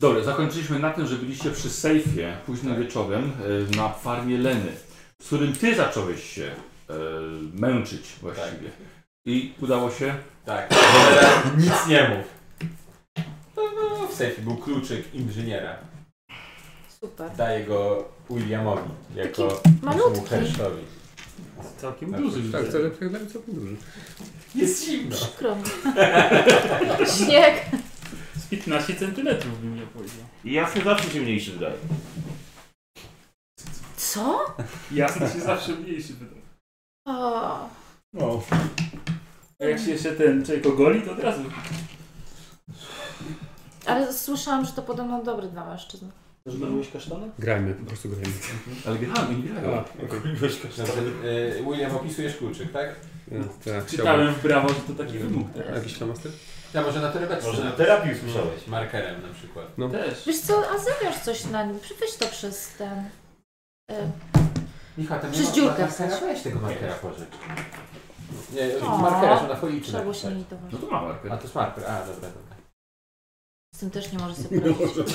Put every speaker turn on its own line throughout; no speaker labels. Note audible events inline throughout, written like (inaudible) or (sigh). Dobrze, zakończyliśmy na tym, że byliście przy sejfie późnym
Tak.
wieczorem e, na farmie Leny, z którym ty zacząłeś się e, męczyć właściwie. I udało się?
Tak, Teraz nic nie mów. No, no, w sejfie był kluczyk inżyniera.
Super.
Daję go Williamowi, jako naszemu
Malutki.
hersztowi.
Całkiem
Tak,
duży
Tak,
widzę.
to jest jak całkiem duży.
Jest zimno.
Przykro mi. Śnieg.
Z 15 centymetrów bym nie powiedział.
Jasny zawsze się mniejszy wydaje.
Co?
Jasne się zawsze mniejszy wydaje.
O,
O,
A jak się jeszcze ten człowiek ogoli, to od razu.
ale słyszałam, że to podobno dobry dla mężczyzn.
Zrobiłeś kasztana?
grajmy, po prostu grajmy.
Mhm.
Ale grałem, nie grałem.
A,
Tak.
okej. (laughs) tak.
Dobrze, y, William, opisujesz kluczyk, tak?
No, tak, chciałbym.
Czytałem w brawo, że to taki wymóg teraz.
Jakiś tam master?
Ja może na torebeczce.
Może na
napisać.
terapii usłyszałeś.
Markerem na przykład.
No.
Też.
Wiesz co, a zawiesz coś na nim. Weź to przez ten... y,
Michał, tam nie
Przez
ma
dziurkę
markera?
wstać.
Weź tego markera pożycz. Nie,
O.
markera są na foliczy
Trzeba było się
napisać.
nie litować.
No to mam
A
marker.
to jest marker, a dobra, dobra.
Z tym też nie może sobie poradzić.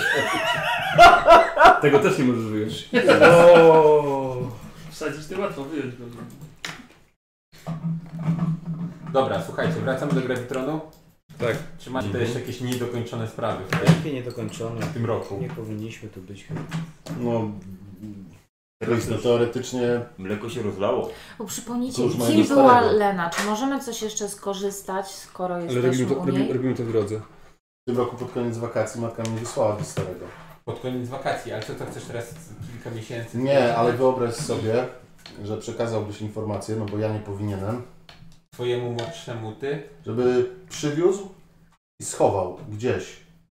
Tego też nie możesz wyjąć.
Wsadzić to łatwo, wyjąć go.
Dobra, słuchajcie, wracamy do Gravitronu.
Tak.
Czy macie
Mhm.
jeszcze jakieś niedokończone sprawy
Jakie niedokończone.
w tym roku?
Nie powinniśmy tu być.
No, no teoretycznie
Mleko się rozlało.
Bo przypomnijcie,
Cóż, mają
kim
nic
była
starego.
Lena? Czy możemy coś jeszcze skorzystać, skoro
Ale
jesteśmy
robimy to,
u
robimy,
niej?
robimy to w drodze.
w tym roku pod koniec wakacji matka mnie wysłała do starego.
Pod koniec wakacji, ale co to chcesz teraz kilka miesięcy?
Nie, ale wyobraź sobie, że przekazałbyś informację, no bo ja nie powinienem,
Twojemu młodszemu ty?
żeby przywiózł i schował gdzieś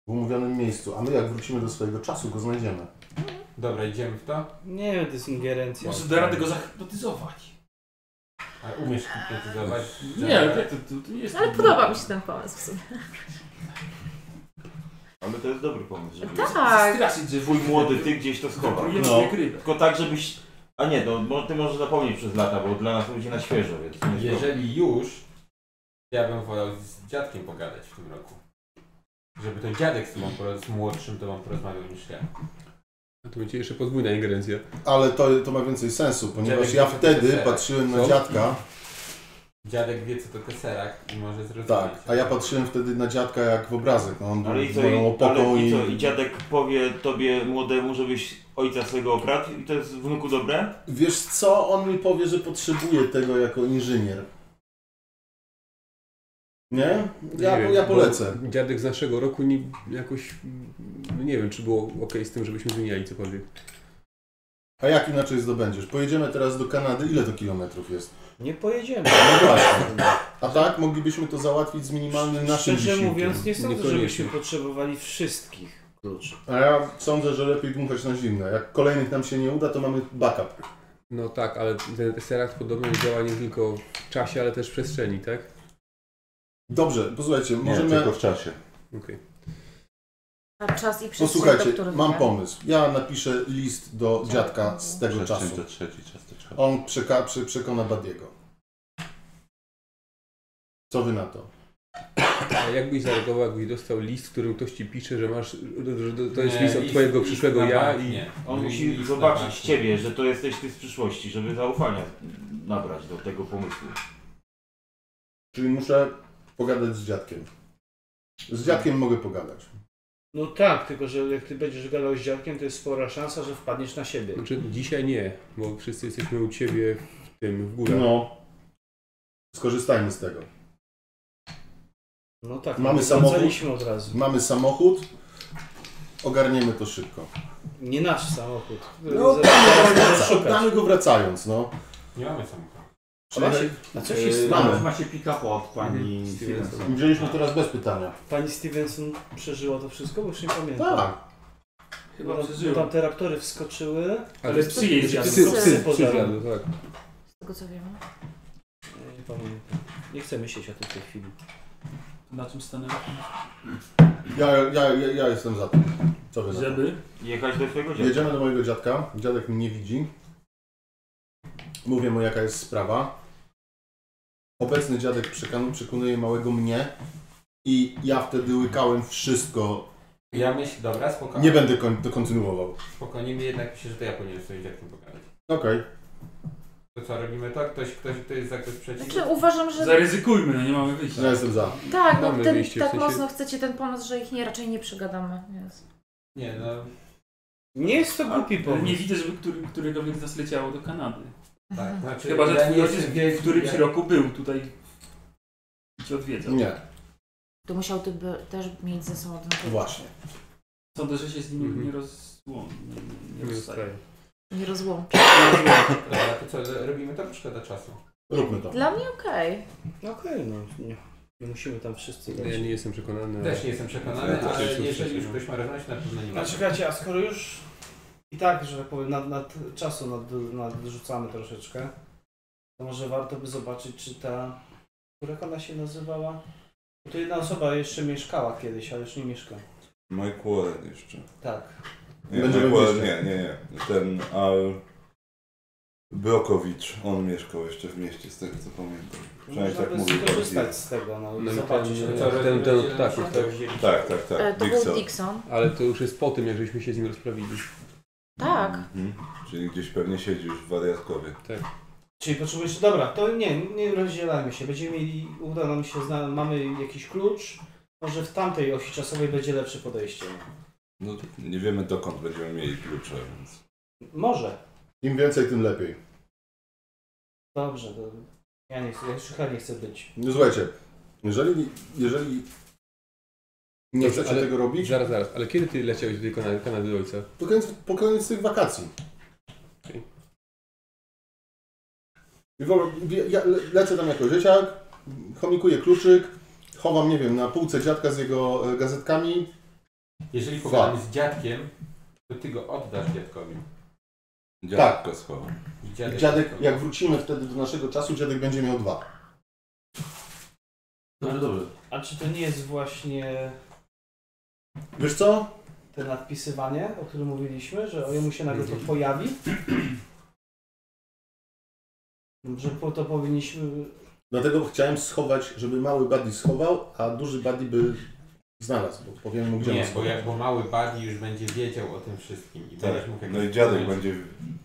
w umówionym miejscu, a my jak wrócimy do swojego czasu go znajdziemy.
Dobra, idziemy w to.
Nie wiem, to jest ingerencja.
Może da radę go zahipnotyzować.
A umiesz hipnotyzować?
Nie, ale to, to, to nie jest...
Ale podoba mi się ten pomysł w sumie.
Ale to jest dobry pomysł, żeby
Tak.
Straszyć, że
twój młody ty gdzieś to schował.
Próbujemy
No.
jak rybę.
Tylko tak, żebyś... A nie, no, mo- ty możesz zapomnieć przez lata, bo dla nas to będzie na świeżo, więc... nie jest problem.
Jeżeli już, ja bym wolał z dziadkiem pogadać w tym roku. Żeby to dziadek z tobą, poro- z młodszym tobą porozmawiał niż ja.
A to będzie jeszcze podwójna ingerencja.
Ale to, to ma więcej sensu, ponieważ
Dziadek
ja
wie, co to
wtedy
jest.
patrzyłem na
Co?
dziadka,
Dziadek wie co to teserak i może zrozumieć.
tak, a ja patrzyłem wtedy na dziadka jak w obrazek, no on
Ale
był
i
z
co,
moją
i,
opoką
ale i
i...
co, i dziadek powie tobie młodemu, żebyś ojca swojego okradł i to jest wnuku dobre?
Wiesz co, on mi powie, że potrzebuje tego jako inżynier. Nie? Ja,
Nie wiem,
ja
bo
polecę.
Dziadek z naszego roku nie, jakoś... mm, Nie wiem, czy było ok z tym, żebyśmy zmieniali cokolwiek.
A jak inaczej zdobędziesz? Pojedziemy teraz do Kanady. Ile to kilometrów jest?
Nie pojedziemy.
No właśnie. A tak moglibyśmy to załatwić z minimalnym naszym
Szczerze
wysiłkiem.
mówiąc, nie sądzę,
Niekoniecznie.
żebyśmy potrzebowali wszystkich kluczy.
A ja sądzę, że lepiej dmuchać na zimne. Jak kolejnych nam się nie uda, to mamy backup.
No tak, ale ten Tesseract podobno działa nie tylko w czasie, ale też w przestrzeni, tak?
Dobrze, posłuchajcie, możemy...
w czasie.
Okej.
A czas i przestrzeń,
Posłuchajcie,
do których
mam
tak?
ja-
pomysł. Ja napiszę list do dziadka z tego czasu.
trzeci czas to trzeba.
On przeka- prze- przekona Badiego. Co wy na to?
A jakbyś zareagował, jakbyś dostał list, w którym ktoś ci pisze, że masz, że to- to jest
Nie,
list od
i-
twojego
i-
przyszłego
na
ja
bank
i
nie.
On
I-
musi
i- na
zobaczyć
bank.
ciebie, że to jesteś ty z przyszłości, żeby zaufania nabrać do tego pomysłu.
Czyli muszę pogadać z dziadkiem. Z dziadkiem mogę pogadać.
No tak, tylko że jak ty będziesz gadał z dziadkiem, to jest spora szansa, że wpadniesz na siebie.
Znaczy dzisiaj nie, bo wszyscy jesteśmy u ciebie w tym, w górach.
No. Skorzystajmy z tego.
No tak,
Mamy
no,
samochód?
wracaliśmy od razu.
Mamy samochód, ogarniemy to szybko.
Nie nasz samochód.
No,
Zaraz- zaraz będziemy
wraca-
szukać.
Oddamy go wracając, no.
Nie mamy samochodu.
Czyli
A co się stało?
Yy, mamy.
Macie pick-up od pani Stevenson.
Wzięliśmy teraz bez pytania.
Pani Stevenson przeżyła to wszystko, bo już nie pamiętam.
Tak.
Chyba
Bo tam-
przeżyłem.
Tam te raptory wskoczyły.
Ale psy jej
psy,
zjadły.
psy,
Psy
psy, psy
pożarły.
zjadły, tak.
Z tego co wiem.
Nie, nie pamiętam. Nie chcę myśleć o tym w tej chwili.
Na czym stanęło?
Ja, ja, ja, ja jestem za tym. Co wy na to?
Żeby...
Jechać do twojego dziadka.
Jedziemy do mojego dziadka. Dziadek mnie nie widzi. Mówię mu, jaka jest sprawa. Obecny dziadek przekan- przekonuje małego mnie i ja wtedy łykałem wszystko,
Ja myślę, dobra, spokojnie.
Nie będę kon- to kontynuował.
Spokojnie, mi jednak myślę, że to ja powinienem sobie z dziadkiem pogadać.
Okej.
To co robimy, to ktoś, ktoś, kto jest za ktoś przeciw.
Znaczy uważam, że
Zaryzykujmy, no nie mamy wyjścia.
Ja jestem za.
tak, no
Mamy
ten,
wyjście, w
tak
sensie-
mocno chcecie ten pomysł, że ich nie raczej nie przegadamy. Więc.
Nie, no
Nie jest to głupi
Ale nie
pomysł.
widzę, żeby który, któregokolwiek z nas leciało do Kanady.
tak, znaczy
Chyba, że
ja
twój
nie
ojciec
jestem wielki,
w którymś
ja,
roku był tutaj i cię odwiedzał.
Nie,
To musiał ty by też mieć ze sobą ten klucz.
właśnie.
Sądzę, że się z nim
Mhm.
nie rozłączy. Nie, nie, rozstaje.
Nie zostaje.
Nie rozłączy.
Dobra, to co, robimy to, czy szkoda czasu?
Róbmy to.
Dla mnie okej.
Okej, no nie, nie musimy tam wszyscy
Ja nie jestem przekonany. ale- no.
Też nie jestem przekonany,
Ja też
ale
jestem
jeżeli już
przekonany.
ktoś ma rozmawiać, na pewno nie ma.
A czekajcie, a skoro już i tak, że tak powiem, nad, nad czasu nad, nadrzucamy troszeczkę, to może warto by zobaczyć, czy ta... Jak ona się nazywała? Bo to jedna osoba jeszcze mieszkała kiedyś, ale już nie mieszka.
Mike Warren jeszcze.
Tak.
Nie,
Będziemy
Mike Warren,
myśleć.
nie, nie, nie. Ten Al... Brokowicz, on mieszkał jeszcze w mieście, z tego co pamiętam. Przynajmniej
Można
tak
by
mówił
skorzystać z tego, no,
No i
zobaczyć.
ten-
ale-
ten- ten- ten- tak, tak.
Tak, tak,
E,
tak.
To był
Dixon.
Dixon.
Ale to już jest po tym, jak żeśmy się z nim rozprawili.
Tak.
Mhm. Czyli gdzieś pewnie siedzi już w wariatkowie.
Tak.
Czyli potrzebujesz, dobra, to nie, nie rozdzielajmy się. Będziemy mieli, uda nam się, zna, mamy jakiś klucz. Może w tamtej osi czasowej będzie lepsze podejście.
No nie wiemy dokąd będziemy mieli klucze, więc...
Może.
Im więcej, tym lepiej.
Dobrze, to ja nie chcę, ja już chyba nie chcę być.
No słuchajcie, jeżeli, jeżeli nie
Dobrze,
chcecie
ale-
tego robić,
Zaraz, zaraz, ale kiedy ty leciałeś do tej Kanady, Kanady do ojca?
to koniec, po koniec tych wakacji.
Okej.
I w ogóle, wie- ja le- lecę tam jako dzieciak, chomikuję kluczyk, chowam, nie wiem, na półce dziadka z jego e, gazetkami.
Jeżeli
Dwa.
pogadamy z dziadkiem, to ty go oddasz dziadkowi.
Dziadko schował.
I
I
dziadek,
Tak. dziadek, jak wrócimy wtedy do naszego czasu, dziadek będzie miał dwa.
No,
Dobrze, dobrze.
A czy to nie jest właśnie
Wiesz co?
te nadpisywanie, o którym mówiliśmy, że jemu się nagle to pojawi? Że po to powinniśmy...
Dlatego chciałem schować, żeby mały Buddy schował, a duży Buddy by znalazł, bo powiem mu, gdzie
Nie,
on
bo,
schował.
jak, bo mały Buddy już będzie wiedział o tym wszystkim i
Tak.
będziesz mógł... Tak.
No i dziadek będzie,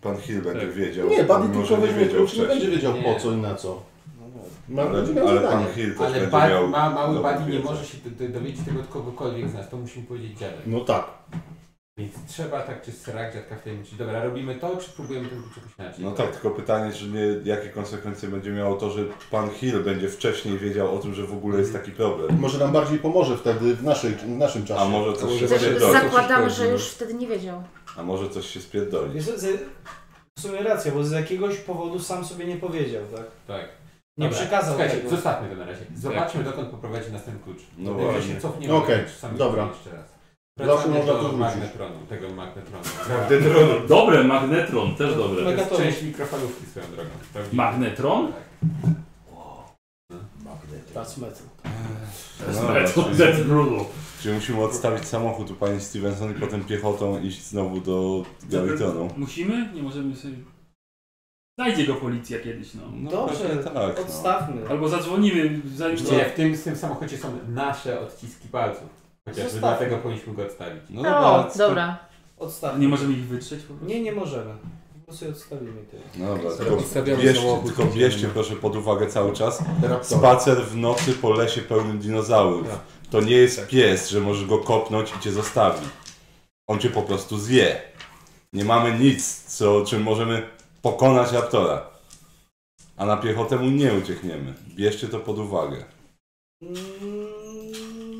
pan Hill będzie wiedział.
Nie, Buddy
mimo,
tylko
że
weźmie klucz, nie będzie wiedział
Nie.
po co i na co.
No, dobra.
Ma, będzie miał
Ale, ale
zadanie.
pan Hill też
Ale
będzie
Buddy-
miał...
ma, mały
dobrą
Buddy nie
wiedzę.
może się do- do- dowiedzieć tego od kogokolwiek z nas, to musimy powiedzieć dziadek.
No tak.
Więc trzeba tak czy srak dziadka wtajemniczyć. Dobra, robimy to, czy próbujemy ten klucz jakoś inaczej?
No tak, tylko pytanie, czy nie, jakie konsekwencje będzie miało to, że pan Hill będzie wcześniej wiedział o tym, że w ogóle jest taki problem.
Może nam bardziej pomoże wtedy w, naszej, w naszym czasie.
A może
A
coś
może
się
właśnie
Znaczy,
dobrze,
spierdoli.
za-
zakładamy,
wszystko
że
jest,
już wtedy nie wiedział.
A może coś się spierdoli.
Jest, z, w sumie racja, bo z jakiegoś powodu sam sobie nie powiedział, tak?
Tak.
Nie
Dobra,
przekazał
Słuchajcie,
tego.
zostawmy to na razie. Zobaczmy, dokąd poprowadzi nas ten klucz.
No
Najwyżej
właśnie.
się cofniemy
Okej,
do samych
dobra.
drzwi jeszcze raz.
Zawsze
Wracamy
można
do
tu wrócić.
magnetronu, tego magnetronu.
Magnetron. Dobre, magnetron, też dobre.
To jest
Megaton.
część mikrofalówki swoją drogą. Prawdziwy.
Magnetron?
Tak. No.
Transmetru.
No,
Magnetron
czyli-
ze brudu.
Czyli musimy odstawić samochód u pani Stevenson i potem piechotą iść znowu do Garitonu.
Musimy? Nie możemy sobie... Znajdzie go policja kiedyś, no.
No,
Dobrze,
pewnie tak. No.
Odstawmy.
Albo zadzwonimy, zanim...
Widzicie, jak w tym, w tym samochodzie są nasze odciski palców. Chociażby
Zostawmy.
Tak dlatego powinniśmy go odstawić.
No
O,
co-
dobra.
Odstawmy.
Nie możemy ich wytrzeć po prostu.
Nie, nie możemy. Po prostu je odstawimy i tyle.
No dobra,
Zaraz
tylko
odstawiamy
bierzcie,
samochód.
tylko bierzcie proszę pod uwagę cały czas.
Raptor.
Spacer w nocy po lesie pełnym dinozaurów.
Tak.
To nie jest pies, że możesz go kopnąć i cię zostawi. On cię po prostu zje. Nie mamy nic, co, czym możemy pokonać raptora. A na piechotę mu nie uciekniemy. Bierzcie to pod uwagę.
Mm,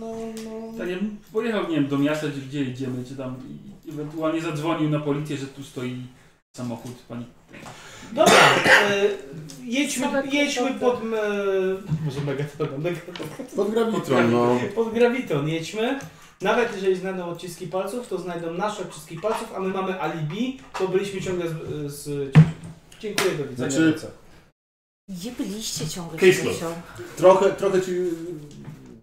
No, no.
Tak, ja bym pojechał, nie wiem, do miasta, gdzie, gdzie idziemy, czy tam... I ewentualnie zadzwonił na policję, że tu stoi samochód pani...
Dobra, e, jedźmy,
Same
jedźmy
kłopoty.
pod... E, może megatonem, megatonem.
Pod grawitron, no.
Pod graviton jedźmy. Nawet jeżeli znajdą odciski palców, to znajdą nasze odciski palców, a my mamy alibi, bo byliśmy ciągle z... z dziękuję, do widzenia.
Znaczy-
do co.
Nie byliście ciągle
Case
śmiecią.
Trochę, trochę ci...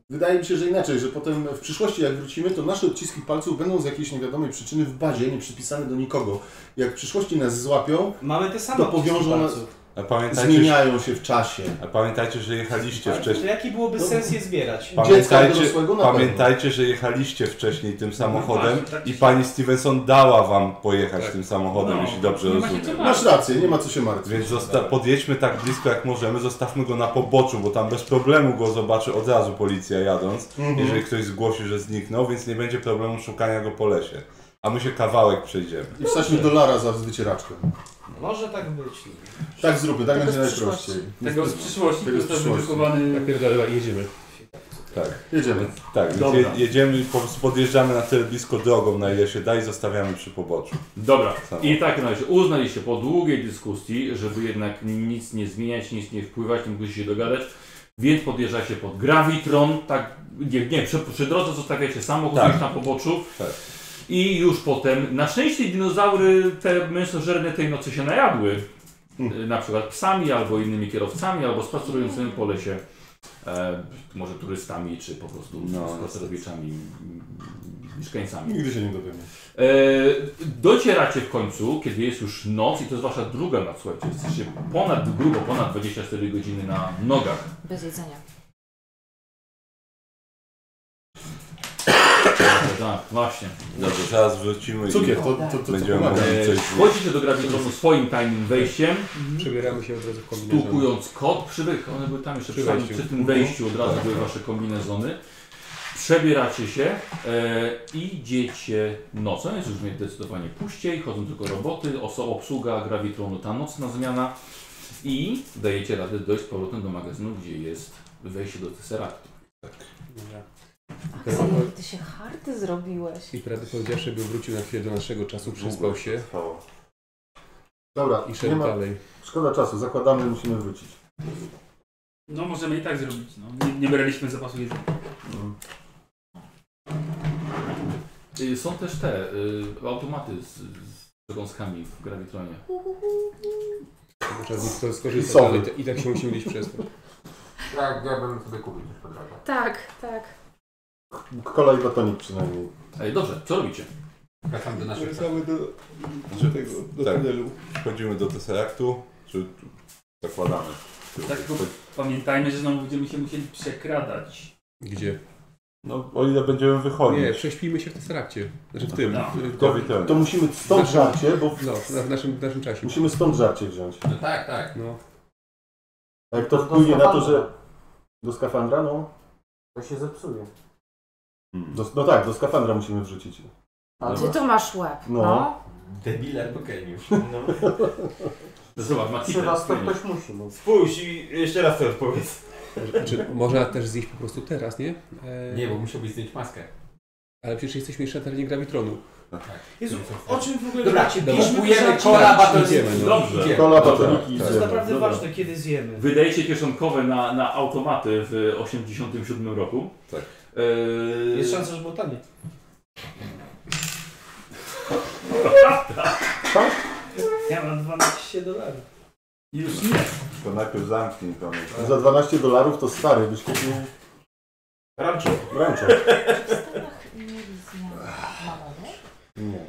Wydaje mi się, że inaczej, że potem w przyszłości jak wrócimy, to nasze odciski palców będą z jakiejś niewiadomej przyczyny w bazie, nie przypisane do nikogo. Jak w przyszłości nas złapią,
Mamy te same
To
odciski
powiążą nas-
palców.
A pamiętajcie, że,
Zmieniają się w czasie.
a pamiętajcie, że jechaliście
Ale to
wcześniej.
jaki byłoby
No.
sens je zbierać?
Dziecka
Pamiętajcie,
dorosłego na pewno.
pamiętajcie, że jechaliście wcześniej
No
tym samochodem
właśnie, tak
i
się-
pani Stevenson dała wam pojechać
Tak.
tym samochodem,
No,
jeśli dobrze
nie ma się
rozumiem.
co martwić.
Masz rację, nie ma co się martwić.
Więc zosta- podjedźmy tak blisko jak możemy, zostawmy go na poboczu, bo tam bez problemu go zobaczy od razu policja jadąc,
Mhm.
jeżeli ktoś zgłosi, że zniknął, więc nie będzie problemu szukania go po lesie. A my się kawałek przejdziemy.
I wstać dolara za wycieraczkę.
Może tak być.
Tak zróbmy, tak
Tego
będzie
z przyszłości.
najprościej.
Tego z przyszłości,
Tego z
został
przyszłości.
wydrukowany...
Napierdala, jedziemy.
Tak,
Jedziemy.
tak. Więc
Dobra.
je- jedziemy, po prostu podjeżdżamy na tyle blisko drogą, na ile się da i zostawiamy przy poboczu.
Dobra,
Samo.
i tak na razie uznaliście po długiej dyskusji, żeby jednak nic nie zmieniać, nic nie wpływać, nie musicie się dogadać, więc podjeżdżacie pod grawitron, tak, nie, nie przy, przy drodze zostawiacie samochód
Tak.
już na poboczu
Tak.
i już potem, na szczęście dinozaury te mięsożerne tej nocy się najadły,
Mhm.
Y, na przykład psami, albo innymi kierowcami, albo spacerującymi po lesie, e, może turystami, czy po prostu
No,
spacerowiczami, m, mieszkańcami.
Nigdy się nie dowiemy.
E, docieracie w końcu, kiedy jest już noc i to jest wasza druga noc, słuchajcie, jesteście ponad grubo, ponad 24 godziny na nogach.
Bez jedzenia.
Tak, właśnie.
Dobrze, zaraz wrócimy
Cukier,
i
to, to, to, co
będziemy
pomaga.
mogli
E,
coś
wchodzicie do grawitronu swoim tajnym wejściem,
Mhm.
Przebieramy się od razu w kombinezon.
tukując kod, przy, wej- one były tam jeszcze
Przy
przy, samym-
wejściu.
przy tym wejściu, od
Tak,
razu były wasze kombinezony. Przebieracie się e, i idziecie nocą, jest już zdecydowanie puściej, chodzą tylko roboty, oso, obsługa grawitronu, ta nocna zmiana i dajecie radę dojść z powrotem do magazynu, gdzie jest wejście do Tesseractu.
Axel, jak ty się hardy zrobiłeś.
I prawdę powiedziawszy, by wrócił na chwilę do naszego czasu, przyspał się
stało.
Dobra,
i
nie
szedł
ma,
dalej.
szkoda czasu, zakładamy, musimy wrócić.
No możemy i tak zrobić, no. Nie, nie braliśmy zapasu jedzenia.
No. Y, Są też te y, automaty z, z przekąskami w grawitronie.
Tylko Trzeba z nich to skorzystać,
Sowy.
ale i- i tak się musimy gdzieś przez to.
Tak, ja bym sobie kupił też po drodze.
Tak, tak.
Kola i batonik przynajmniej.
Ej, dobrze, co robicie?
Wracam do naszych
do, tego, do tak. tunelu. Wchodzimy do Tesseractu, czy zakładamy.
Tak, tylko- Pamiętajmy, że znowu będziemy się musieli przekradać.
Gdzie?
No, o ile będziemy wychodzić.
Nie, prześpijmy się w Tesseractie. Znaczy w tym.
No.
w-
To witam.
To musimy stąd żarcie, bo
No, na- w naszym, w naszym czasie.
musimy stąd żarcie wziąć.
No tak, tak.
No.
A jak to wpłynie na to, że... Do skafandra? No,
To się zepsuje.
Hmm.
do, no tak, do skafandra musimy wrzucić.
Ty to masz łeb,
No.
no.
Debil albo geniusz.
No.
Zobacz, ma
Przy
kitę.
was to ktoś musi,
no.
bo
Spójrz i jeszcze raz to odpowiedz.
Znaczy, można też zjeść po prostu teraz, nie? E,
Nie, bo musiałbyś zdjąć maskę.
Ale przecież jesteśmy jeszcze na terenie gravitronu.
Jezu, o czym w ogóle
Dobra,
gracie?
dobra.
Bierzmy
Kupujemy
żarcie.
kola,
Idziemy,
batonik.
no.
Dobrze.
Idziemy.
Kola,
Dobra,
batoniki
tak.
To
idziemy.
jest naprawdę
Dobra.
ważne, kiedy zjemy.
Wydajecie kieszonkowe na, na automaty w 87 roku.
Tak.
Eee,
Jest szansa, że było tanie. Ja mam 12 dolarów.
Już nie.
To najpierw zamknij to.
No Za 12 dolarów to stary, byś kupił
Rancho.
rancho.
W Stanach mieli zmianę mamowe?
Nie.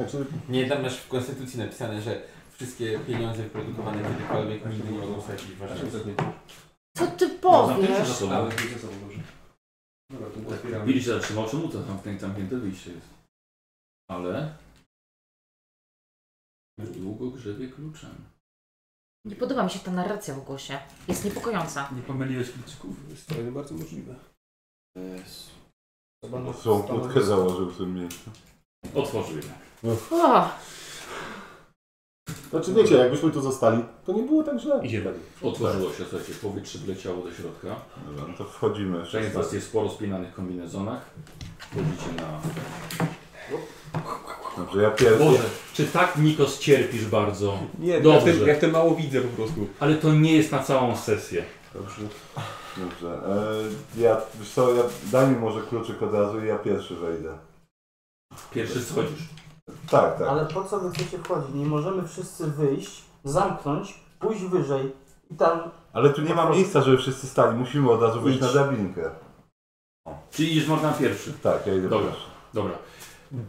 Znaczy,
Nie, tam masz w konstytucji napisane, że wszystkie pieniądze wyprodukowane kiedykolwiek nigdy nie mogą stracić wartości.
Co ty
no, zamknięcie za
powiesz?
sobą.
Ale wiecie co, dobrze. Dobra, to otwieramy.
Widzicie, że trzymał czemu to zamknięte, zamknięte wyjście jest. Ale... Długo grzebie kluczem.
Nie podoba mi się ta narracja w głosie. Jest niepokojąca.
Nie pomyliłeś kluczyków.
To jest bardzo możliwe.
Są kłódkę założył w tym miejscu. No
Otworzył je.
O,
znaczy wiecie, jakbyśmy tu zostali, to nie było tak źle.
Idziemy.
Otworzyło się, słuchajcie, powietrze wleciało do środka.
Dobra, no to wchodzimy.
Część z Was jest w porozpinanych kombinezonach. Chodzicie na...
Dobrze, ja pierwszy.
Boże, czy tak, Nikos, cierpisz bardzo?
Nie, ja
Dobrze.
w, tym, ja w tym mało widzę po prostu.
Ale to nie jest na całą sesję.
Dobrze. Dobrze. E, ja, wiesz co, ja, daj mi może kluczyk od razu i ja pierwszy wejdę.
Pierwszy schodzisz.
Tak, tak.
Ale po co wy chcecie wchodzić? Nie możemy wszyscy wyjść, zamknąć, pójść wyżej i tam...
Ale tu nie ma miejsca, żeby wszyscy stali. Musimy od razu wyjść
Idź.
na drabinkę.
Czyli idziesz można pierwszy.
Tak, ja idę
Dobra.
pierwszy.
Dobra.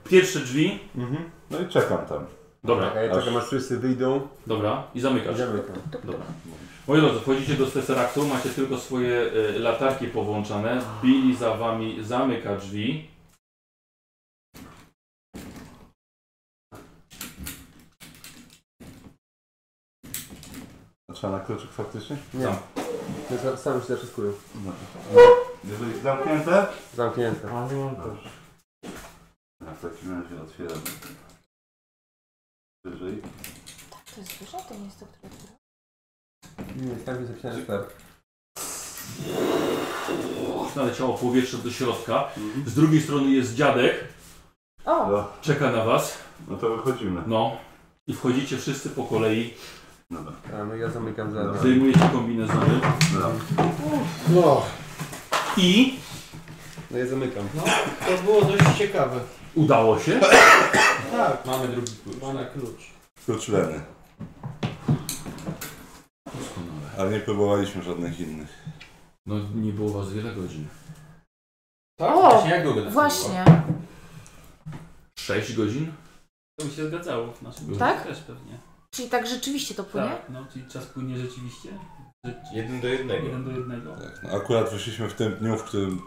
Pierwsze drzwi.
Mhm. No i czekam tam.
Dobra,
Ja czekam aż wszyscy wyjdą.
dobra. I zamykasz.
Zamykam.
Dobra. Moi drodzy, wchodzicie do Tesseractu, macie tylko swoje e, latarki powłączane. Billy za wami zamyka drzwi.
Trzeba na kluczyk faktycznie?
Nie. Ja sa- sam się zawsze skuję.
E,
Jeżeli zamknięte?
Zamknięte.
A nie mam też.
Ja w takim
No,
razie otwieram. Wyżej.
To jest duże to miejsce, które otwiera.
Nie, tam jest zapisane start.
Naleciało powietrze do środka. Z drugiej strony jest dziadek,
O!
czeka na was.
No to wychodzimy.
No. I wchodzicie wszyscy po kolei,
Dobra.
A no ja zamykam za.
Dobra.
zdejmujecie kombinezony
Dobra.
No,
i
No ja zamykam.
No, to było dość ciekawe.
udało się.
Tak,
Mamy drugi klucz. tak.
mamy klucz.
Klucz Leny. Ale nie próbowaliśmy żadnych innych.
No nie było was wiele godzin.
Tak?
O!
Właśnie, jak długo to
Właśnie.
6 godzin? Mhm.
To by się zgadzało w naszym
Tak?
też pewnie.
Czyli tak rzeczywiście to płynie?
Tak, no czyli czas płynie rzeczywiście. Że-
trwało? Jeden do jednego.
Jeden do jednego.
Tak, no akurat wyszliśmy w tym dniu, w którym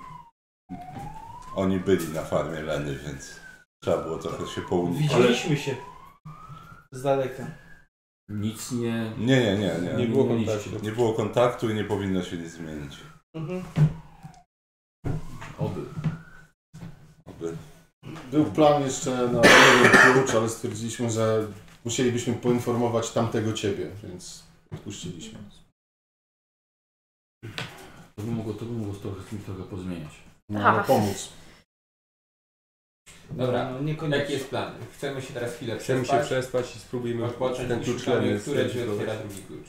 oni byli na farmie Leny, więc trzeba było trochę się pounikać.
Widzieliśmy się. Z daleka.
Nic nie.
Nie, nie, nie, nie.
Nie było
mieliście.
kontaktu.
Nie było kontaktu i nie powinno się nic zmienić.
Mhm.
Oby.
Oby.
był plan jeszcze na nie wiem, klucz, ale stwierdziliśmy, że musielibyśmy poinformować tamtego ciebie, więc odpuściliśmy.
To by mogło, to by mogło trochę, z tym trochę pozmieniać.
No, no pomóc.
Dobra.
No, niekoniecznie.
Jaki jest plan? Chcemy się teraz chwilę
Chcemy się
przespać,
przespać i spróbujemy
odpocząć
ten
i
klucz
szukamy,
lemy
które drzwi
zdecydować.
otwiera drugi klucz.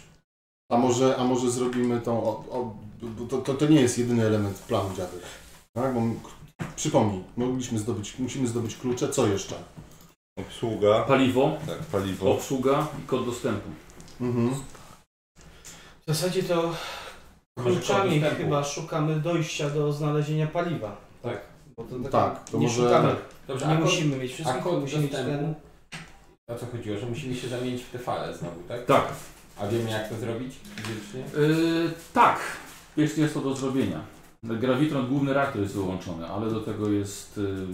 A może, a może zrobimy tą... O, o, bo to, to, to nie jest jedyny element planu dziadek. Tak? Bo, przypomnij, mogliśmy zdobyć, musimy zdobyć klucze, co jeszcze?
Obsługa,
Paliwo,
tak, paliwo.
obsługa i kod dostępu.
Mhm.
W zasadzie to
Może
kluczami
kogoś tempu.
chyba szukamy dojścia do znalezienia paliwa.
Tak.
Bo to tak,
Tak, to
nie
może-
szukamy,
Dobrze,
nie
a kod-
musimy mieć
A
wszystkich,
kod
musimy mieć
dostępu?
ten...
O co chodziło? Że musimy się zamienić w te fale znowu, tak?
Tak.
A wiemy jak to zrobić fizycznie?
Yy, tak. Jest, jest to do zrobienia. Grawitron, główny reaktor jest wyłączony, ale do tego jest. Yy,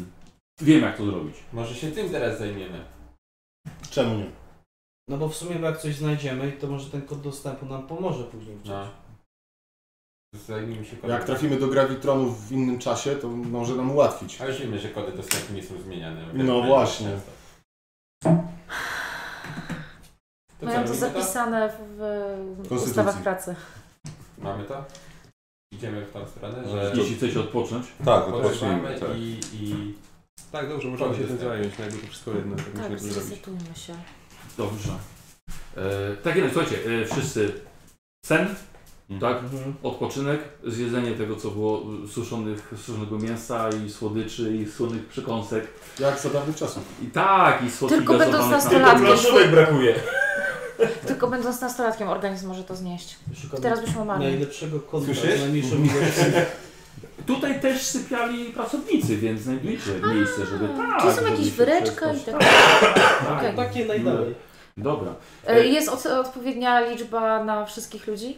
wiem jak to zrobić.
Może się tym teraz zajmiemy.
Czemu nie?
No bo w sumie jak coś znajdziemy, to może ten kod dostępu nam pomoże później.
No. Zajmijmy się kodem.
Jak trafimy do grawitronów w innym czasie, to może nam ułatwić.
A już wiemy, że kody dostępu nie są zmieniane.
No właśnie.
To co,
Mają to
robimy to?
zapisane w w
Konstytucji.
ustawach pracy. (laughs)
Mamy to? Idziemy w tą stronę, że
Jeśli chcecie odpocząć.
Tak, odpocznijmy,
podróżujemy
tak.
i, i...
Tak, dobrze, możemy się tym
Korzystać.
zająć, no jakby to wszystko jedno, tak musimy
Tak,
to zrobić.
zresetujmy się.
Dobrze. Yy, tak jednak, słuchajcie, yy, wszyscy sen, tak?
Mhm.
Odpoczynek, zjedzenie tego, co było yy, suszonych, suszonego mięsa i słodyczy i słonych przekąsek.
Jak za dawnych czasów.
I tak, i słodki
Tylko będąc
gazowany
nastolatkiem. Tylko blaszówek
brakuje.
Tylko będąc nastolatkiem organizm może to znieść.
Szukamy
Teraz byśmy umarli.
najlepszego konta z
Słyszysz?
najmniejszą (laughs) ilością.
(laughs) Tutaj też sypiali pracownicy, więc znajdujcie miejsce, żeby tak.
Czy są
żeby
jakieś
się
wyreczka i
przespać.
tak
Tak.
Takie najdalej.
Dobra,
E, Jest od, odpowiednia liczba na wszystkich ludzi?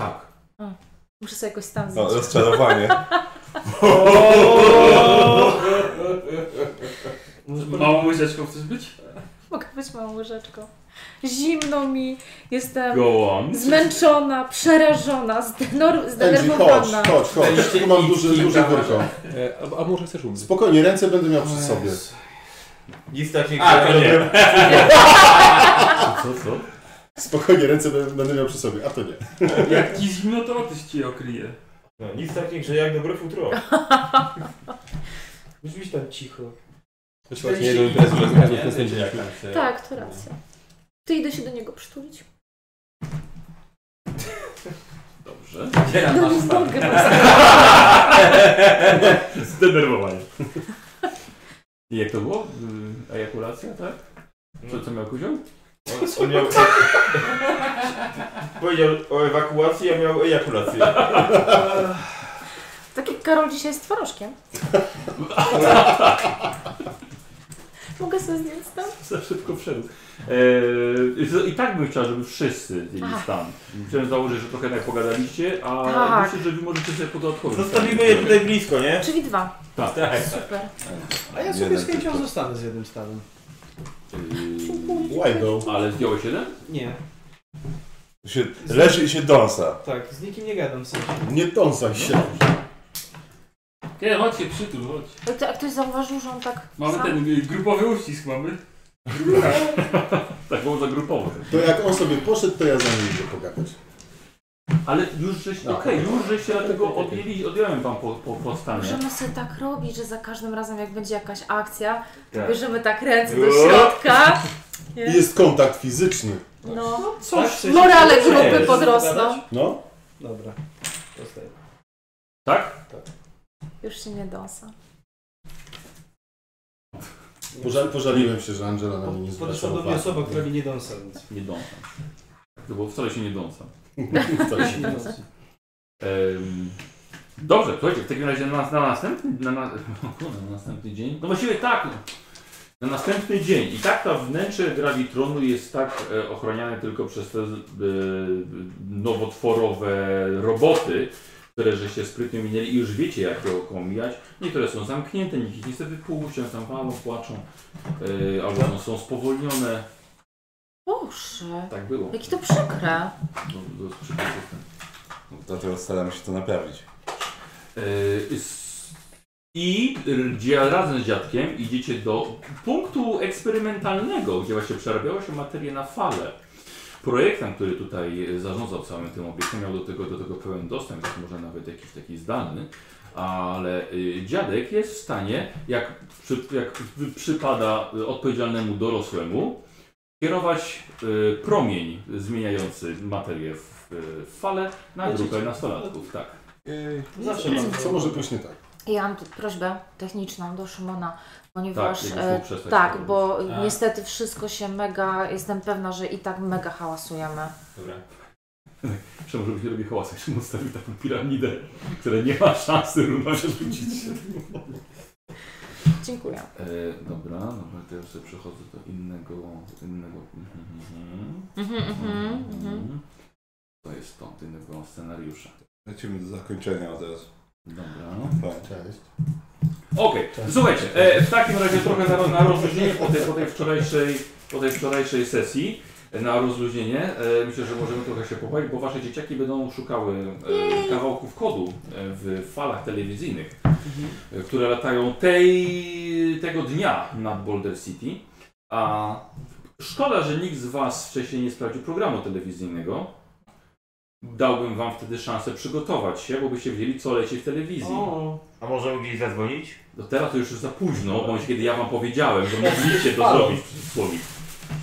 tak.
Muszę sobie jakoś stan
No,
zdać.
rozczarowanie.
Tak.
No. Może po-
Małą łyżeczką chcesz
(laughs)
być?
(laughs) Mogę być małą łyżeczką. Zimno mi, jestem
Go on.
zmęczona, przerażona, zdenor-
Angie, chodź,
zdenerwowana.
chodź, chodź. Tu mam duży, duży wyrko.
E, a, a może chcesz umrzeć?
Spokojnie, ręce będę miał przy sobie.
Nic takiego
A, to
nie.
nie.
Co, co?
Spokojnie, ręce bę- będę miał przy sobie, a to
(laughs)
nie.
Jak ci zimno, to otyś ci je okryje.
No, nic takiego, że jak dobre futro.
Musisz być tam cicho.
To się właśnie jedną imprezę, że
Nie,
zgadzam
nie,
się
wiecie, jak tam się...
Tak, to racja. Ty idę się do niego przytulić.
Dobrze.
Gdzie nam
No
masz
nie
stan?
mogę. (laughs)
Zdenerwowanie. I jak to było? Y, Ejakulacja, tak? Co, co miał kuzioł?
On, on miał... (laughs) Powiedział o ewakuacji, a miał ejakulację.
(laughs)
(laughs)
Tak jak Karol dzisiaj z twarożkiem. Mogę sobie zdjąć tam?
Za szybko wszedł. Eee, I tak bym chciał, żeby wszyscy zjedli
Ach.
stan. Chciałem założyć, że trochę tak pogadaliście, a
Tak.
myślę, że wy możecie sobie podatkowo.
Zostawimy je tutaj blisko, nie?
Czyli dwa.
Tak.
Super.
A ja sobie z chęcią zostanę z jednym stanem.
Eee,
Why go?
ale zdjąłeś jeden?
Nie,
Się, leży i się dąsa.
tak, z nikim nie gadam w sensie.
Nie tąsaj się.
Nie, chodź się przytul, chodź.
A kto- A ktoś zauważył, że on tak
Mamy
sam?
ten y, grupowy uścisk mamy.
(laughs) Tak było za grupowo.
To jak on sobie poszedł, to ja za nim idę pogadać.
Ale już żeś,
No.
okej, już żeście dlatego odjęli, odjąłem wam po, po, po stanie.
Możemy sobie tak robić, że za każdym razem jak będzie jakaś akcja,
Tak.
bierzemy tak ręce do środka.
(laughs) I jest kontakt fizyczny.
No.
Coś,
Morale
Cześć.
grupy podrosną.
No.
Dobra, zostaję.
Tak?
Już się nie dosa.
Pożal, pożaliłem się, że Angela na mnie nie
Podeszła
zwracała
do mnie
uwagi.
osoba, która mi nie dąsa, więc...
Nie dąsam. To było wcale się nie dąsam.
(laughs) Wcale się nie da.
Em, Dobrze, słuchajcie, w takim razie na, nas- na następny na, (laughs) na, kurde, na następny dzień. No właściwie tak. Na następny dzień. I tak to wnętrze gravitronu jest tak e, ochroniane tylko przez te e, nowotworowe roboty, które że się sprytnie minęli i już wiecie jak je omijać. Niektóre są zamknięte, niektóre niestety pół, się tam walą, płaczą, e, albo są- są spowolnione.
Boże,
Tak było.
jakie to przykre.
No.
Do, do przypadków.
Dlatego staramy się to naprawić.
Yy, s- I r- dzia- razem z dziadkiem idziecie do punktu eksperymentalnego, gdzie właśnie przerabiało się materię na fale. Projektant, który tutaj zarządzał całym tym obiektem, miał do tego, do tego pełen dostęp, więc może nawet jakiś taki zdalny, ale y, dziadek jest w stanie, jak, przy, jak przy- przypada y, odpowiedzialnemu dorosłemu, kierować y, promień zmieniający materię w, y, w fale na grupę nastolatków. Tak.
Zawsze mam
Co może pójść nie tak?
Ja mam tu prośbę techniczną do Szymona, ponieważ
jakbyś mógł
e,
przestać to
tak
robić.
bo
A.
niestety wszystko się mega, jestem pewna, że i tak mega hałasujemy.
Dobra.
Czemu robi, robi hałas, jak się mu stawi taką piramidę, która nie ma szansy równo się rzucić.
Dziękuję.
E, dobra, dobra, to ja sobie przechodzę do innego, innego, mhm, mhm,
Mhm, mhm,
mhm,
mhm.
mhm. to jest to, do innego scenariusza.
Lecimy do zakończenia od razu.
Dobra.
Cześć.
Okej, słuchajcie, e, w takim razie trochę na, na rozluźnienie po tej, po, tej wczorajszej, po tej wczorajszej sesji, e, na rozluźnienie. E, myślę, że możemy trochę się pobawić, bo wasze dzieciaki będą szukały e, kawałków kodu e, w falach telewizyjnych, e, które latają tej, tego dnia nad Boulder City. A szkoda, że nikt z was wcześniej nie sprawdził programu telewizyjnego. Dałbym wam wtedy szansę przygotować się, bo byście wiedzieli, co leci w telewizji.
A możemy gdzieś zadzwonić?
No teraz to już za późno, w momencie kiedy ja wam powiedziałem,
(laughs)
że mogliście to zrobić w cudzysłowie.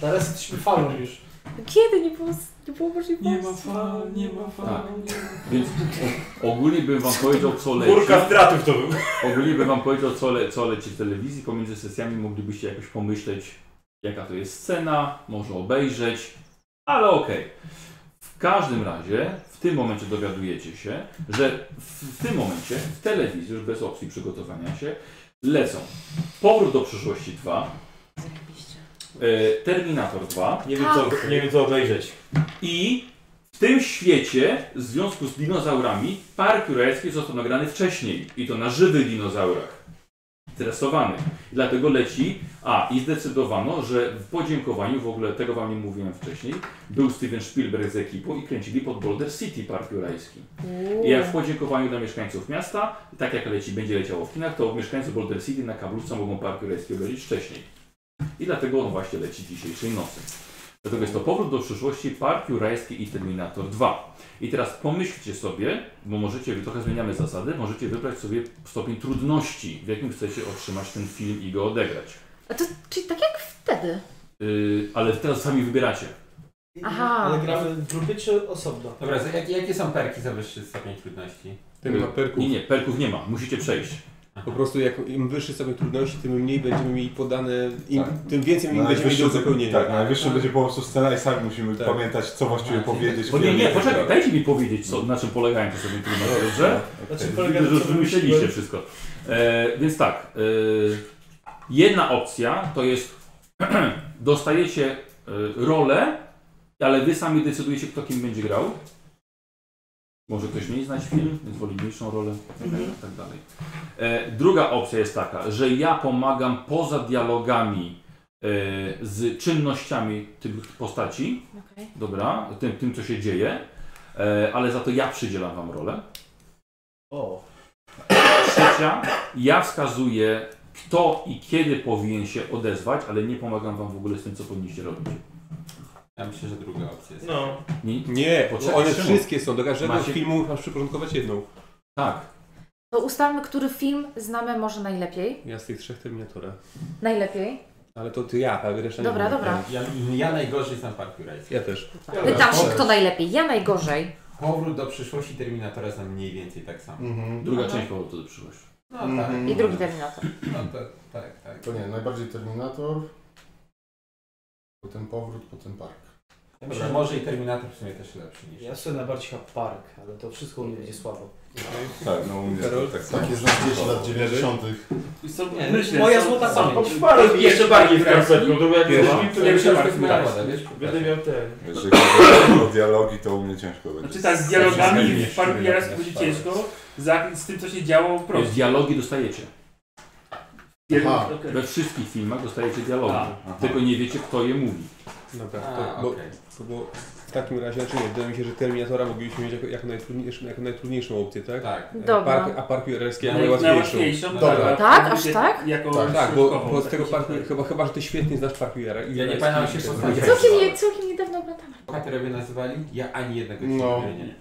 Teraz jesteśmy falą już.
Kiedy nie było, nie było możliwości?
Nie ma fal, nie ma fal.
Tak.
nie ma-
Więc ogólnie bym wam powiedział co leci.
Górka stratów to był.
Ogólnie bym wam powiedział co, le, co leci w telewizji. Pomiędzy sesjami moglibyście jakoś pomyśleć jaka to jest scena, może obejrzeć, ale okej. W każdym razie w tym momencie dowiadujecie się, że w, w tym momencie w telewizji, już bez opcji przygotowania się, lecą Powrót do przyszłości 2,
Zajebiście.
e, Terminator 2,
Nie wiem, co, nie wiem co obejrzeć.
I w tym świecie, w związku z dinozaurami, park jurajski został nagrany wcześniej. I to na żywych dinozaurach. Tresowanych. Dlatego leci. A, i zdecydowano, że w podziękowaniu, w ogóle tego wam nie mówiłem wcześniej, był Steven Spielberg z ekipą i kręcili pod Boulder City Park Jurajski. I jak w podziękowaniu dla mieszkańców miasta, tak jak leci, będzie leciało w kinach, to mieszkańcy Boulder City na kablówce mogą Park Jurajski obejrzeć wcześniej. I dlatego on właśnie leci dzisiejszej nocy. Dlatego jest to powrót do przyszłości, Park Jurajski i Terminator 2. I teraz pomyślcie sobie, bo możecie, trochę zmieniamy zasady, możecie wybrać sobie stopień trudności, w jakim chcecie otrzymać ten film i go odegrać.
A to, czyli tak jak wtedy.
Yy, ale teraz sami wybieracie.
Aha.
Ale gramy w grupie czy osobno?
Dobra, za- jak, jakie są perki za wyższy stopień trudności?
Tym ma perków.
Nie, nie, perków nie ma, musicie przejść.
Po prostu jak im wyższy sobie trudności, tym mniej będziemy mieli podane, im,
Tak.
tym więcej im będziemy mieli do wypełnienia.
tak, najwyższy będzie po prostu scena i sami musimy pamiętać, co właściwie powiedzieć. Tak.
Bo nie, nie,
kiedy-
poczekaj, dajcie mi powiedzieć, co, na czym polegają te stopień trudności, dobrze?
Znaczy
Widzę, że już wymyśliliście wszystko. E, więc tak, e, Jedna opcja to jest (clears throat) dostajecie y, rolę, ale wy sami decydujecie, kto kim będzie grał. Może ktoś mniej znać film, więc woli mniejszą rolę, itd. tak dalej. E, druga opcja jest taka, że ja pomagam poza dialogami e, z czynnościami tych postaci,
Okej.
dobra, tym, tym co się dzieje, e, ale za to ja przydzielam wam rolę.
O.
Trzecia, ja wskazuję, kto i kiedy powinien się odezwać, ale nie pomagam wam w ogóle z tym, co powinniście robić.
Ja myślę, że druga opcja jest.
No.
Nie?
Nie,
Poczekaj,
No, one
czemu?
wszystkie są. Do każdego
Macie-
filmu masz przyporządkować jedną.
Tak.
To ustalmy, który film znamy może najlepiej.
Ja z tych trzech Terminatora.
Najlepiej.
Ale to ty ja, ale reszta
Dobra,
nie wiem.
dobra.
Ja, ja najgorzej znam Park Jurajski.
Ja też.
Pytam się, kto najlepiej. Ja najgorzej.
Powrót do przyszłości Terminatora znam mniej więcej tak samo.
Mhm.
Druga
Aha.
część powodu do przyszłości.
No tak.
Mhm.
I drugi Terminator.
No to, tak, tak.
To nie, najbardziej Terminator, potem powrót, potem park.
Ja myślę, że może i Terminator w sumie też lepszy niż.
Ja sobie najbardziej chyba park, ale to wszystko u mnie będzie słabo.
Tak, no u mnie to
Karol?
tak samo.
Tak jest na dzieci lat
Wierzysz?
90.
Wiesz co,
Nie,
myślę,
moja
są-
złota
są-
(laughs)
sama.
Jeszcze bardziej w karpetku, to jak
Pierwsza.
to nie
myślę,
myślałem,
że
że
napada, wiesz?
Będę miał ten.
Jeżeli chodzi o dialogi, to u mnie ciężko będzie.
Znaczy tak, z
Zawsze
dialogami
zmienisz
w Parku
chwilę,
Jaraski będzie
jak nasz
ciężko, za, z tym co się działo w
Więc
prozie.
E, dialogi dostajecie.
Aha.
Okej.
We wszystkich filmach dostajecie dialogi.
A,
Tak.
Aha.
Tylko nie wiecie, kto je mówi.
Dobra, No tak, to,
A,
bo,
okej.
to było w takim razie, znaczy nie, wydaje mi się, że Terminatora moglibyśmy mieć jako, jako, najtrudniejszą, jako najtrudniejszą opcję, tak?
Tak. No
Dobra.
Park, a Park Jurajski
Ja
jako
Naj-
najłatwiejszą.
Najłatwiejszą.
Dobra.
Tak?
a
Aż
będzie
tak?
Jako
Tak,
Tak, bo,
środkową,
bo z
tak
tego
się
Parku,
wydaje.
chyba, chyba, że ty świetnie znasz Park Jurajski.
Ja nie pamiętam, jak się poznaję.
Całkiem, nie, całkiem niedawno oglądałam.
Hakerowie nazywali? Ja ani jednego
No.
nie nie.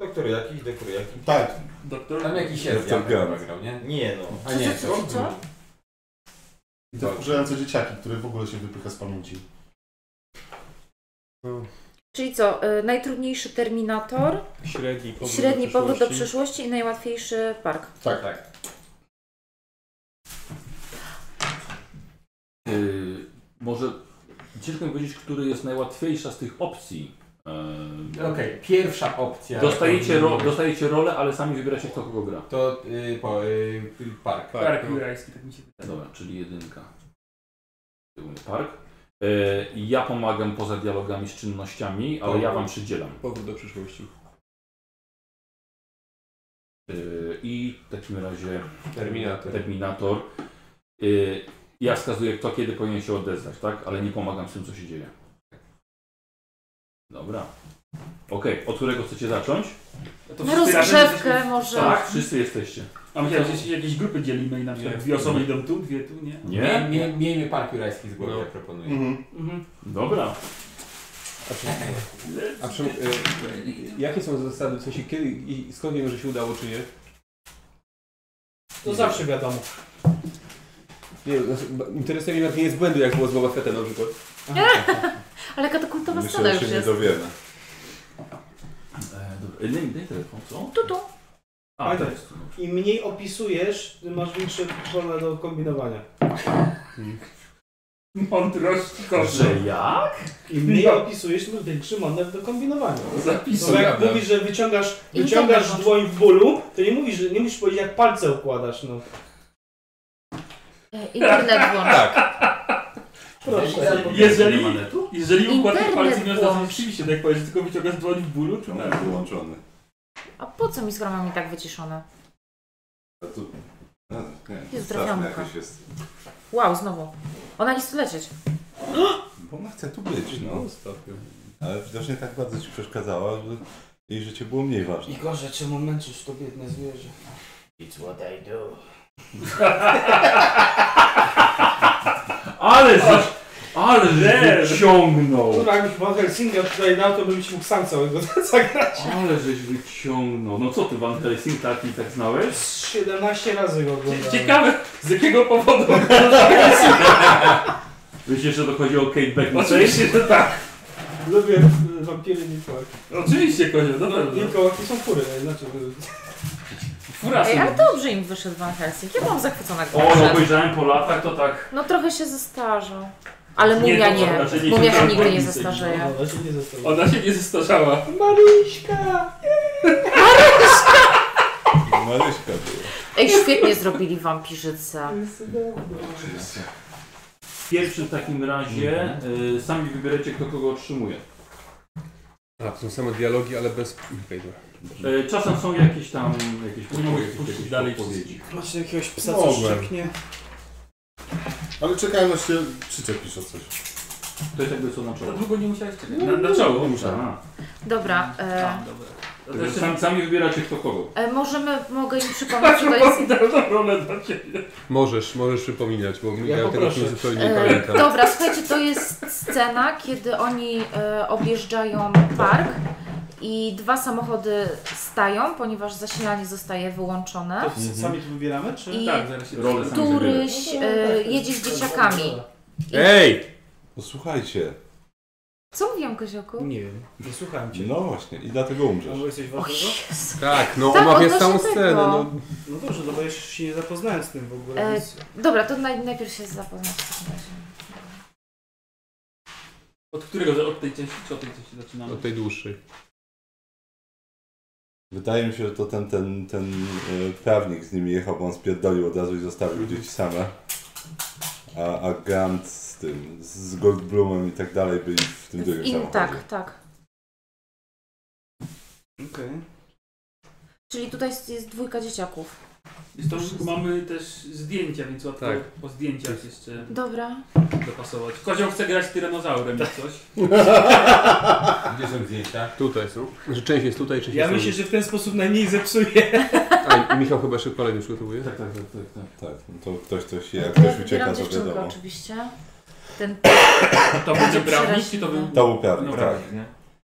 Doktor jakiś, doktor jakiś.
Tak,
Doktor?
Tam jakiś jest
Doktor
Jabłek
Gun.
grał, nie?
Nie no.
A nie,
Co, co, co?
i te wkurzające dzieciaki, które w ogóle się wypycha z pamięci.
Czyli co? y, Najtrudniejszy Terminator,
Średni powrót
średni
do
powrót do
przyszłości.
przyszłości i najłatwiejszy Park.
(laughs)
Tak.
Tak.
Yy, może ciężko mi powiedzieć, który jest najłatwiejsza z tych opcji. Yy,
Okej, pierwsza opcja.
dostajecie, ro, dostajecie rolę, ale sami wybieracie, kto kogo gra.
To y, po, y, park.
Tak,
Park
no.
Jurajski, tak mi się wydaje.
Dobra, czyli jedynka. Szczególny Park. Yy, ja pomagam poza dialogami z czynnościami, ale ja wam przydzielam.
Powrót do przyszłości.
Yy, I w takim razie
Terminator.
Terminator. Yy, ja wskazuję, kto kiedy powinien się odezwać, tak? Ale nie pomagam z tym, co się dzieje. Dobra. Okej, od którego chcecie zacząć?
No To
Na
wszyscy razem
rozgrzewkę
jesteśmy-
może.
Tak, wszyscy jesteście.
A myślałem, że się jakieś grupy dzielimy i na przykład
Nie.
Znaczy, dwie osoby idą tu, dwie tu, nie?
Nie?
Miej, miej, miejmy park jurajski z głowy,
No.
ja proponuję.
Mhm.
Mhm.
Dobra.
A, przy, a przy, e, jakie są zasady, w sensie kiedy i skąd wiem, że się udało, czy nie?
To zawsze wiadomo.
Nie wiem, znaczy, ba- interesuje mnie martwienie z błędu, jak było z Boba Fettem na przykład.
Ale jaka to kultowa
Myślę,
scena
że
już
się nie
jest.
dowiemy.
E, dobra. Daj, daj telefon, co?
Tu, tu.
A, teraz. tu.
Im mniej opisujesz, tym masz większe pole do kombinowania.
Mądrość
Że
koszy.
ja?
Im mniej
No.
opisujesz, tym większy manewr do kombinowania.
Zapisu.
No, jak
prawda.
mówisz, że wyciągasz,
I
wyciągasz
wyciągasz.
dłoń w bólu, to nie mówisz, że nie musisz powiedzieć jak palce układasz, no.
E,
(laughs)
Internet włącz.
Tak.
(laughs)
Proszę.
Jeżeli,
Nie ma netu?
jeżeli układasz
Internet
palce, nie oznacza
włącz.
rzeczywiście, tak jak powiesz, tylko wyciągasz dłoń w bólu, czy
Czemu jest No, wyłączony?
A po co mi skoro mam i tak wyciszone?
A tu... No, nie,
Jezu, trafiłam
straszne
ucha.
tak.
jakieś jest.
Wow, znowu. Ona nie chce lecieć.
(gasps) Bo ona chce tu być, no. Ale widocznie tak bardzo ci przeszkadzała, że jej życie było mniej ważne.
Igorze, czemu męczysz to biedne zwierzę? It's what I do.
Ale żeś, ale
Nie.
żeś wyciągnął.
Kurwa, jakbyś Van Helsinga tutaj dał, to byś mógł sam całego (laughs) zagrać.
Ale żeś wyciągnął. No co ty, Van Helsing taki tak znałeś?
Z 17 razy go oglądałem.
Ciekawe, z jakiego powodu.
Myślisz, że to chodzi o Kate Beckinsale?
Oczywiście, że tak.
Lubię y, wampiry Wilkołaki.
Oczywiście, kozio, no dobrze.
Wilkołaki są kury, no, inaczej. y,
Furasy.
Ej, ale dobrze im wyszedł Van Helsing. Ja mam zachwycona jak
O, no
wyszedł.
obejrzałem po latach, to tak.
No trochę się zestarzał. Ale
Nie,
mumia
to
nie.
prawda, że nie
Mumia się
siedziałem
nigdy nie
głębiej.
zestarzeje.
No, właśnie nie zostawiam.
Ona się nie zestarzała.
Maryśka!
Maryśka No, była.
Ej, świetnie zrobili wampirzycę.
Pierwszy w takim razie
Mhm.
y, sami wybierecie, kto kogo otrzymuje.
A, to są same dialogi, ale bez... Okej, dobra.
Mhm.
Y, czasem są jakieś tam jakieś podpowiedzi, jakieś
dalej
podpowiedzi.
Macie jakiegoś psa, co
Mogłem.
szczeknie?
Ale czekałem, aż się przyczepisz o coś.
To jest jakby co na
Za
czoło.
długo nie musiałeś czekać.
Na, na czoło? A,
Dobra, e,
A, dobra. To
No to
też
sami, sami wybieracie, kto kogo.
e, możemy, mogę im przypomnieć,
Patrz,
że to jest...
na rolę dla ciebie.
Możesz, możesz przypominać, bo ja, tego
poproszę.
filmu zupełnie nie
E,
pamiętam.
dobra, słuchajcie, to jest scena, kiedy oni e, objeżdżają park i dwa samochody stają, ponieważ zasilanie zostaje wyłączone.
To
Mhm.
sami to wybieramy, czy?
I
Tak, zaraz się
Rolę sami wybieracie.
któryś e, jedzie z dzieciakami.
Ej!
Posłuchajcie.
Co mówiłam, Kozioku?
Nie wiem, nie słuchałem cię.
No właśnie, i dlatego
A
umrzesz.
może jesteś ważnego?
Tak, no
Tak,
omawiasz
odnośnie
całą
tego.
scenę, no.
No dobrze, no bo jeszcze się nie zapoznałem z tym w ogóle,
E,
więc...
Dobra, to naj, najpierw się zapoznać w takim razie.
Od którego? Od tej części czy od tej części zaczynamy?
Od tej dłuższej.
Wydaje mi się, że to ten, ten, ten e, prawnik z nimi jechał, bo on spierdolił od razu i zostawił
Mhm.
dzieci same. A, a Grant z tym, z Goldblumem i tak dalej byli w tym drugim
I,
samochodzie.
tak, tak.
Okej.
Czyli tutaj jest, jest dwójka dzieciaków.
Jest
Mhm.
to, mamy też zdjęcia, więc łatwo
Tak.
po zdjęciach jeszcze
Dobra.
dopasować. Kozioł chce grać tyranozaurem jak coś.
Gdzie są zdjęcia?
Tutaj są. Że część jest tutaj, część
Ja
jest
myślę, że w ten sposób najmniej zepsuję.
tutaj. A, i Michał chyba jeszcze kolejny przygotowuje.
Tak, tak, tak, tak. tak.
Tak, no to ktoś coś, jak
Ja
ktoś
wybieram
ucieka, to
dziewczynkę Znaczy,
wiadomo.
oczywiście. Ten
To będzie prawnik
przeraźliwe.
i to był...
To był prawnik,
No
tak.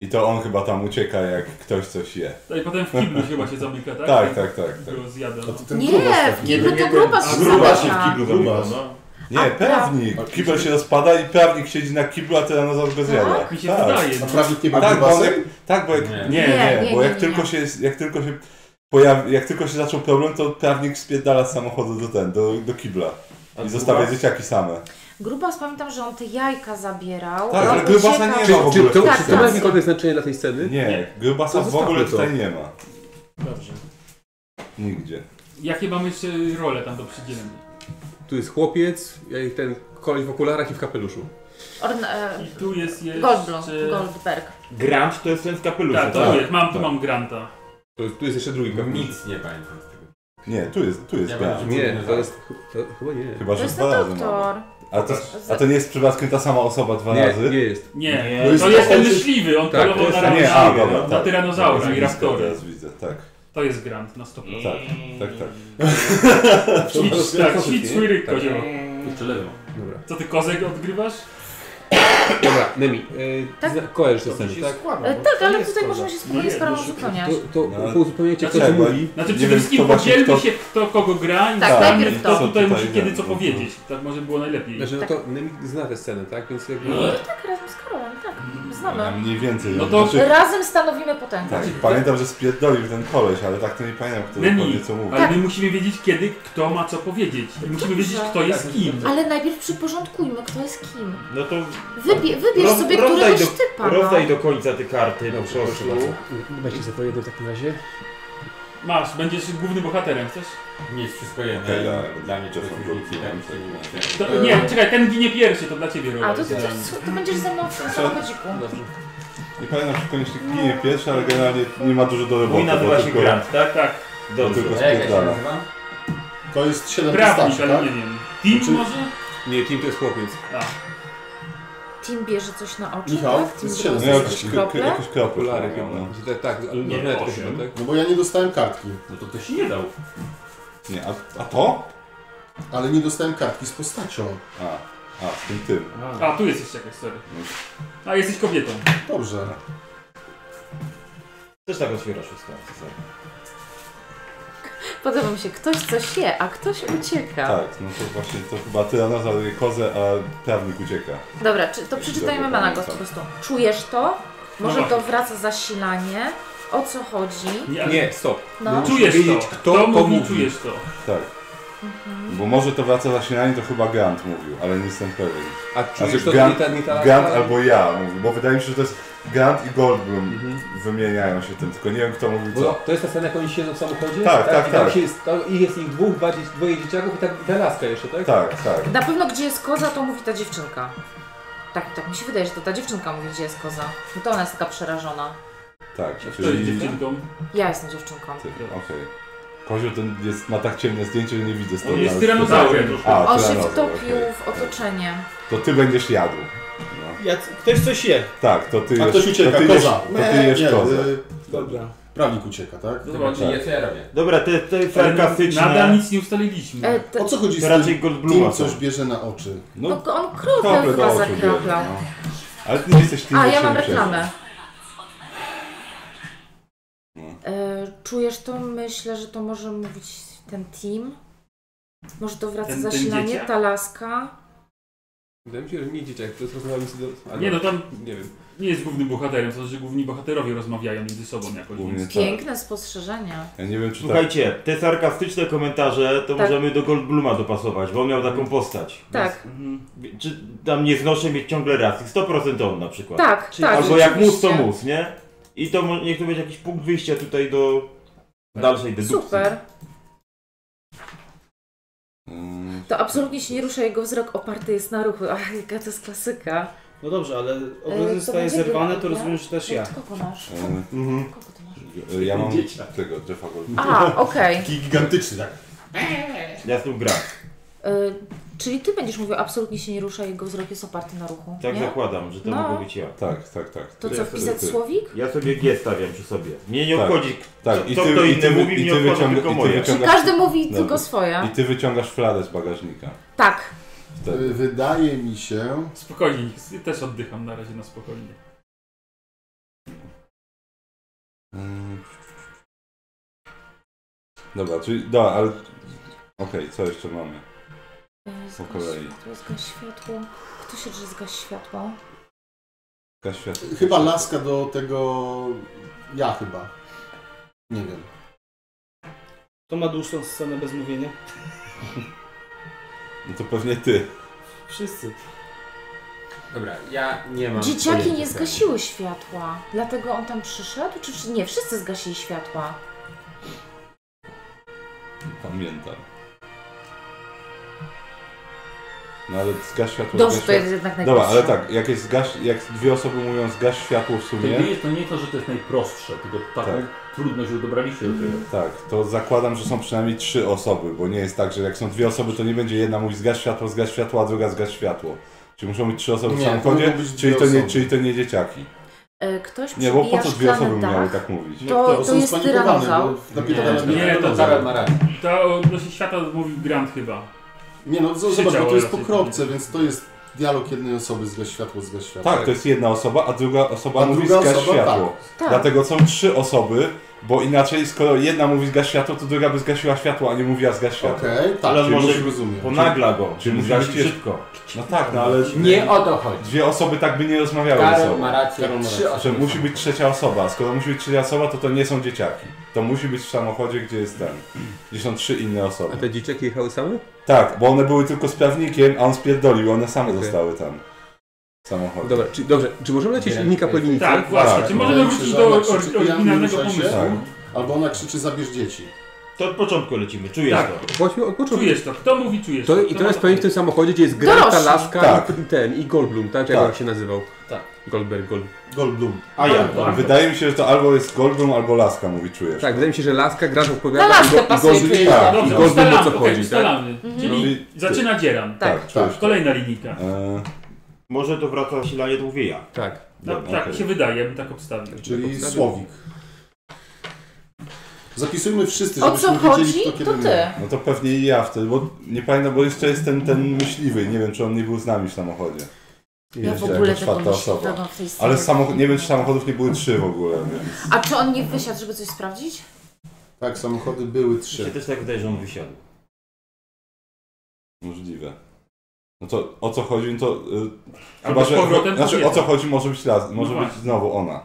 I to on chyba tam ucieka, jak ktoś coś je.
No I potem w kiblu chyba się zamyka, tak?
Tak, tak, tak. tak.
Było zjada.
A
No.
to ten grubas
nie,
taki.
w kiblu to gruba się
Gruba się
zamyka.
w kiblu zamyka.
Grubas.
No.
Nie, prawnik. Kibel się rozpada i prawnik siedzi na kiblu, a tyranozaur go zjada.
Mi się
Tak,
wydaje.
A
No.
prawnik nie ma
tak, bo, on jak,
grubasek?
tak, bo jak,
Nie.
nie,
Nie,
nie,
nie,
bo
nie,
jak
nie.
tylko się, jak tylko się pojawi, jak tylko się zaczął problem, to prawnik spierdala z samochodu do ten, do, do kibla. I zostawia dzieciaki same.
Grubas pamiętam, że on te jajka zabierał.
Tak,
on
ale grubasa
uciekał.
nie
Czy,
ma w ogóle.
czy to,
Tak,
czy to ma
tak.
jakiekolwiek znaczenie dla tej sceny?
Nie, grubasa
To
w ogóle
zostawmy to.
tutaj nie ma.
Dobrze.
Nigdzie.
Jakie mamy jeszcze role tam do przydzielenia?
Tu jest chłopiec, ja- ten koleś w okularach i w kapeluszu.
Orn, e,
I tu jest jeszcze...
Goldblum, Goldberg.
Grant to jest ten z kapelusza.
Tak, to
Tak,
jest. Mam, tu
tak.
mam Granta.
To jest, tu jest jeszcze drugi kapelusz.
No, Nic nie pamiętam z tego.
Nie, tu jest, tu jest
Ja
gra.
będę-
Nie, to jest... To, chyba nie.
Chyba,
To
że
jest
dwa
ten
razy mamy.
doktor.
A to, a to nie jest przypadkiem ta sama osoba dwa
Nie,
razy?
nie jest.
Nie,
No
Nie,
to,
to
jest
jest-
ten myśliwy, on
Tak,
polował
to
na,
A nie,
na,
a dobra.
na
tak.
tyranozaury i
Blisko
raptory.
Teraz widzę, tak.
To jest Grant na 100%.
Tak, tak, tak.
(laughs) Ćwicz, tak, ćwicz swój ryk,
Tak.
kozioł.
Jeszcze lewo.
Dobra,
Co ty, kozek odgrywasz?
Dobra Nemi, yy,
Tak?
kojarzysz tę
To
scenę,
coś się
tak?
składa.
E,
bo
tak,
to
ale
jest
tutaj
składa.
możemy się spokojnie
No
z
nie,
sprawą
no szybko.
uzupełniać.
To, to
No.
uzupełniajcie, kto co
Dlaczego?
mówi.
Znaczy
Nie
przede
wiem,
wszystkim
kto właśnie
podzielmy
kto-
się kto kogo gra i
Tak,
tak,
najpierw
i
to.
co
kto tutaj musi
gra.
kiedy co powiedzieć. Tak może było najlepiej.
Znaczy, no
Tak.
to Nemi zna tę scenę, tak? Więc jakby...
Tak, razem z Karolem, tak,
Ja
znamy.
Mniej więcej.
No to-
znaczy,
Razem stanowimy potęgę.
tak, pamiętam, że spierdolił ten koleś, ale tak to nie pamiętam, kto
Nemi,
dokładnie co mówił.
Tak.
Ale my musimy wiedzieć kiedy kto ma co powiedzieć. I musimy wiedzieć kto
Tak,
jest kim.
Ale najpierw przyporządkujmy, kto jest kim.
No to
Wybie, wybierz
Roz-
sobie
rozdaj
któregoś
do-
typa. no.
rozdaj do końca te karty po prostu.
Weźcie sobie po jednym w takim razie.
Masz, będziesz głównym bohaterem, chcesz?
Nic, wszystko jedno.
Okej,
Ja-
dobra.
Dla mnie to
To
jest
są
różnicy,
grupy,
ja
tak.
nic nie ma.
To,
E,
nie, czekaj, ten ginie pierwszy, to dla ciebie rola.
A to ty,
jest
też,
generalnie.
ty będziesz ze mną w tym samochodziku.
Dobrze.
Nie pamiętam, czy koniecznie ginie pierwszy, ale generalnie nie ma dużo do roboty.
Mój nazywa się Grant, tak?
Tak,
Dobrze.
tylko-
A jak ja się nazywam?
To jest 7
prawnik,
pistaczy,
ale
tak?
nie wiem. Tim
Czy-
może?
Znaczy- Nie, Tim to jest chłopiec.
A,
Tim bierze coś na oczy,
Michał,
tak? Tim
z
bierze
siedem.
No,
coś na
jakieś,
oczy,
k- k-
krople?
jakieś krople.
Okulary
chyba,
chyba.
no.
Znaczy, tak, tak, ale
Nie,
lunetkę
osiem.
chyba, tak?
No bo ja nie dostałem kartki,
No to ktoś nie dał.
Nie, a, a to?
ale nie dostałem kartki z postacią.
A, a, z tym tym.
a tu jest jeszcze jakaś, sorry. A jesteś kobietą.
Dobrze.
Też tak otwierasz wszystko.
Podoba mi się, ktoś coś je, a ktoś ucieka.
Tak, no to właśnie to chyba tyranozaur je kozę, a prawnik ucieka.
Dobra, czy, to przeczytajmy
Dobra,
Managos po
tak.
prostu. Czujesz to? Może
No
to wraca zasilanie? O co chodzi?
Nie, ale
Nie, stop.
No.
Czujesz
Musimy
to.
wiedzieć, kto
to
to
mówi,
mówi.
czujesz to.
Tak. Bo może to wraca zasilanie, to chyba Grant mówił, ale nie jestem pewien.
A czujesz
Znaczy,
to,
Grant-
nie ta, nie ta...
Gant albo ja, mówię, bo wydaje mi się, że to jest Grant i Goldblum wymieniają się tym, tylko nie wiem kto mówi
Mhm. Bo
co.
to jest ta scena, jak oni siedzą w samochodzie?
Tak, tak,
i tam
tak.
Się jest, tam, ich jest ich dwóch, dwa, dzie- dwoje dzieciaków i, tak, i ta laska jeszcze, tak?
Tak, tak.
Na pewno gdzie jest koza, to mówi ta dziewczynka. Tak, tak mi się wydaje, że to ta dziewczynka mówi, gdzie jest koza. No to ona jest taka przerażona.
Tak,
Kto jest dziewczynką?
Ja jestem dziewczynką.
Ty, Okej. Kozio ten jest, ma tak ciemne zdjęcie, że nie widzę stąd.
On jest
nawet.
tyranozaurem.
A,
On się
tyranozaur,
wtopił
okej.
w otoczenie.
To ty będziesz jadł. No.
Ja, ktoś coś je.
Tak, to ty
A
jesz,
ktoś ucieka,
to ty
koza. y-
Jesz, to ty jesz kozę.
y,
Dobra.
Prawnik ucieka, tak?
Dobra,
Czyli ja co ja robię?
Dobra, te, te sarkastyczne...
Nadal nic nie ustaliliśmy.
E, te,
O co chodzi z
To raczej
tym,
Goldbluma
tym
są.
coś bierze na oczy?
no,
No,
on krowę
krople
chyba
do oczu biorę,
zakroplał.
no. Ale ty nie jesteś tym
A, ja mam
dziewczynem
reklamę.
No.
E, czujesz to? Myślę, że to może mówić ten team. Może to wraca
Ten- ten
zasilanie,
dzieciak?
ta laska.
Wydaje mi się, że nie dzieciak, to jest rozmawiamy sobie do...
Nie no, tam
Nie wiem.
nie jest głównym bohaterem, to znaczy, że główni bohaterowie rozmawiają między sobą jakoś.
Głównie
więc-
Tak.
Piękne spostrzeżenia.
przecież. Ja nie wiem czy tak.
Słuchajcie, te sarkastyczne komentarze to
Tak.
możemy do Goldbluma dopasować, bo on miał taką postać.
Tak,
Mhm.
Czy tam nie znoszę mieć ciągle racji, 100% on na przykład.
tak,
Czyli
tak.
Albo jak mus,
rzeczywiście.
to mus, nie? I to mo- niech to będzie jakiś punkt wyjścia tutaj do dalszej dedukcji.
Super.
Mm,
To absolutnie się nie rusza, jego wzrok oparty jest na ruchu. Ach, jaka to jest klasyka.
No dobrze, ale
E, to
ogrodzenie zostaje
będzie
zerwane,
ja,
to
ja?
rozumiem, że też ja.
Od kogo masz?
e,
Mhm.
Kogo ty masz?
ja mam
Dzieciak.
tego Jeffa Goldbluma.
A, okej.
Taki gigantyczny, tak?
Ja z tym gram.
E, Czyli ty będziesz mówił, absolutnie się nie rusza, jego wzrok jest oparty na ruchu.
Tak
nie?
zakładam, że to
No.
mogę być ja.
Tak, tak, tak.
To
Ty,
co,
ty,
wpisać
ty.
słowik?
Ja sobie G stawiam przy sobie. Mnie nie
Tak.
obchodzi,
Tak,
co,
i
co
ty,
kto
i ty,
inny
wy-
mówi,
i
mnie
ty,
obchodzą
wyciąga, i
tylko
ty
moje.
Czy
wyciągasz,
każdy mówi
No.
tylko swoje?
i ty wyciągasz fladę z bagażnika.
Tak.
Wtedy.
Y, Wydaje mi się,
Spokojnie, ja też oddycham na razie na spokojnie.
Mm. Dobra, czyli, dobra, ale... Okej, co jeszcze mamy?
Zgaś
kolei.
światło, zgaś światło. Kto się drze zgaś światło?
Jakaś światło.
chyba laska do tego... Ja chyba. Nie wiem.
To ma dłuższą scenę bez mówienia.
No to pewnie ty.
Wszyscy.
Dobra, ja nie mam.
Dzieciaki nie
pojęcia.
zgasiły światła, dlatego on tam przyszedł? Czy czy nie? Wszyscy zgasili światła.
Pamiętam. No ale zgasz światło...
Dobrze,
zgasz
to
światło.
jest jednak
Dobra,
najprostsze.
ale tak, jak, jest zgasz, jak dwie osoby mówią zgasz światło w
To nie,
sumie,
jest, to nie to, że to jest najprostsze, tylko ta
Tak.
trudność, że dobraliście do tego.
tak, to zakładam, że są przynajmniej trzy osoby, bo nie jest tak, że jak są dwie osoby, to nie będzie jedna mówić zgasz światło, zgasz światło, a druga zgasz światło. Czyli muszą być trzy osoby w
Nie,
samym
to
kodzie,
mogą być dwie
czyli to, nie,
osoby.
czyli to nie dzieciaki.
E, Ktoś
Nie, bo po
przebija
co dwie osoby
szklany
miały
dach.
tak mówić?
To- to jest tyranozaur.
Nie,
Nie,
nie,
to tak.
to
Paweł ma rację.
To odnośnie świata mówił Grant chyba.
nie no, z- zobacz, bo
Siedziało
to jest po
raczej.
kropce, więc to jest dialog jednej osoby, zgaś światło, zgaś światło.
Tak, to jest jedna osoba, a druga osoba
A
mówi
druga
zgaś
osoba,
światło.
Tak.
Dlatego są trzy osoby, bo inaczej skoro jedna mówi zgaś światło, to druga by zgasiła światło, a nie mówiła zgaś światło.
Okej, tak,
Ale
ale
może-
może rozumiem.
Ponagla go,
Czyli
czyli
musi
musi
być jeszcze-
szybko.
No tak, no ale
Nie o to chodzi.
dwie osoby tak by nie rozmawiały ze
Karol
sobą.
ma rację.
Karol ma
Trzy
rację.
osoby
Że
są. tak.
musi być trzecia osoba. Skoro musi być trzecia osoba, to to nie są dzieciaki. To musi być w samochodzie, gdzie jest ten. Gdzie są trzy inne
A
osoby.
te dzieciaki jechały same?
Tak, bo one były tylko z prawnikiem, a on spierdolił, one same
Okej.
zostały tam. W samochodzie.
Dobra, czy, dobrze, czy możemy lecieć
Nie,
linijka po
nie.
linijce?
Tak, właśnie.
tak.
Czy możemy
no, Ale
wrócić
krzyża-
do
ona
or-
krzyczy, pijany,
oryginalnego
ruszaj się.
pomysłu?
Tak.
Albo ona krzyczy, zabierz dzieci.
To od początku lecimy, czujesz
Tak.
to.
Właśnie od początku.
Czujesz to, kto mówi, czujesz
To,
to.
I
Kto
to
ma
jest pewnie w tym samochodzie, gdzie jest Greta,
Dorośli.
Laska
Tak.
i ten, i Goldblum, tak? Czy jak
Tak.
on się nazywał?
Tak.
Goldberg, Gold.
Goldblum.
A ja.
Tak.
Wydaje mi się, że to albo jest Goldblum, albo Laska, mówi czujesz.
Tak, wydaje mi się, że Laska gra w
Na
odpowiada i,
laskę
Go- i Goldblum...
pasuje.
tak.
Dobrze,
I Goldblum
ustalamy,
o co
okej,
chodzi, tak?
ustalamy. Czyli
Czyli ty.
zaczyna dzieram.
Mhm. Tak.
czujesz.
Kolejna linijka.
E,
Może to wraca silanie, to mówię ja.
Tak.
No,
Dobra,
tak
okej.
się wydaje, ja bym tak obstawił.
Czyli
Tak.
słowik. Zapisujmy wszyscy,
O co
żebyśmy
chodzi,
wiedzieli, kto
to
kiedy
ty.
my.
No to pewnie i ja wtedy, bo nie pamiętam, bo jeszcze jest ten, ten myśliwy, nie wiem czy on nie był z nami w samochodzie.
Ja w
Jest
ogóle
jako
tego
czwarta
myślowego
osoba.
w tej scenie.
Ale samochod, nie wiem czy samochodów nie były trzy w ogóle, więc...
A czy on nie wysiadł, żeby coś sprawdzić?
Tak, samochody były
Mi się
trzy.
też tak wydaje, że on wysiadł.
Możliwe. No to o co chodzi, no to... y,
Albo z powrotem
Znaczy o
kobieta.
co chodzi może być raz, może
No
być
właśnie.
znowu ona.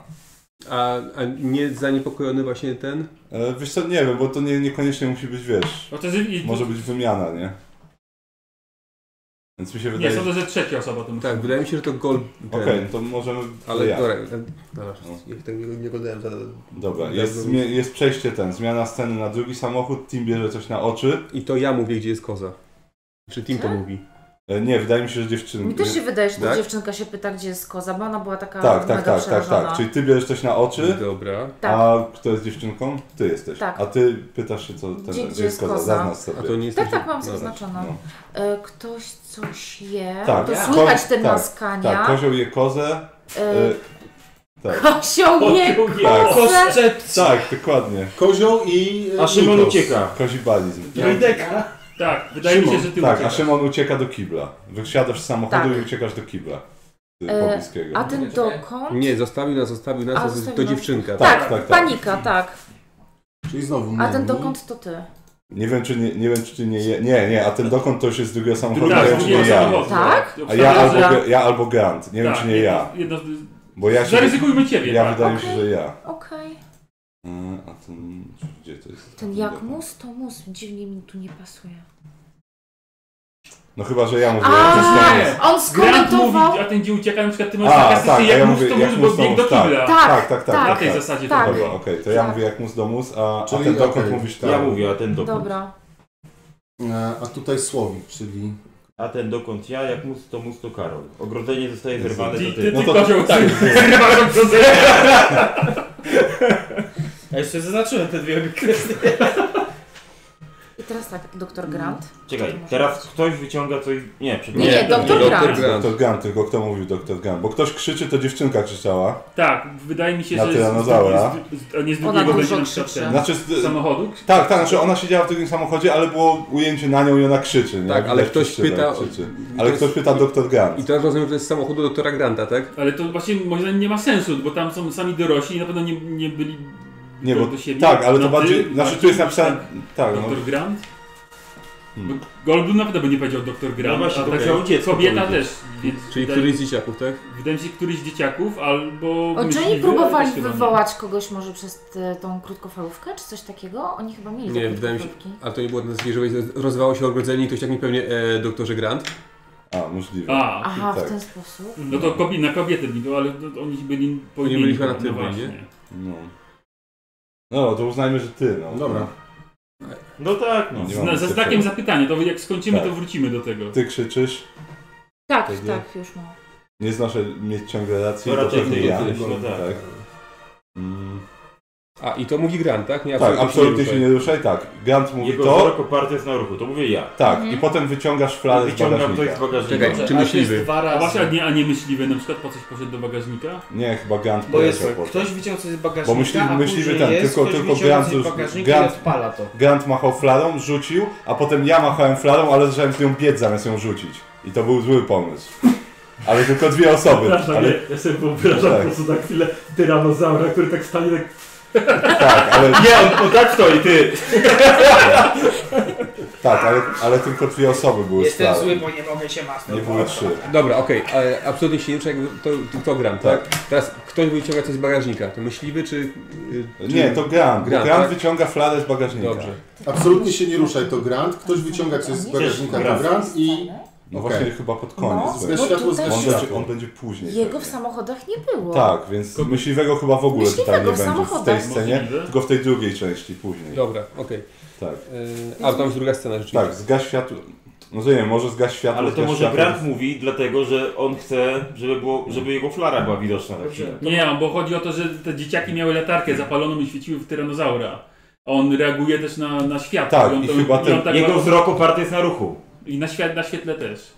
A, a nie zaniepokojony właśnie ten?
E, Wiesz co, nie wiem, bo
No
to nie, niekoniecznie musi być, wiesz...
Bo to jest, i-
Może być wymiana, nie? Więc mi się
Nie,
wydaje.
sądzę, że trzecia osoba to musi
Tak, wydaje mi się, że to gol.
Okej, no to możemy.
Ale
ja.
dobra, dobra, ja tego nie, nie oglądałem za.
Dobra,
za-
jest, zmie- jest przejście ten, zmiana sceny na drugi samochód, Tim bierze coś na oczy.
I to ja mówię, gdzie jest koza. Czy Tim to
Tak?
mówi?
E, Nie, wydaje mi się, że dziewczynka.
Mi też się wydaje, że ta
tak?
dziewczynka się pyta, gdzie jest koza, bo ona była taka
Tak, tak,
mega
tak, tak,
przerażona.
tak. Czyli ty bierzesz coś na oczy.
Dobra.
A kto jest dziewczynką? Ty jesteś.
Tak.
A ty pytasz się, co ten
Gdzie, gdzie
jest koza. Zaznacz sobie.
A to nie jest
tak, tak, mam
Dobra.
zaznaczone.
No.
E, Ktoś coś je,
Tak.
to
Ja.
słychać
Ko-
te
tak,
naskania.
Tak, kozioł je kozę.
E,
E, tak.
Kosioł je
Tak.
kozę.
Tak, dokładnie.
Kozioł i... e,
A Szymon
Nikos.
ucieka.
Kozibalizm.
Deka.
Tak, No wydaje mi się, że ty
tak, a
uciekasz.
Szymon ucieka do kibla. Wysiadasz z samochodu
Tak.
i uciekasz do kibla.
E,
E, pobliskiego.
A ten dokąd?
Nie, zostawił nas, zostawił nas,
A,
to, to
zostawił nas.
dziewczynka.
Tak,
tak, tak.
panika, tak.
Czyli znowu
A
mnie.
Mhm.
ten dokąd to ty?
Nie wiem, czy nie, nie wiem, czy ty nie je... Nie, nie, a ten dokąd to już jest z drugiego samochodu,
Tak,
nie wiem,
z
czy
drugiego
nie ja.
samochodu.
Tak?
A ja
Obstawiam, że-
albo, ja albo Grant. Nie
tak,
wiem, czy nie ja.
jedno-
Bo ja się...
Zaryzykujmy ciebie,
Ja
tak.
wydaje mi
Okej.
się, że ja.
Okej.
E, A ten... Gdzie to jest?
Ten
dokąd?
jak
Mhm.
mus, to mus. Dziwnie mi tu nie pasuje.
No chyba, że ja mówię.
A,
jak jest tam jest.
On
Grant mówi,
skomentował.
a ten gdzie ucieka, na przykład ty masz
A,
zakaz,
tak,
ty
a ja
jak mus
mówię,
to
jak
mus,
mus
bo
to
bieg do
mus, tak.
kibla.
Tak, tak, tak.
Tak.
Na
tak,
tej
tak.
zasadzie
Tak.
to
Dobra, okej, to ja
Tak.
mówię jak mus domus, a, a
Czyli
ten dokąd
okej.
mówisz tak.
Ja mówię, a ten dokąd.
Dobra.
E, A tutaj Słowik, czyli...
A ten dokąd ja, jak mus to mus to Karol. Ogrodzenie zostaje
Jezu.
wyrwane do
Ty,
tej...
ty,
No
ty
to-
kozioł, tak. (laughs) Zrywasz od kozy.
Ja jeszcze zaznaczyłem te dwie kresy.
I teraz tak, doktor
Mhm.
Grant.
Czekaj, teraz ktoś wyciąga coś... Nie,
Nie,
przepraszam.
nie, doktor
doktor
Grant.
Grant. Doktor Grant, tylko kto mówił doktor Grant? Bo ktoś krzyczy, to dziewczynka krzyczała.
Tak, wydaje mi się,
Na
że
tyranozaura.
z- z- z- nie z
Ona
drugiego będzie
dużo
na przykład
krzyczy.
ten
Znaczy, z-
samochodu.
tak, tak, znaczy ona siedziała w drugim samochodzie, ale było ujęcie na nią i ona krzyczy. Nie?
Tak, ale
Widać,
ktoś
krzyczy,
pyta-
Krzyczy.
i
Ale
to
ktoś
jest-
pyta doktor
I
Grant.
teraz rozumiem, że to jest z samochodu doktora Granta, tak?
Ale to właśnie moim zdaniem nie ma sensu, bo tam są sami dorośli i na pewno nie, nie byli
Nie,
do,
bo,
do siebie.
tak, ale to
No, ty,
bardziej, znaczy tu
Marcin,
jest napisane, tak, no,
Doktor Grant?
Hmm.
Hmm. Goldblum na pewno by nie powiedział doktor Grant,
No właśnie,
a
to
tak
chciał dziecko
kobieta
powiedzieć. Hmm.
też, więc
Czyli
wydaje,
któryś z dzieciaków, tak?
wydaje mi się któryś z dzieciaków albo...
O, czy oni
myśliwy, ale
próbowali
też chyba nie.
wywołać kogoś może przez te, tą krótkofalówkę, czy coś takiego? Oni chyba mieli
Nie,
te
wydaje mi się-
krótkofalówki.
A to nie było na zwierzę, rozwało się ogrodzenie i ktoś tak mi pewnie, e, doktorze Grant.
a, możliwe.
A,
Aha,
tak.
w ten sposób.
no to kobi na kobiety byli, ale to oni byli po
Oni
imieniu,
byli chyba na
no
tyle,
właśnie.
nie?
No. no, to uznajmy, że ty, no.
Dobra.
No tak, no.
Nie
Z,
mamy
na, ze
cyfry.
znakiem zapytania, to jak skończymy,
Tak.
to wrócimy do tego.
Ty krzyczysz,
Tak,
Wtedy-
tak, już mam.
nie znoszę mieć ciągle racji,
To raczej
pewnie
ty
ja.
jesteś, no tak.
Tak. Mm.
A, i to mówi Grant, tak? Nie,
Tak, absolutnie się nie ruszaj, tak. Grant mówi
Jego
to,
wzrok oparty jest na ruchu, to mówię ja.
tak,
Mhm.
i potem wyciągasz fladę z
Wyciągam coś
bagażnika.
z bagażnika.
Czekaj,
Dobrze.
czy myśliwy?
Dwa
A
razy.
właśnie, a nie, a nie myśliwy, na przykład po coś poszedł do bagażnika?
Nie, chyba Grant
Bo jest
poleciał po
ktoś wyciął coś z
Bo
bagażnika,
myśli-
a
myśliwy
później
ten,
jest,
tylko-
ktoś
tylko
wyciąga
Grant
coś z
już-
bagażnika
Grant-
i odpala to.
Grant machał fladą, rzucił, a potem ja machałem fladą, ale zacząłem z nią biec zamiast ją rzucić. I to był zły pomysł. Ale tylko dwie Tak, osoby. Ale,
ja sobie wyobrażam
Tak.
prostu na chwilę tyranozaura, który tak stanie tak...
tak, ale,
Nie, on, on tak stoi, ty!
tak ale, ale tylko dwie osoby były z
Jestem
fladą.
zły, bo nie mogę się masturbować.
Nie były trzy.
Dobra, okej, ale absolutnie się nie ruszaj, jakby to, to, to Grant, tak? Teraz ktoś wyciąga coś z bagażnika, to myśliwy czy... y, czy...
Nie, to Grant. Grant,
Grant, tak?
wyciąga fladę z bagażnika.
Dobrze.
Absolutnie się nie ruszaj, to Grant. Ktoś wyciąga coś z bagażnika, to Grant i...
No
Okej.
właśnie chyba pod
No,
koniec.
Zgasz
bo
światło,
tutaj
zgasz
on, będzie,
światło.
on będzie później.
Jego
pewnie.
w samochodach nie było.
Tak, więc myśliwego chyba w ogóle tutaj nie
Myśliwego w
będzie w tej
samochodach.
scenie,
Możliwe.
tylko w tej drugiej części później.
Dobra, okej.
Tak.
Y, A, tam jest druga scena rzeczywiście.
Tak, zgaś światło. No to nie wiem, może zgaś światło.
Ale to
zgaś
może
światło.
Grant mówi, dlatego że on chce, żeby, było, żeby jego flara była widoczna na
Dobrze.
przykład.
Nie, bo chodzi o to, że te dzieciaki miały latarkę zapaloną i świeciły w tyranozaura. A On reaguje też na, na światło.
Tak,
on
i
to-
chyba ten-
on tak
Jego
ma-
wzrok oparty jest na ruchu.
I na, świat, na świetle też.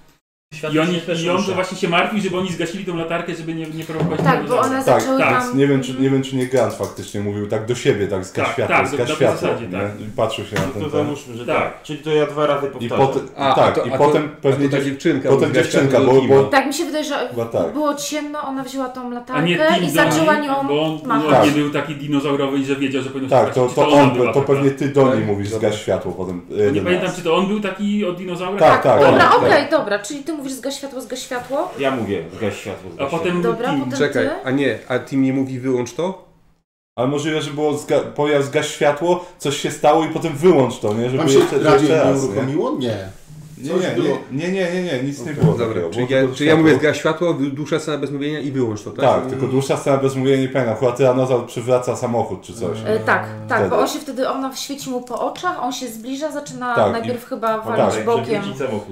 Świat
I, oni,
się też
i on
rusza.
to właśnie się martwi, żeby oni zgasili tą latarkę, żeby nie, nie prowokować
Tak, bo
tyranozaura.
one
Tak,
zaczęły
tak,
tam...
Nie wiem, czy, nie wiem, czy nie Grant faktycznie mówił tak do siebie, tak zgaś
Tak,
światło,
tak,
zgaś
na tej
światło.
zasadzie,
nie?
tak.
I patrzył się na
To,
ten temat.
załóżmy, że
Tak.
tak. Czyli to ja dwa razy
I,
powtarzam.
potem, tak, i potem pewnie
a to ta
dziew-
dziewczynka.
potem
zgaś
dziewczynka,
światło
bo-
do Kima.
bo-
Tak, mi się wydaje, że
Chyba tak.
było ciemno, ona wzięła tą
A nie
latarkę i
Tim
zaczęła
Dali,
nią...
Bo on,
machać.
on
Tak.
nie był taki dinozaurowy, że wiedział, że powinno się
Tak, to,
zgasić.
to
ona
on, to
była taka. No
pewnie ty do niej
Tak,
mówisz,
dobra.
zgaś światło potem. e,
Nie
11.
pamiętam, czy to on był taki od dinozaura?
Tak, tak.
Dobra,
tak.
okej, dobra, czyli ty mówisz zgaś światło, zgaś światło.
Ja mówię, zgaś światło, zgaś
A potem
Dobra,
Tim.
potem
Czekaj,
ty.
a nie, a Tim nie mówi wyłącz to?
Ale możliwe, że było zga- pojazd zgaś światło, coś się stało i potem wyłącz to, nie? Żeby
Wam się
jeszcze,
radio
jeszcze
nie
raz, nie?
uruchomiło? Nie.
Nie,
Coś
nie,
było.
nie, nie, nie, nie, nic nie
Okej.
było.
Dobra,
takiego.
czyli
Było
ja,
tylko
czyli ja
światło.
mówię, gra światło, dusza scena bez mówienia i wyłącz to, tak?
Tak, tylko dłuższa scena bez mówienia, nie pamiętam. Chyba Tyranozal przywraca samochód czy coś.
E, tak, tak,
Wtedy.
bo on się wtedy, ona świeci mu po oczach, on się zbliża, zaczyna
Tak,
najpierw
i-
chyba
no
walić
tak.
bokiem.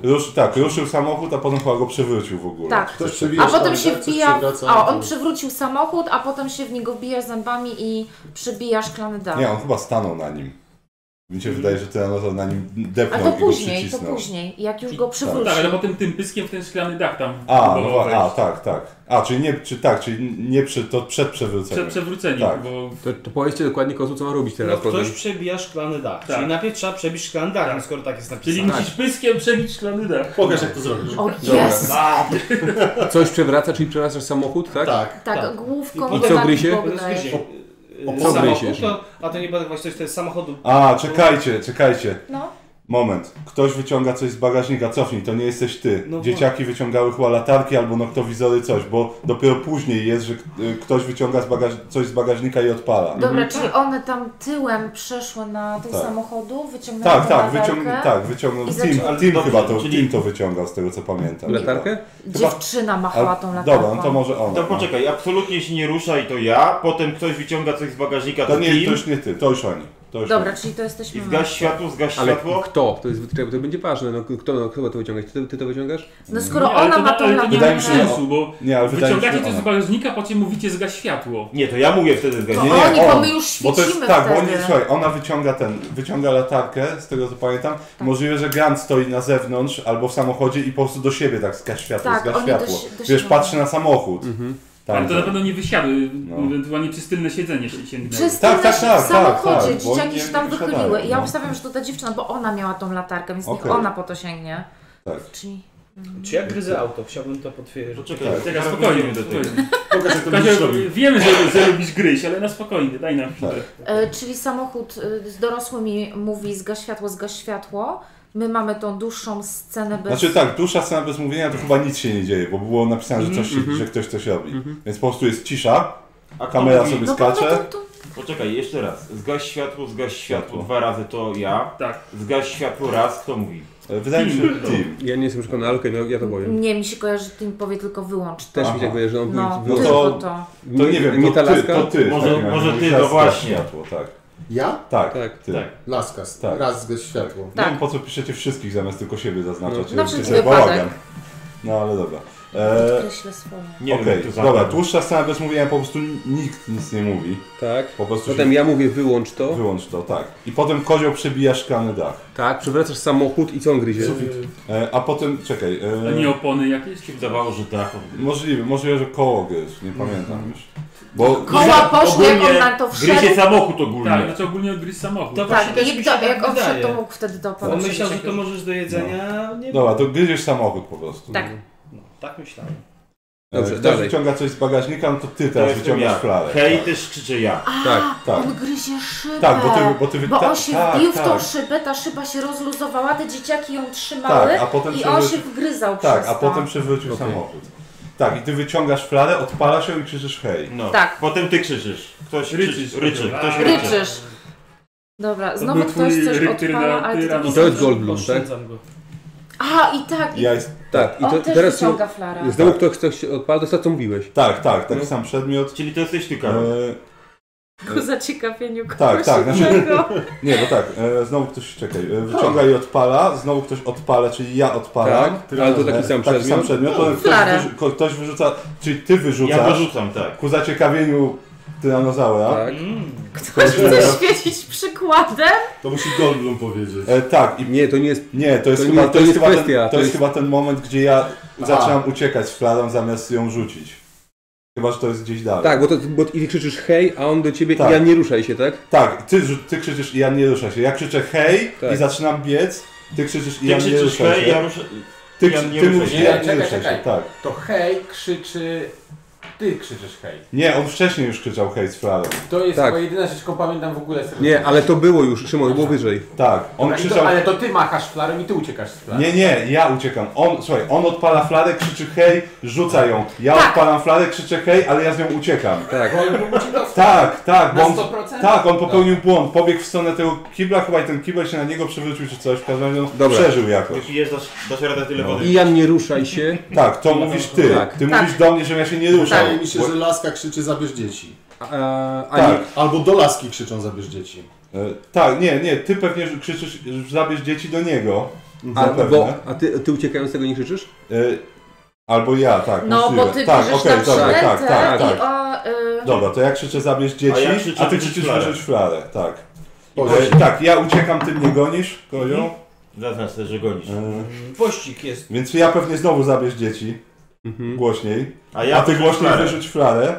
Rusz, tak, ruszył samochód, a potem chyba go przewrócił w ogóle.
Tak,
Coś
a
takiego.
potem
tam,
się
tak? Coś
wbija,
przewraca,
a on
to-
przywrócił samochód, a potem się w niego wbija zębami i przybija szklany dach.
Nie, on chyba stanął na nim. Mi się wydaje, że Tyranozal na nim
Mhm. A
depnął
to
i go
później, to
przycisnął.
później, jak już go
Tak.
przywrócił.
Tak, ale potem tym pyskiem w ten szklany dach tam
A, no,
próbował
wa-
wejść.
a, tak, tak. A, czyli nie, czy, tak, czyli nie przy, to przed przewróceniem.
Przed przewróceniem,
Tak.
bo...
To, to powiedzcie dokładnie kozu, co ma robić teraz.
No ktoś
potem.
przebija szklany dach.
Tak.
Czyli najpierw trzeba przebić szklany dach, no skoro tak jest napisane.
Czyli musisz pyskiem przebić szklany dach.
Pokaż jak to zrobisz.
O
Dobra.
(laughs)
jest!
Coś przewraca, czyli przewracasz samochód, tak?
Tak.
Tak,
Tak.
główką
I co
chyba
gryzie?
Bóg daje.
Rozgryzie.
o-
Yy,
co
samochód,
gryziesz?
to- A to nie będę właśnie coś z samochodu.
A, czekajcie, czekajcie.
No.
Moment. Ktoś wyciąga coś z bagażnika, cofnij, to nie jesteś ty.
No
Dzieciaki wyciągały chyba latarki albo noktowizory, coś, bo dopiero później jest, że k- y, ktoś wyciąga z bagaż- coś z bagażnika i odpala.
Dobra,
Mhm.
czyli one tam tyłem przeszły na tym
Mhm. Tak.
samochodu, wyciągnęły
Tak,
tą
tak,
latarkę.
wyciągnął, tak, wyciągnął.
I
Tim,
zaczęli-
Tim chyba to,
czyli-
Tim to wyciągał z tego co pamiętam.
Latarkę?
Dziewczyna machała tą
Chyba. A,
latarką.
Dobra, no to może ona.
To poczekaj, absolutnie się nie rusza i to ja, potem ktoś wyciąga coś z bagażnika,
To
to
nie,
Tim
to już nie ty, to już oni. To już
Dobra,
oni.
czyli to jesteśmy
i
my.
zgaś światło, zgaś
Ale
światło.
kto? To, jest, to będzie ważne. No, kto, no, kto ma to wyciągać? Ty, ty to wyciągasz?
No skoro
Nie, ale
ona
to,
ma
na-
tą
ale to nie
Wydaje
ma
mi się,
latarkę,
że
sensu, bo
Nie, ale wydaje mi się,
wyciągacie
że
coś z
ona.
bagażnika, po czym mówicie zgaś światło.
Nie, to ja mówię wtedy
To
zgaś.
Nie,
oni, bo
on.
my już
Bo to jest
świecimy
tak, bo
wtedy.
oni, słuchaj, ona wyciąga ten, wyciąga latarkę, z tego co pamiętam.
Tak.
Możliwe, że Grant stoi na zewnątrz albo w samochodzie i po prostu do siebie tak zgaś światło,
Tak,
zgaś
oni
światło.
do si- do
Wiesz,
siebie
patrzy na samochód. Tam,
Ale to na
tak.
pewno nie wysiadły,
No.
ewentualnie przez tylne siedzenie się sięgnęły.
Przez
Tak,
tak,
tak, tak,
w
tak,
samochodzie
tak, bo
dzieciaki
nie-
się tam
nie
wychyliły.
siadają,
I ja
no.
obstawiam, że to ta dziewczyna, bo ona miała tą latarkę, więc
Okej.
niech ona po to sięgnie.
Tak.
Czyli
Czy jak gryzę auto? Chciałbym to potwierdzić.
Poczekaj,
Teraz
zaraz
spokojnie,
wrócimy do tego.
spokojnie.
Pokaż jak to
Kasia,
będziesz robił.
wiemy, że, że lubisz gryźć, ale na spokojnie, daj nam chwilę.
E, czyli samochód e, z dorosłymi mówi zgaś światło, zgaś światło. My mamy tą dłuższą scenę bez...
Znaczy tak, dłuższa scena bez mówienia to chyba nic się nie dzieje, bo było napisane,
Mhm,
że, coś, się- że ktoś coś robi. Więc po prostu jest cisza,
A kto
kamera
mówi-
sobie
no bo to,
skacze.
to,
Poczekaj, jeszcze raz. Zgaś światło, zgaś światło.
Światło.
Dwa razy to ja.
Tak.
Zgaś światło raz, kto mówi?
E, Wydaje mi się, że Tim.
Ja nie jestem przekonany, ale okej, no, ja to
to...
powiem.
Nie, mi się kojarzy, że ty mi powie tylko wyłącz to.
Też mi się tak wydaje, że on
No,
wy-
no
tylko
to-
to.
To nie wiem,
Nie
to
ta
ty,
laska?
to ty. w
Może-
takim razie.
może ty,
Laska,
no właśnie.
Światło, tak,
Ja?
tak,
Tak.
ty.
Tak.
Laska.
Tak.
Raz zgaś światło.
Nie
Tak.
wiem po co piszecie wszystkich zamiast tylko siebie zaznaczać.
No, na
Robicie
wszelki
sobie
wypadek.
bałagan. No ale dobra. E,
Podkreślę swoje.
Nie wiem,
Okej,
jak to zabrać.
dobra, dłuższa scena bez mówienia, po prostu nikt nic nie mówi.
Tak.
Po prostu
Potem
się...
ja mówię wyłącz to.
Wyłącz to, tak. I potem kozioł przebija szklany dach.
Tak, przewracasz samochód i co on gryzie?
E, a potem, czekaj,
A
e,
nie opony jakieś?
Ci wydawało, że tak.
możliwe, możliwe, że koło gryz, nie pamiętam już. Bo
Mhm. Koła poszły, jak on
Ogólnie
na to
Gryzie
wszedł.
samochód ogólnie.
Tak, znaczy ogólnie odgryź samochód.
To właśnie
Tak,
też
i
mi
to,
się tak
jak on wszedł,
wydaje.
to mógł wtedy
Bo
dopadać.
myślał, że to możesz do
No.
jedzenia. Nie
No. dobra, to gryziesz samochód po prostu.
Tak.
No, tak myślałem.
E,
Dobrze,
Ktoś
dalej.
wyciąga coś z bagażnika, no to ty
To
teraz
jestem
wyciągasz
ja.
flarę.
Hej,
tak.
też krzyczę ja.
Tak, tak.
On gryzie szybę.
Tak, bo ty, bo ty wy-
Bo
tak,
on się
tak,
wbił w tą
tak.
szybę, ta szyba się rozluzowała, te dzieciaki ją trzymały
Tak, a potem
i on
przewróci-
się wgryzał
Tak,
przez
a
to.
potem przewrócił samochód. Tak, i ty wyciągasz flarę, odpalasz ją i krzyczysz hej.
No.
Tak.
Potem ty krzyczysz. Ktoś
Ryczysz.
ryczy. ryczy. Ktoś ryczy.
Ryczysz. Dobra,
To
znowu
był
ktoś
twój
coś
rytyna-
odpala, ale ty
tyran-
tak
I to
nie-
jest Goldblum, tak?
Oszczędzam go.
A, i tak. I
Ja jest,
Tak. I
on
to,
też
teraz są-
wyciąga flara.
znowu ktoś coś odpala, to jest to co mówiłeś.
tak, tak, taki
No.
sam przedmiot.
Czyli to jesteś ty,
E,
Karol.
Ku zaciekawieniu
tak,
kogoś
znaczy-
innego.
(laughs) nie, no tak, e, znowu ktoś, czekaj, e, wyciąga i odpala, znowu ktoś odpala, czyli ja odpalam.
Tak, ale to taki sam
E, taki sam
przedmiot.
przedmiot, potem ktoś,
No, Flarę.
wyrzu- ko- ktoś wyrzuca, czyli ty
Ja
wyrzucasz,
wyrzucam, tak.
ku zaciekawieniu tyranozaura.
Tak.
Mm. Ktoś chce (laughs) świecić przykładem?
To musi Goldblum powiedzieć.
E, tak, i
Nie, to nie jest.
nie, to jest,
To
chyba,
nie-
to
to
jest,
jest
chyba,
kwestia,
ten, to
to
jest
jest-
chyba ten moment, gdzie ja
A.
zaczynam uciekać z flarą zamiast ją rzucić. Chyba, że to jest gdzieś dalej.
Tak, bo, to, bo i ty krzyczysz hej, a on do ciebie
Tak.
i ja nie ruszaj się, tak?
Tak, ty, rzu- ty krzyczysz i ja nie ruszę się. Ja krzyczę hej
Tak.
i zaczynam biec, ty krzyczysz i
Ty
ja nie
krzyczysz
Tak. ruszę
Ty krzyczysz hej.
Nie, on wcześniej już krzyczał hej z flarą.
To jest
Tak.
chyba jedyna rzecz, którą pamiętam w ogóle. z-
Nie, ale to było już, Szymon, było wyżej.
Tak, on
Dobra, i
krzyczał...
to, ale to ty machasz flarem i ty uciekasz z flarem.
Nie, nie, ja uciekam. On, słuchaj, on odpala flarę, krzyczy hej, rzuca ją. Ja odpalam flarę, krzyczę hej, ale ja z nią uciekam.
Tak.
Tak, tak,
Na
bo on,
100%?
tak, on popełnił błąd. Pobiegł w stronę tego kibla, chyba i ten kibel się na niego przewrócił czy coś, w każdym razie on
Dobra.
przeżył jakoś.
Jeśli jest, dasz, dasz radę tyle
No.
wody.
I Jan, nie ruszaj się.
Tak, to mówisz ty.
Tak.
Ty
Tak.
mówisz do mnie, że ja się nie ruszam.
Wydaje mi się,
Bo-
że laska krzyczy zabierz dzieci.
A, a
Tak.
nie,
Albo do laski krzyczą zabierz dzieci.
E, tak, nie, nie, ty pewnie że krzyczysz, że zabierz dzieci do niego.
a,
Zapewne.
bo, a ty, ty uciekając z tego nie krzyczysz?
E, albo ja, tak.
No, bo
możliwe.
ty
tak,
bierzesz
okej,
tam
dobra,
szletę
tak, tak,
i
tak.
o... Y,
Dobra, to ja krzyczę zabierz dzieci,
ja krzyczę
a ty
wyrzuć
krzyczysz
flarę.
wyrzuć flarę, tak.
Powiedz.
E, tak, ja uciekam, ty mnie gonisz, koją.
Mhm. Zaznacz też, że gonisz. Mhm.
E,
Pościg jest.
więc ja pewnie znowu zabierz dzieci,
Mhm.
głośniej.
A
A ty
wyrzuć
głośniej
flarę.
wyrzuć flarę.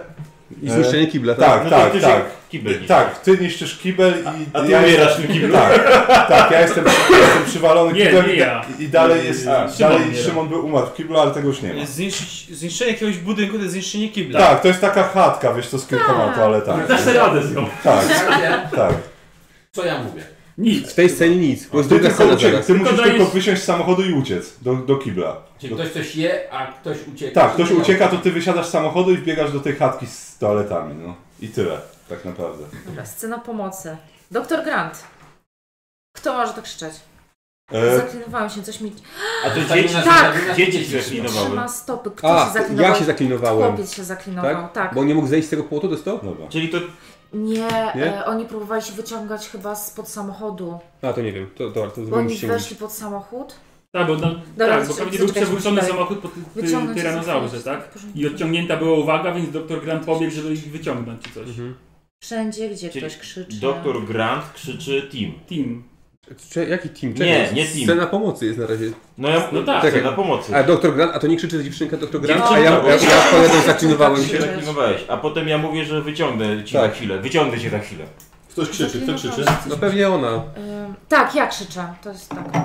I zniszczenie kibla, tak?
Tak,
No to
tak,
ty się
tak.
kibel niszczysz.
Tak, ty niszczysz kibel i...
A ty
ja
umierasz w
jestem-
tym kiblu.
Tak, tak, ja jestem, jestem przywalony
Nie,
kiblem
nie
i- tak-
ja.
i dalej jest...
A, Szymon
dalej
umiera.
Szymon był umarł w kiblu, ale tego już nie ma.
Zniszcz, zniszczenie jakiegoś budynku to jest zniszczenie kibla.
Tak, to jest taka chatka, wiesz, to z
Tak.
kilkoma toaletami.
Dasz sobie radę z nią.
(laughs)
Tak,
Nie,
tak.
Co ja mówię?
Nic.
W tej scenie nic, bo jest
Ty
druga
tylko
scena
uciek,
teraz.
ty musisz
dajesz-
tylko wysiąść z samochodu i uciec do, do kibla.
Czyli ktoś coś je, a ktoś ucieka.
Tak, ktoś
Czy nie?
ucieka, to ty wysiadasz z samochodu i wbiegasz do tej chatki z toaletami, no. I tyle, tak naprawdę.
dobra, scena pomocy. Doktor Grant. Kto może to krzyczeć?
E,
Zaklinowałam się, coś mi (gasps)
A to
dzieci-
tak.
Dzieci się
trzyma
zaklinowały.
stopy. Kto
A,
się zaklinował?
ja się zaklinowałem.
Chłopiec się zaklinował,
Tak?
tak.
Bo nie mógł zejść z tego płotu, to jest to?
dobra.
Czyli to
Nie,
Nie?
E, oni próbowali się wyciągać chyba spod samochodu.
A, to nie wiem, to, to,
Bo
to
oni
zupełnie się
weszli pod samochód.
Tak, bo, tam,
Dobra,
tak, bo
zaczekaj,
pewnie był
zaczekaj,
przewrócony
zaczekaj.
samochód po ty, ty,
Wyciągnąć i
tyranozaurze,
zaklinować.
tak?
W porządku.
I odciągnięta była uwaga, więc doktor Grant pobiegł, żeby ich wyciągnąć czy coś.
Mhm.
Wszędzie, gdzie
Czyli
ktoś krzyczy.
doktor Grant krzyczy team.
Team.
Cze- Jaki team?
Nie, nie team.
Scena pomocy jest na razie.
No, ja, no tak,
Czekaj.
na pomocy.
A doktor Grant, a to nie krzyczy dziewczynka doktor Grant,
Dziewczynka,
a ja,
bo-
ja, ja odpowiadam, zaklinowałem
Ty tak się (laughs)
się.
zaklinowałeś, a potem ja mówię, że wyciągnę ci
Tak.
na chwilę. Wyciągnę cię na chwilę.
Ktoś krzyczy, kto krzyczy?
No pewnie ona.
Ym, tak, ja krzyczę. To jest tak.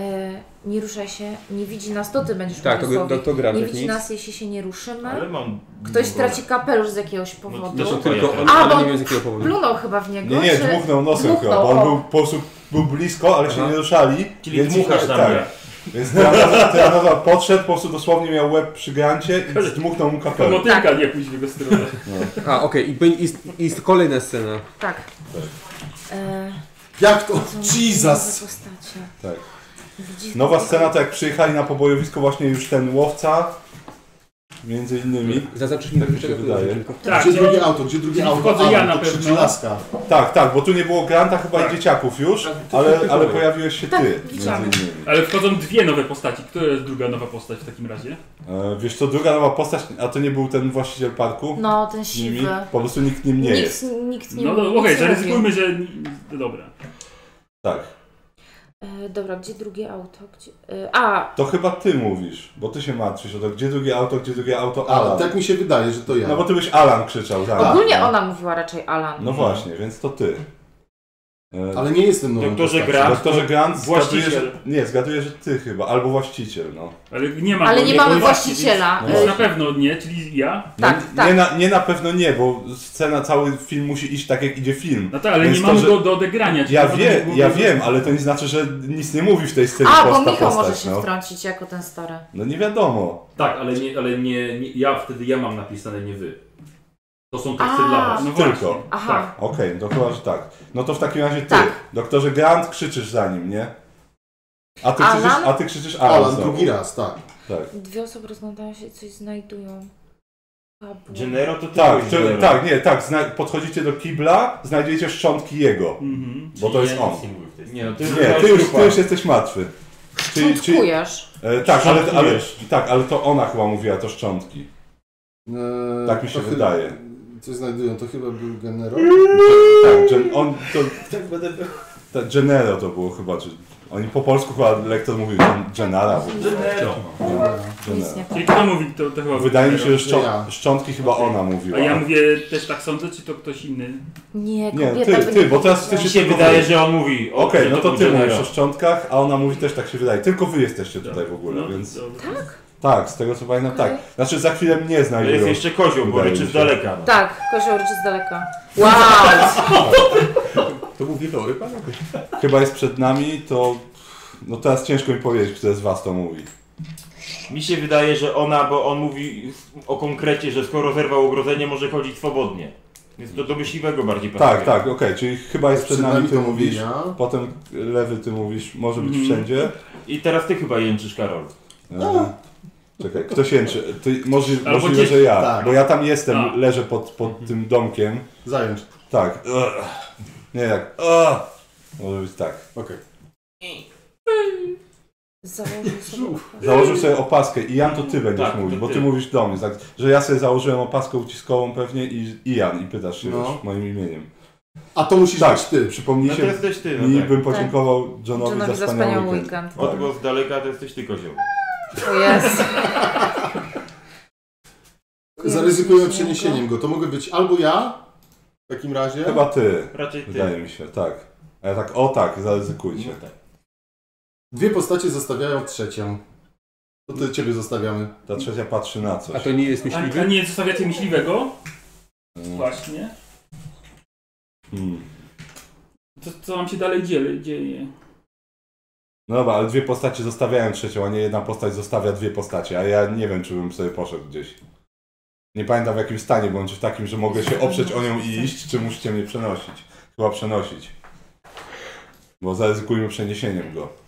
E, nie ruszaj się, nie widzi nas, to ty będziesz
Tak,
mówił
to
słowie.
doktor Grant,
Nie
jak
widzi
nic.
nas, jeśli się nie ruszymy.
Ale mam...
Ktoś straci kapelusz z jakiegoś powodu.
No
To
to-
tylko
ja
on,
też.
ale
A,
nie
bo-
wiem z jakiego powodu.
Plunął chyba w niego.
Nie, nie,
czy...
dmuchnął nosem
Dmuchnął,
chyba, bo on
o.
był po prostu był blisko, ale się
Aha.
nie ruszali.
Czyli dmuchasz na
tak,
mnie.
Więc
(laughs)
Tyranoza- Tyranoza podszedł, po prostu dosłownie miał łeb przy grancie i zdmuchnął mu kapelusz.
Motylka
Tak.
nie pójść w jego stronę.
No. A, okej, i, będzie- i, i jest kolejna scena.
Tak. E,
Jak to?
są nowe
Jesus!
Postacie.
Tak.
Widzisz,
Nowa scena to jak przyjechali na pobojowisko właśnie już ten łowca, między innymi.
Zaznaczysz mi,
Tak mi się
czego ty
wydaje.
dotyczy, tylko-
Tak,
Gdzie
no.
drugie auto? Gdzie drugie
Czyli
auto?
wchodzę ja
A,
na
to krzyczy
pewno. Tak.
laska.
no Tak, tak, bo tu nie było Granta chyba i dzieciaków już, ale, ale pojawiłeś się
Tak,
ty, między
widziałam.
innymi.
Ale wchodzą dwie nowe postaci. Która jest druga nowa postać w takim razie?
E, wiesz co, druga nowa postać, a to nie był ten właściciel parku?
No, ten
Nimi?
siwy.
Po prostu nikt nim nie
Nikt,
jest.
nikt nie
No, no
nic
okej,
nie
zaryzykujmy, że... no Dobra.
Tak.
robił. E, dobra, gdzie drugie auto? Gdzie... E, a,
To chyba ty mówisz, bo ty się martwisz o to, gdzie drugie auto, gdzie drugie auto,
Ale
Alan.
tak mi się wydaje, że to ja.
No bo ty byś Alan krzyczał, tak.
ogólnie
no.
ona mówiła raczej Alan.
No właśnie, więc to ty. E,
Ale nie jestem nowym
Doktorze
postacią.
Grant.
Doktorze Grant,
Właściciel.
zgaduję, że, nie, zgaduję, że ty chyba, albo właściciel, no.
Ale nie ma
Ale
go,
nie
bo
mamy
jest-
właściciela.
więc-
Więc
E,
na pewno nie, czyli ja.
no
Tak,
nie,
tak.
Na, nie na pewno nie, bo scena, cały film musi iść tak, jak idzie film.
No tak, ale
Więc
nie
to,
mamy
że-
go do odegrania. czyli
Ja
na pewno
wiem,
nie
ja
byłoby-
wiem, ale to nie znaczy, że nic nie mówi w tej scenie
A, bo
prosta
Michał
postać,
może się
no.
wtrącić jako ten stary.
no nie wiadomo.
Tak, ale nie, ale nie, nie ja wtedy ja mam napisane, nie wy. To są teksty
A.
Tak dla was.
No
Tylko.
właśnie.
Aha.
Okej, to chyba, że tak. No to w takim razie ty,
Tak.
doktorze Grant, krzyczysz za nim, nie? A ty krzyczysz,
Alan?
a ty krzyczysz Alan,
Alan
znowu.
drugi raz, tak.
Tak.
Dwie osoby rozglądają się i coś znajdują. Tabu.
Gennaro to ty
Tak,
byłeś
to,
Gennaro.
tak, nie, tak. Zna, podchodzicie do kibla, znajdziecie szczątki jego,
Mhm.
bo to jest
ja
on.
nic Nie, mówię w tej
Nie, no ty,
Nie, ty już, ty już jesteś martwy. Czyli, czyli,
Czutkujesz.
e, tak, ale, ale,
Szczątkujesz.
tak, ale to ona chyba mówiła to szczątki.
Eee,
Tak mi się
to chy-
wydaje.
Coś znajdują, to chyba był generał.
Tak, gen, on, to,
Tak będę był.
ta, Genero to było chyba, czy, oni po polsku chyba lektor mówił gen- Genara. bo-
Gennaro.
Nic nie
Czyli kto mówi, to, to chyba...
Wydaje mi się, że
To ja.
szczą, szczątki chyba ona mówiła.
A ja mówię też tak sądzę, czy to ktoś inny?
Nie, kobieta
Nie, ty,
by
ty,
nie
bo teraz ty
powiedziała.
się
Mi się wydaje, że on mówi. o,
Okej,
że
no to
był
ty
Gennaro.
mówisz o szczątkach, a ona mówi też tak się wydaje. Tylko wy jesteście tutaj w ogóle,
No,
więc...
dobra.
Tak?
Tak, z tego co pamiętam, tak. Znaczy za chwilę mnie znajdą.
jest jeszcze kozioł, bo
Wydaje
ryczy
mi
z
się.
daleka.
Tak, kozioł ryczy z daleka. Wow!
To był wielory, pan?
Tak.
Chyba jest przed nami, to... No teraz ciężko mi powiedzieć, kto z was to mówi.
Mi się wydaje, że ona, bo on mówi o konkrecie, że skoro zerwał ogrodzenie, może chodzić swobodnie. Więc do, do myśliwego bardziej
Tak, tak, okej, czyli chyba jest przed nami, ty
to mówię
mówisz,
ja.
potem lewy ty mówisz, może być
Mhm.
wszędzie.
I teraz ty chyba jęczysz, Karol.
E, Czekaj, kto się jęczy? Ty, możli,
Albo
możliwe,
gdzieś-
że ja,
tak. Mhm.
bo ja tam jestem,
A.
leżę pod, pod tym domkiem.
Zająć.
Tak. Ugh. Nie, tak. Ugh. Może być tak.
Okej.
Założył sobie
Założył sobie opaskę i Jan to ty będziesz
Tak, to
mówił, bo ty
ty.
mówisz do mnie, tak, że ja sobie założyłem opaskę uciskową pewnie i, i Jan i pytasz się
No.
już moim imieniem.
A to musisz
tak,
być ty.
Przypomnijcie,
No to jesteś ty, no
mi
tak.
bym
Tak.
podziękował Johnowi, za wspaniały weekend. Tak.
Odgłos z daleka to jesteś ty, kozioł.
O Jezu.
Zaryzykuję przeniesieniem go. To mogę być albo ja, w takim razie.
Chyba ty.
Raczej ty.
Wydaje mi się, tak. A ja tak, o tak, zaryzykujcie.
Dwie postacie zostawiają trzecią. To ty, ciebie zostawiamy.
Ta trzecia patrzy na coś.
A to nie jest
A, a
myśliwy?
nie zostawiacie myśliwego?
Mm.
Właśnie.
Hmm.
To co nam się dalej dzieje? dzieje?
No dobra, ale dwie postacie zostawiają trzecią, a nie jedna postać zostawia dwie postacie, a ja nie wiem, czy bym sobie poszedł gdzieś. Nie pamiętam w jakim stanie, bądź w takim, że mogę się oprzeć o nią i iść, czy musicie mnie przenosić. Chyba przenosić. Bo zaryzykujmy przeniesieniem go.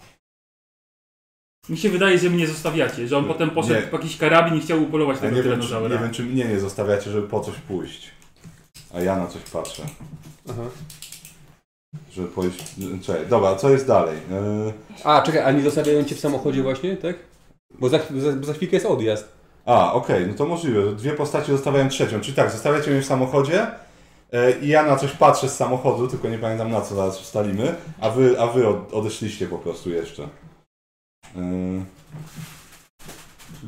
Mi się wydaje, że mnie zostawiacie, że on potem poszedł
nie.
po jakiś karabin i chciał upolować
Ja
tego
nie wiem, czy, nie
tyranozaura.
wiem, czy mnie nie zostawiacie, żeby po coś pójść. A ja na coś patrzę.
Aha.
Żeby pójść... Czekaj, dobra, co jest dalej? Yy...
A, czekaj, a nie zostawiają cię w samochodzie właśnie, tak? Bo za, za, bo za chwilkę jest odjazd.
A, okej, no to możliwe. że Dwie postacie zostawiają trzecią. Czyli tak, zostawiacie mnie w samochodzie e, i ja na coś patrzę z samochodu, tylko nie pamiętam na co zaraz ustalimy, a wy, a wy od, odeszliście po prostu jeszcze. E,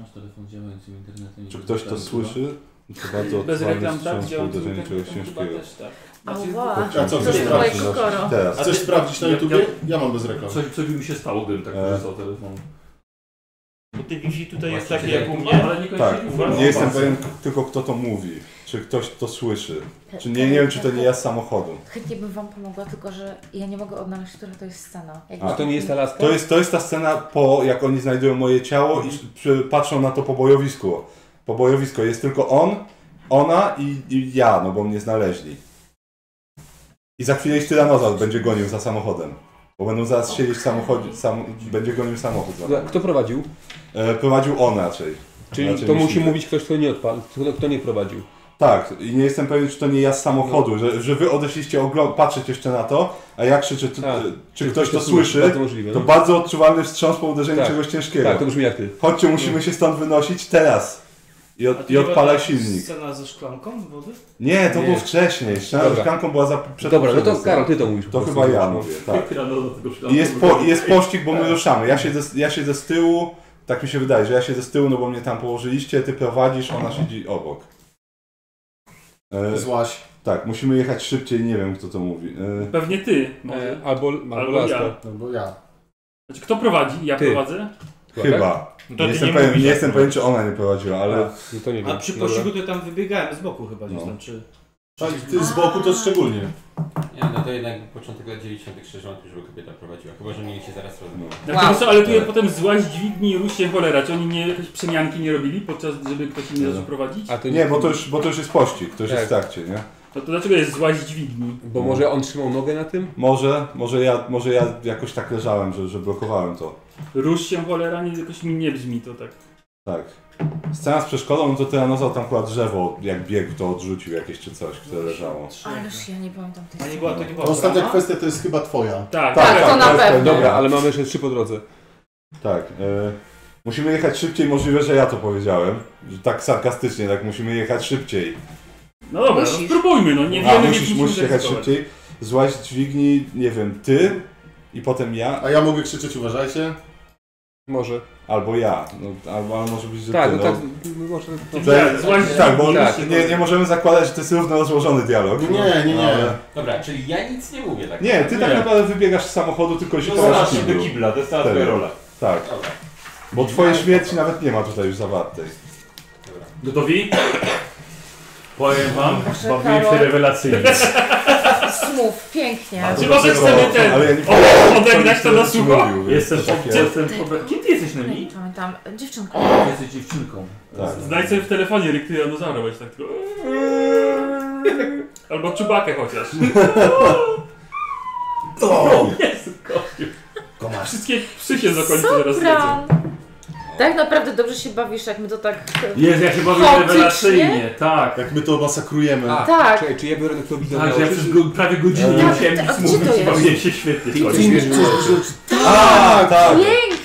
Masz telefon działający Tak, internetem.
czy ktoś to słyszy? To bardzo
Bez
odczuwalny
reklam, tak?
wstrząs po
Działający
uderzeniu
internetem
czegoś
chyba
ciężkiego.
też tak.
No
Ała.
Kurczę,
A co,
nie
chcesz
wiem,
sprawdzić?
czy-
Koro.
Teraz.
Chcesz sprawdzić na
Ja-
YouTubie? Ja mam bez reklam.
Coś, coś by mi się stało, gdybym tak
E.
korzystał telefon.
Bo ty wisi tutaj jest
Właśnie,
takie jak u
tak.
mnie.
Ale niekoniecznie
Tak,
uważam.
nie jestem pewien k- tylko kto to mówi, czy ktoś to słyszy. Czy nie, nie wiem, czy to nie ja z samochodu.
Chętnie bym wam pomogła, tylko że ja nie mogę odnaleźć, która to jest scena. Jak
A to nie jest ta laska?
To jest, to jest ta scena po, jak oni znajdują moje ciało i
Mhm.
przy- patrzą na to pobojowisko. Pobojowisko jest tylko on, ona i, i ja, no bo mnie znaleźli. I za chwilę ich tyranozaur będzie gonił za samochodem. Bo będą zaraz siedzieć w samochodzie, sam, będzie gonił samochód. Za
Dobra,
mną.
Kto prowadził?
e, prowadził on raczej.
Czyli
Znaczy,
Raczej
to
niż
musi
my.
mówić ktoś, kto nie odpadł, kto, kto nie prowadził.
Tak, i nie jestem pewien, czy to nie ja z samochodu,
No.
że, że wy odeszliście ogląd- patrzeć jeszcze na to, a ja krzyczę, czy,
Tak.
czy,
Czy
ktoś to słyszy,
Bardzo możliwe.
to
no.
bardzo odczuwalny wstrząs po uderzeniu
Tak.
czegoś ciężkiego.
Tak, to brzmi jak ty. No.
Chodźcie, musimy się stąd wynosić teraz. I,
A
od,
to
i
nie
odpala
była
silnik.
Scena ze szklanką wody?
Nie, to
Nie.
było wcześniej. Ściana
Dobra.
z klamką była za przed
Dobra, no to
przed-
Karol, ty to mówisz. po
To
prostu. no.
chyba ja mówię,
(laughs)
tak.
no,
I jest, po, i jest pościg, bo my ruszamy. Ja siedzę, z- ja siedzę z tyłu, tak mi się wydaje, że ja siedzę z tyłu, no bo mnie tam położyliście, ty prowadzisz, ona siedzi obok. E,
Złaś.
tak, musimy jechać szybciej, nie wiem kto to mówi. E,
Pewnie ty. może.
E, albo, albo,
Albo
laska.
ja.
No bo ja.
Znaczy, kto prowadzi? Ja
Ty.
prowadzę?
chyba.
No to
Nie
ty
jestem,
nie
pewien,
mówisz,
nie
tak,
jestem
no.
pewien, czy ona nie prowadziła, ale
No to nie wiem.
A przy
Dobra.
pościgu to tam wybiegałem z boku chyba gdzieś
No.
tam, czy...
Tak, ty z boku to szczególnie.
Nie, no to jednak początek lat 90. krzyżowąt już by kobieta prowadziła, chyba że mieli się zaraz rozmawiać.
No,
Dlatego, co, ale tu jak potem złaź dźwigni i rusz się cholera. Czy oni nie, jakieś przemianki nie robili, podczas żeby ktoś inny zaczął prowadzić?
no. A to
nie, bo to już, bo to już jest pościg, to już
Tak.
jest w trakcie, nie?
No to dlaczego jest złaź dźwigni?
Bo może on trzymał nogę na tym?
Może, może ja, może ja jakoś tak leżałem, że, że blokowałem to.
Rusz się cholera, nie, jakoś mi nie brzmi to tak.
Tak. Scena z przeszkodą, no to tyranozaur tam chyba drzewo, jak biegł, to odrzucił jakieś czy coś, które leżało.
Ależ ja nie pamiętam tej
A nie
sceny.
była to nie
To
była
ostatnia
brama?
kwestia to jest chyba twoja.
Tak,
Tak, to na
jest-
pewno.
Dobra,
Dobra,
ale
ale mamy jeszcze trzy po drodze.
tak. e, musimy jechać szybciej, możliwe, że ja to powiedziałem. Że tak sarkastycznie, tak musimy jechać szybciej.
No dobra, no
Musisz.
spróbujmy, no nie
A,
wiemy,
musisz,
jak
musisz jechać
zaryzykować.
szybciej. Złaź dźwigni, nie wiem, ty i potem ja,
A ja mogę krzyczeć, uważajcie.
Może.
albo ja. No, albo ale może być, że
Tak,
ty.
no
no.
tak, może.
Tak,
To ja-
złaź
Tak, bo
dźwigni,
Tak.
Nie, nie możemy zakładać, że to jest równo rozłożony dialog.
Nie, nie, nie.
No, ale-
Dobra, czyli ja nic nie mówię tak.
Nie, ty tak
Nie.
No
No
naprawdę wybiegasz z samochodu, tylko się
Dostała
kołasz
Tak.
się do kibla, dostała
Serio.
twoja rola.
Tak.
Dobra.
Bo twoje śmierci nawet nie ma tutaj już zawartej.
Gotowi? Powiem
No,
wam,
Proszę,
bawiłem się
Karol.
rewelacyjnie.
(laughs)
Smów, pięknie.
A,
Czy
to
może
dlatego-
chcemy ten-
Ale ja nie
o, odegrać to na sucho?
Jestem, jestem, kim ty jesteś, Nelly?
Nie pamiętam. Dziewczynką.
Jesteś dziewczynką.
Tak.
Znajdź sobie w telefonie Rick dinozaura, bo jest tak tylko... Albo czubakę chociaż.
To!
Jezu, kościół.
Komasz.
Wszystkie psy się z okolicy zaraz lecą.
Sopran! Tak naprawdę dobrze się bawisz, jak my to tak...
Jest, ja się bawię
Chaotycznie?
rewelacyjnie, tak.
Jak my to masakrujemy.
A,
Tak.
Czekaj, czy ja biorę do widzę?
Tak, że ja przez go, prawie godzinę
Tak,
nie musiałem
tak,
nic
a gdzie to
mówić,
jest?
bawiłem się świetnie.
Ty,
Kościół.
ty wiesz, co
A, tak!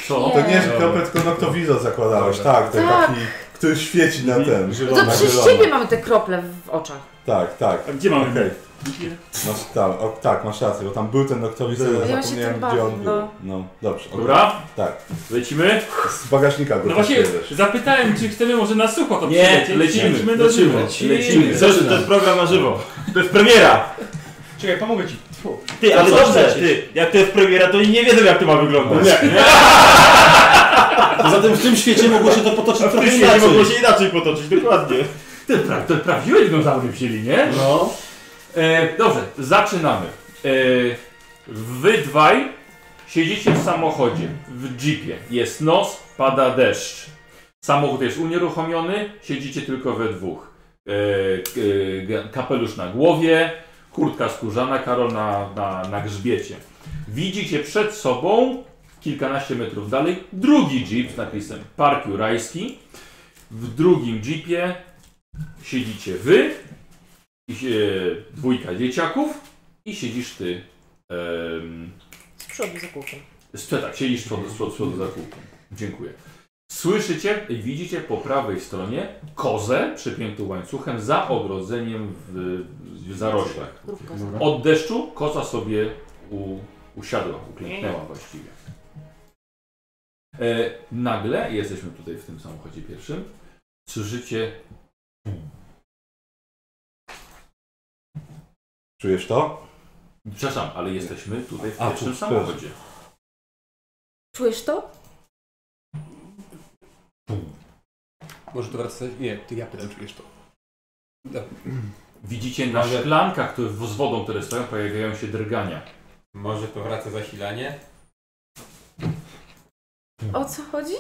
Co?
To nie, że kropę, tylko noktowizor zakładałeś, tak, ten
Tak.
taki, który świeci na ten.
No to
na
przez
zielono.
ciebie mamy te krople w oczach.
Tak, tak.
A gdzie mamy
Okej.
Dzikie?
Masz tam, o, tak, masz rację, bo tam był ten noktowizor,
Ja się tym
ale zapomniałem
bawię,
gdzie on był.
no.
No, dobrze.
Dobra,
Tak,
lecimy?
z bagażnika go
No właśnie,
zabierzesz.
zapytałem, czy chcemy może na sucho to
Nie,
przylecieć.
lecimy,
Lecimy do
lecimy.
Rzymu.
Lecimy.
To jest, to jest program na żywo. To jest premiera.
Czekaj, pomogę ci.
Ty, ale
co
dobrze,
chcecie?
ty. Jak to jest premiera, to oni nie wiedzą jak to ma wyglądać. (laughs)
Poza tym w tym świecie mogło się to potoczyć
W tym
trochę
świecie mogło
inaczej.
się inaczej potoczyć, dokładnie.
Ty, pra, to prawdziwe dinozaury wzięli, nie?
No.
E, dobrze, zaczynamy. E, wy dwaj siedzicie w samochodzie, w jeepie. Jest noc, pada deszcz. Samochód jest unieruchomiony, siedzicie tylko we dwóch. E, e, ga- kapelusz na głowie, kurtka skórzana, Karol na, na, na grzbiecie. Widzicie przed sobą, kilkanaście metrów dalej, drugi jeep z napisem Park Jurajski. W drugim jeepie siedzicie wy, i się- dwójka dzieciaków i siedzisz ty. em,
Z przodu za kółkiem.
z przodu, tak, siedzisz z przodu, z przodu, z przodu za kółkiem. Dziękuję. Słyszycie i widzicie po prawej stronie kozę przypiętą łańcuchem za ogrodzeniem w, w zaroślach.
Grupka.
Od deszczu koza sobie u, usiadła, uklęknęła właściwie. E, nagle, jesteśmy tutaj w tym samochodzie pierwszym, słyszycie
Czujesz to?
Przepraszam, ale jesteśmy tutaj w
A,
pierwszym
tu,
samochodzie.
Czujesz to?
Może to wracać? Nie, ty ja pytam, czujesz to.
Widzicie na
Ale-
szklankach które, z wodą, które stoją, pojawiają się drgania.
Może to wraca zasilanie?
O co chodzi?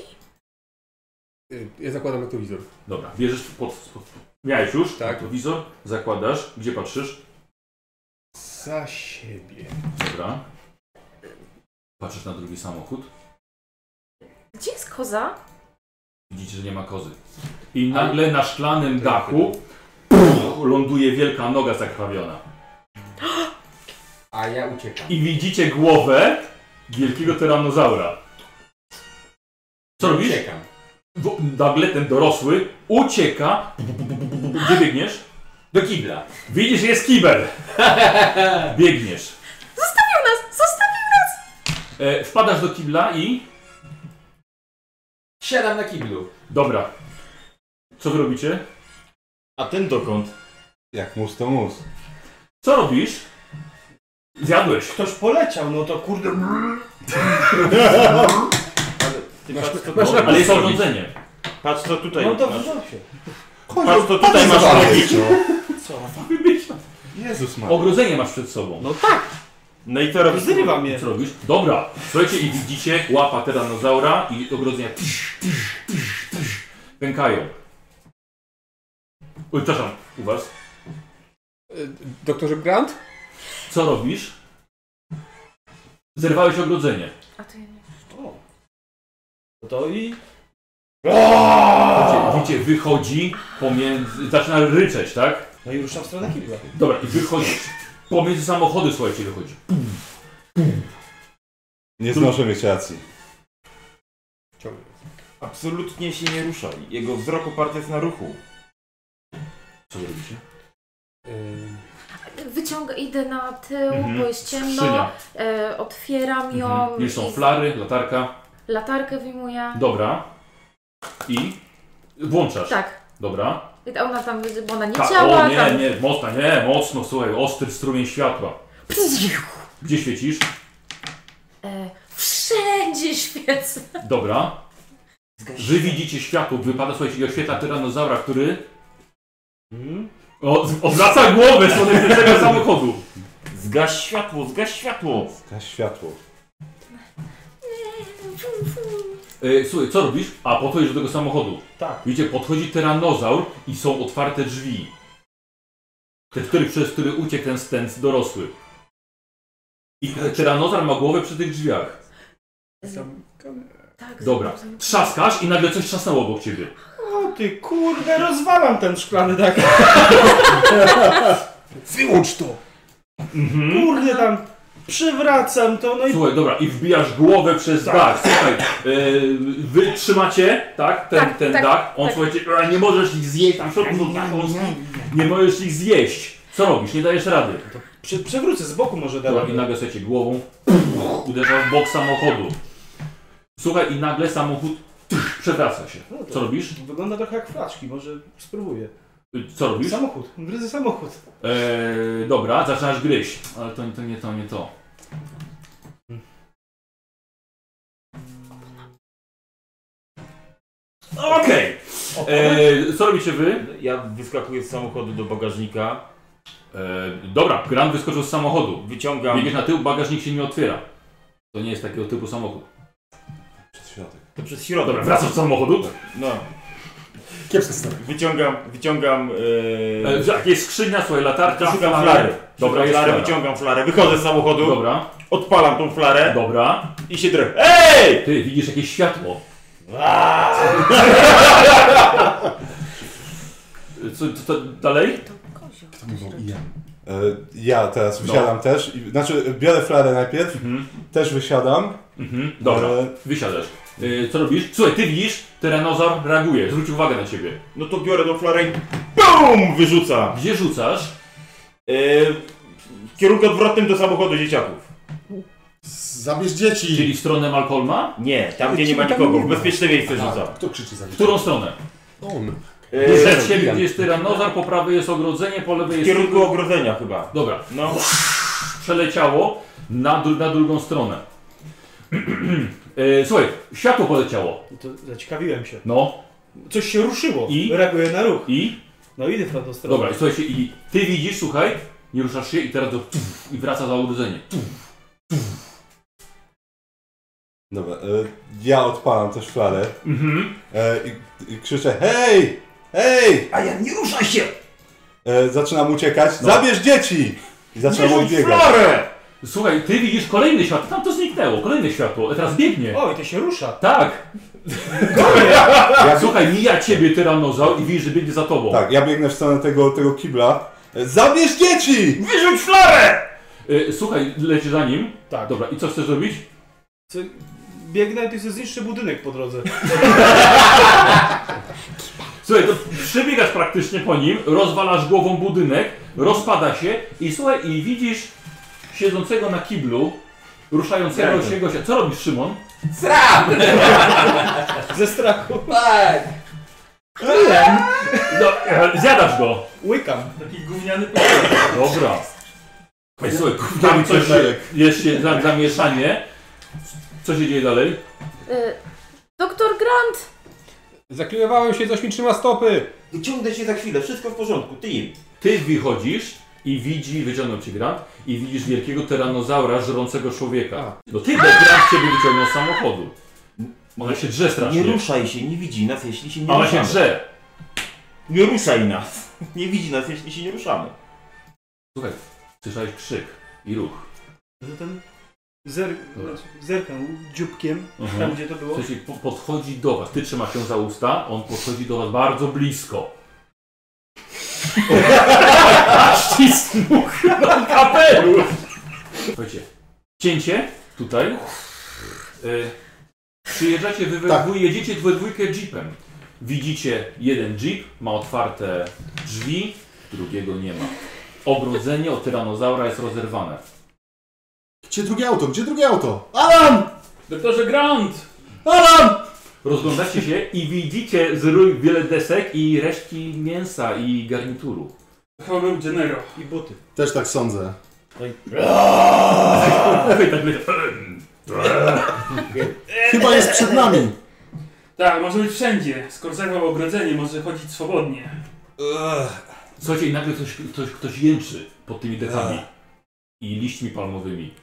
Y, Ja zakładam noktowizor.
Dobra, bierzesz pod... pod miałeś już
Tak.
wizor, zakładasz, gdzie patrzysz?
Za
(laughs)
siebie.
Dobra. Patrzysz na drugi samochód,
Gdzie jest koza?
widzicie, że nie ma kozy. I nagle na szklanym dachu puch, ląduje wielka noga zakrwawiona.
A ja uciekam.
I widzicie głowę wielkiego tyranozaura. Co robisz?
Uciekam.
W- Nagle ten dorosły ucieka. Gdzie biegniesz?
Do kibla.
Widzisz, jest
(laughs)
kibel. Biegniesz.
Zostawił nas! Zostawił nas!
E, wpadasz do kibla i.
Siadam na kiblu.
Dobra. Co wy robicie?
A ten dokąd?
Jak mus to mus.
Co robisz? Zjadłeś.
Ktoś poleciał, no to
(laughs)
kurde...
Ty patrz co,
masz-
Ale jest urządzenie.
patrz co tutaj
No to
masz.
wziął się.
Patrz co tutaj masz robić.
Co?
Jezus ma.
Ogrodzenie masz przed sobą.
No tak,
No i co robisz?
zrywa mnie.
Co robisz? Dobra. Słuchajcie i widzicie łapa tyranozaura i ogrodzenia tysz, tysz, tysz, tysz, pękają. Oj, Przepraszam, u was.
Y, Doktorze Grant?
Co robisz? Zerwałeś ogrodzenie.
A to ja nie.
O. No to i...
Widzicie, widzicie, wychodzi pomiędzy... Zaczyna ryczeć, tak?
No i rusza w stronę kibla.
Dobra, i wychodzi. Pomiędzy samochody, słuchajcie, wychodzi.
Nie znoszę mieć racji.
Absolutnie się nie ruszaj. Jego wzrok oparty jest na ruchu.
Co wy robicie?
Y,
Wyciąga, idę na tył,
Mhm.
bo jest ciemno.
Skrzynia.
E, otwieram ją.
Mhm. Już są
i
flary, latarka.
Latarkę wyjmuję.
Dobra. I włączasz.
Tak.
Dobra.
I Ona tam, bo ona nie
Ka-
działa.
o nie,
tam...
nie, mocno, nie, mocno, słuchaj, ostry strumień światła. Gdzie świecisz?
E, wszędzie świecę.
Dobra. Wy widzicie światło, wypada, słuchajcie, i oświetla tyranozaura, który...
Mhm.
Od, odwraca głowę z odjeżdżającego samochodu.
Zgaś światło, zgaś światło!
Zgaś światło.
E, słuchaj, co robisz? A, podchodzisz do tego samochodu.
Tak.
Widzicie, podchodzi tyranozaur i są otwarte drzwi. Te, który, przez który uciekł ten stent dorosły. I tyranozaur ma głowę przy tych drzwiach.
Tak,
Dobra, trzaskasz i nagle coś trzasnęło obok ciebie.
O ty kurde, rozwalam ten szklany tak. Wyłącz to! Kurde tam, przywracam to, no i Tak.
Słuchaj, dobra, i wbijasz głowę przez dach. Słuchaj, e, wy trzymacie, tak, ten,
Tak,
ten
tak,
dach. On
tak.
słuchajcie, e, nie możesz ich zjeść, tam w środku są taką- Nie możesz ich zjeść. Co robisz? Nie dajesz rady.
przy, przewrócę, z boku może
Dobra,
dalej.
i nagle słuchajcie, głową (laughs) uderza w bok samochodu. Słuchaj, i nagle samochód (laughs) tch, przewraca się.
No to
Co robisz?
Wygląda trochę jak flaczki, może spróbuję.
Y, Co robisz?
Samochód, gryzę samochód.
Eee, dobra, zaczynasz gryźć. Ale to, to nie to, nie to. Okej! Eee, co robicie wy?
Ja wyskakuję z samochodu do bagażnika,
Eee, dobra, Gran wyskoczył z samochodu.
wyciągam...
Biegniesz na tył, bagażnik się nie otwiera. To nie jest takiego typu samochód.
Przez środek.
To przez środek.
Dobra, wracasz z samochodu.
No,
Kiepska sprawa.
wyciągam, wyciągam... Yy...
Eee, jak jest skrzynia, słuchaj, latarka,
Szukam
flary.
flary.
Dobra,
Dobra,
jest
flarę,
flara.
wyciągam flarę, wychodzę z samochodu,
Dobra,
odpalam tą flarę
dobra.
i się drę. EJ!
Ty, widzisz jakieś światło. Co, to, to dalej?
To kozioł.
To mówią i ja.
E, Ja teraz wysiadam też. I, znaczy, biorę flarę najpierw,
Mhm.
też wysiadam.
Mhm. Dobra,
E,
wysiadasz. Yy, co robisz? Słuchaj, ty widzisz, tyranozaur reaguje, zwróć uwagę na ciebie.
No to biorę tą flarę i BUM! Wyrzuca.
Gdzie rzucasz?
Yy, w kierunku odwrotnym do samochodu dzieciaków.
Zabierz dzieci!
Czyli w stronę Malcolma?
Nie, tam gdzie nie ma nikogo, w bezpieczne miejsce
A,
rzucam.
kto krzyczy za
W
dzieci?
którą stronę? E,
On.
Yy,
Przed siebie gdzie jest tyranozaur, po prawej jest ogrodzenie, po lewej
w
jest...
kierunku ogrodzenia chyba.
Dobra,
No,
przeleciało na, dru na drugą stronę. Yy, słuchaj, światło poleciało.
I to zaciekawiłem się.
No
Coś się ruszyło.
I?
Reaguję na ruch.
i?
No idę w tą stronę.
Dobra, i słuchajcie, i ty widzisz, słuchaj, nie ruszasz się i teraz do tuf, i wraca za urodzenie.
Dobra, e, ja odpalam też flarę
Mhm.
e, i, i krzyczę hej! Hej!
a ja nie ruszaj się!
E, zaczynam uciekać.
No.
Zabierz dzieci! I zaczynam
Wyrzuć
odbiegać.
flarę!
Słuchaj, ty widzisz kolejne światło, tam to zniknęło, kolejne światło, a teraz biegnie.
O, i to się rusza.
Tak!
Ja,
(laughs) Słuchaj, mija ciebie tyranozaur i widzisz, że biegnie za tobą.
tak, ja biegnę w stronę tego, tego kibla. E, zabierz dzieci!
Wyrzuć flarę!
Y, słuchaj, lecisz za nim.
Tak.
Dobra, i co chcesz zrobić?
Co, biegnę i ty sobie zniszczę budynek
(laughs)
po drodze.
Słuchaj, to przybiegasz praktycznie po nim, rozwalasz głową budynek, rozpada się i słuchaj, i widzisz siedzącego na kiblu, ruszającego
Grajmy.
się gościa. Co robisz, Szymon?
(laughs) Ze strachu.
No, e, zjadasz go.
Łykam.
Taki gówniany pokój.
Dobra. Ej, słuchaj, tam coś się, jest się za- zamieszanie. Co się dzieje dalej?
Y, Doktor Grant!
Zaklejowałem się, coś mi trzyma stopy!
Wyciągnę się za chwilę, wszystko w porządku, ty im.
Ty wychodzisz i widzi, wyciągnął cię Grant, i widzisz wielkiego tyranozaura żrącego człowieka. No ty, bo Grant ciebie wyciągnął z samochodu. Ona się drze
Nie
strasznie.
ruszaj się, nie widzi nas, jeśli się nie
Ona się
ruszamy.
drze.
Nie ruszaj nas. Nie widzi nas, jeśli się nie ruszamy.
Słyszałeś krzyk i ruch.
No ten zer...
Dobra.
zerkam dzióbkiem, tam
Mhm.
gdzie to było.
Słuchajcie, po- podchodzi do was. Ty trzymasz się za usta, on podchodzi do was bardzo blisko. Aż ci smuch na kapelu! Słuchajcie, cięcie tutaj. Y, przyjeżdżacie, wy we
Tak.
dwój- jedziecie we dwójkę jeepem. Widzicie jeden jeep, ma otwarte drzwi, drugiego nie ma. Ogrodzenie od tyranozaura jest rozerwane.
Gdzie drugie auto? Gdzie drugie auto? Alan!
Doktorze Grant!
Alan!
Rozglądacie się i widzicie z ruin wiele desek i resztki mięsa i garnituru.
Chyba był Gennaro.
I buty.
Też tak sądzę.
No
(laughs)
Słuchaj, tak będzie.
Chyba jest przed nami.
Tak, może być wszędzie. Skoro zagrał ogrodzenie, może chodzić swobodnie.
Słuchajcie, i nagle ktoś, ktoś, ktoś jęczy pod tymi dekami
Tak.
i liśćmi palmowymi.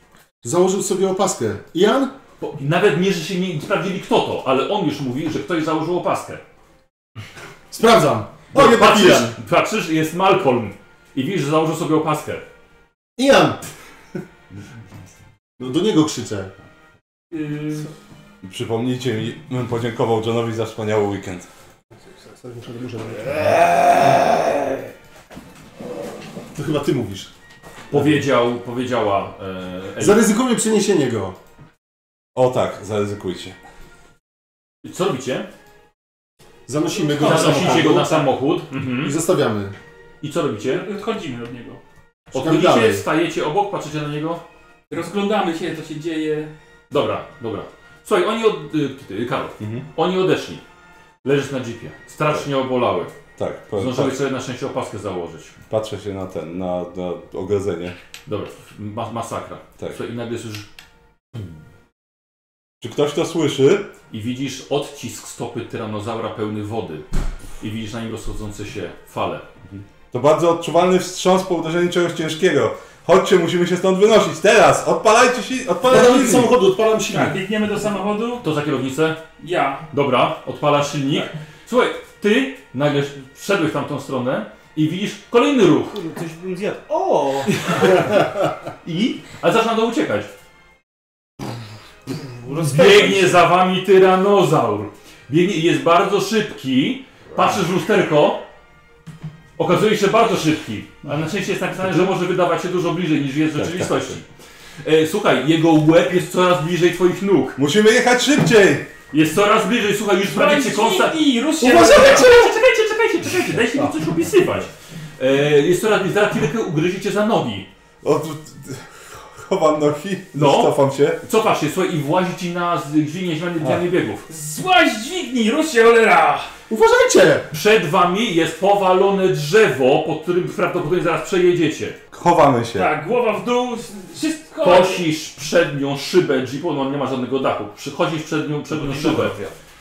Założył sobie opaskę. Jan?
Bo nawet nie, że się nie sprawdzili kto to, ale on już mówi, że ktoś założył opaskę.
Sprawdzam.
Bo
O, nie
patrzysz,
papijan.
patrzysz, jest Malcolm i widzisz, że założył sobie opaskę.
Jan! No do niego krzyczę.
Eee.
Yy,
I Przypomnijcie mi, bym podziękował Johnowi za wspaniały weekend.
To chyba ty mówisz.
Powiedział, powiedziała e, Eli.
Zaryzykujmy przeniesienie go.
O tak, zaryzykujcie.
Co robicie?
Zanosimy go na
Zanosicie No, go na
samochód
samochód.
i
Mhm.
zostawiamy.
I co robicie?
odchodzimy od niego.
Odchodzicie,
dalej.
stajecie obok, patrzycie na niego.
Rozglądamy się, co się dzieje.
Dobra, dobra. Słuchaj, oni od... Y, ty, y, Karol,
Mhm.
oni odeszli. Leżysz na jeepie. Strasznie obolały.
Tak, po,
Zdążyłeś
pa-
sobie na szczęście opaskę założyć.
patrzę się na ten, na, na ogrodzenie.
Dobra, ma, masakra.
Tak.
Słuchaj, i nagle słyszysz
Czy ktoś to słyszy?
i widzisz odcisk stopy tyranozaura pełny wody. I widzisz na nim rozchodzące się fale.
Mhm. To bardzo odczuwalny wstrząs po uderzeniu czegoś ciężkiego. Chodźcie, musimy się stąd wynosić. Teraz! Odpalajcie się! Odpalajcie
Odpalam
silnik!
samochodu, odpalam silnik.
Tak, Biegniemy do samochodu.
To za kierownicę?
Ja. Tak.
Dobra, odpalasz silnik. Słuchaj, ty nagle wszedłeś w tamtą stronę i widzisz kolejny ruch.
Kurde, coś bym zjadł. O!
I? Ale zaczyna go uciekać.
Rozpędzam
Biegnie
się.
za wami tyranozaur. Biegnie i jest bardzo szybki. Patrzysz w lusterko. Okazuje się bardzo szybki. Ale na szczęście jest napisane, że może wydawać się dużo bliżej niż jest w
Tak,
rzeczywistości. E, słuchaj, jego łeb jest coraz bliżej twoich nóg.
Musimy jechać szybciej!
Jest coraz bliżej, słuchaj, już prawie cię konsta...
I rusz się.
Uważajcie! Czekajcie, czekajcie, czekajcie, dajcie
No.
mi coś opisywać. E, jest coraz bliżej, zaraz chwilkę ugryziecie za nogi.
Od... Chowam nogi,
No.
no. cofam się.
Cofasz się, słuchaj, i włazi ci na z- dźwignię zmiany dźwignię biegów.
Złaź dźwigni, rusz się, cholera!
Uważajcie!
Przed wami jest powalone drzewo, pod którym prawdopodobnie zaraz przejedziecie.
Chowamy się.
Tak, głowa w dół, wszystko.
Kosisz przed nią szybę jeepu, no nie ma żadnego dachu. Przychodzisz przed nią,
No,
przed nią szybę.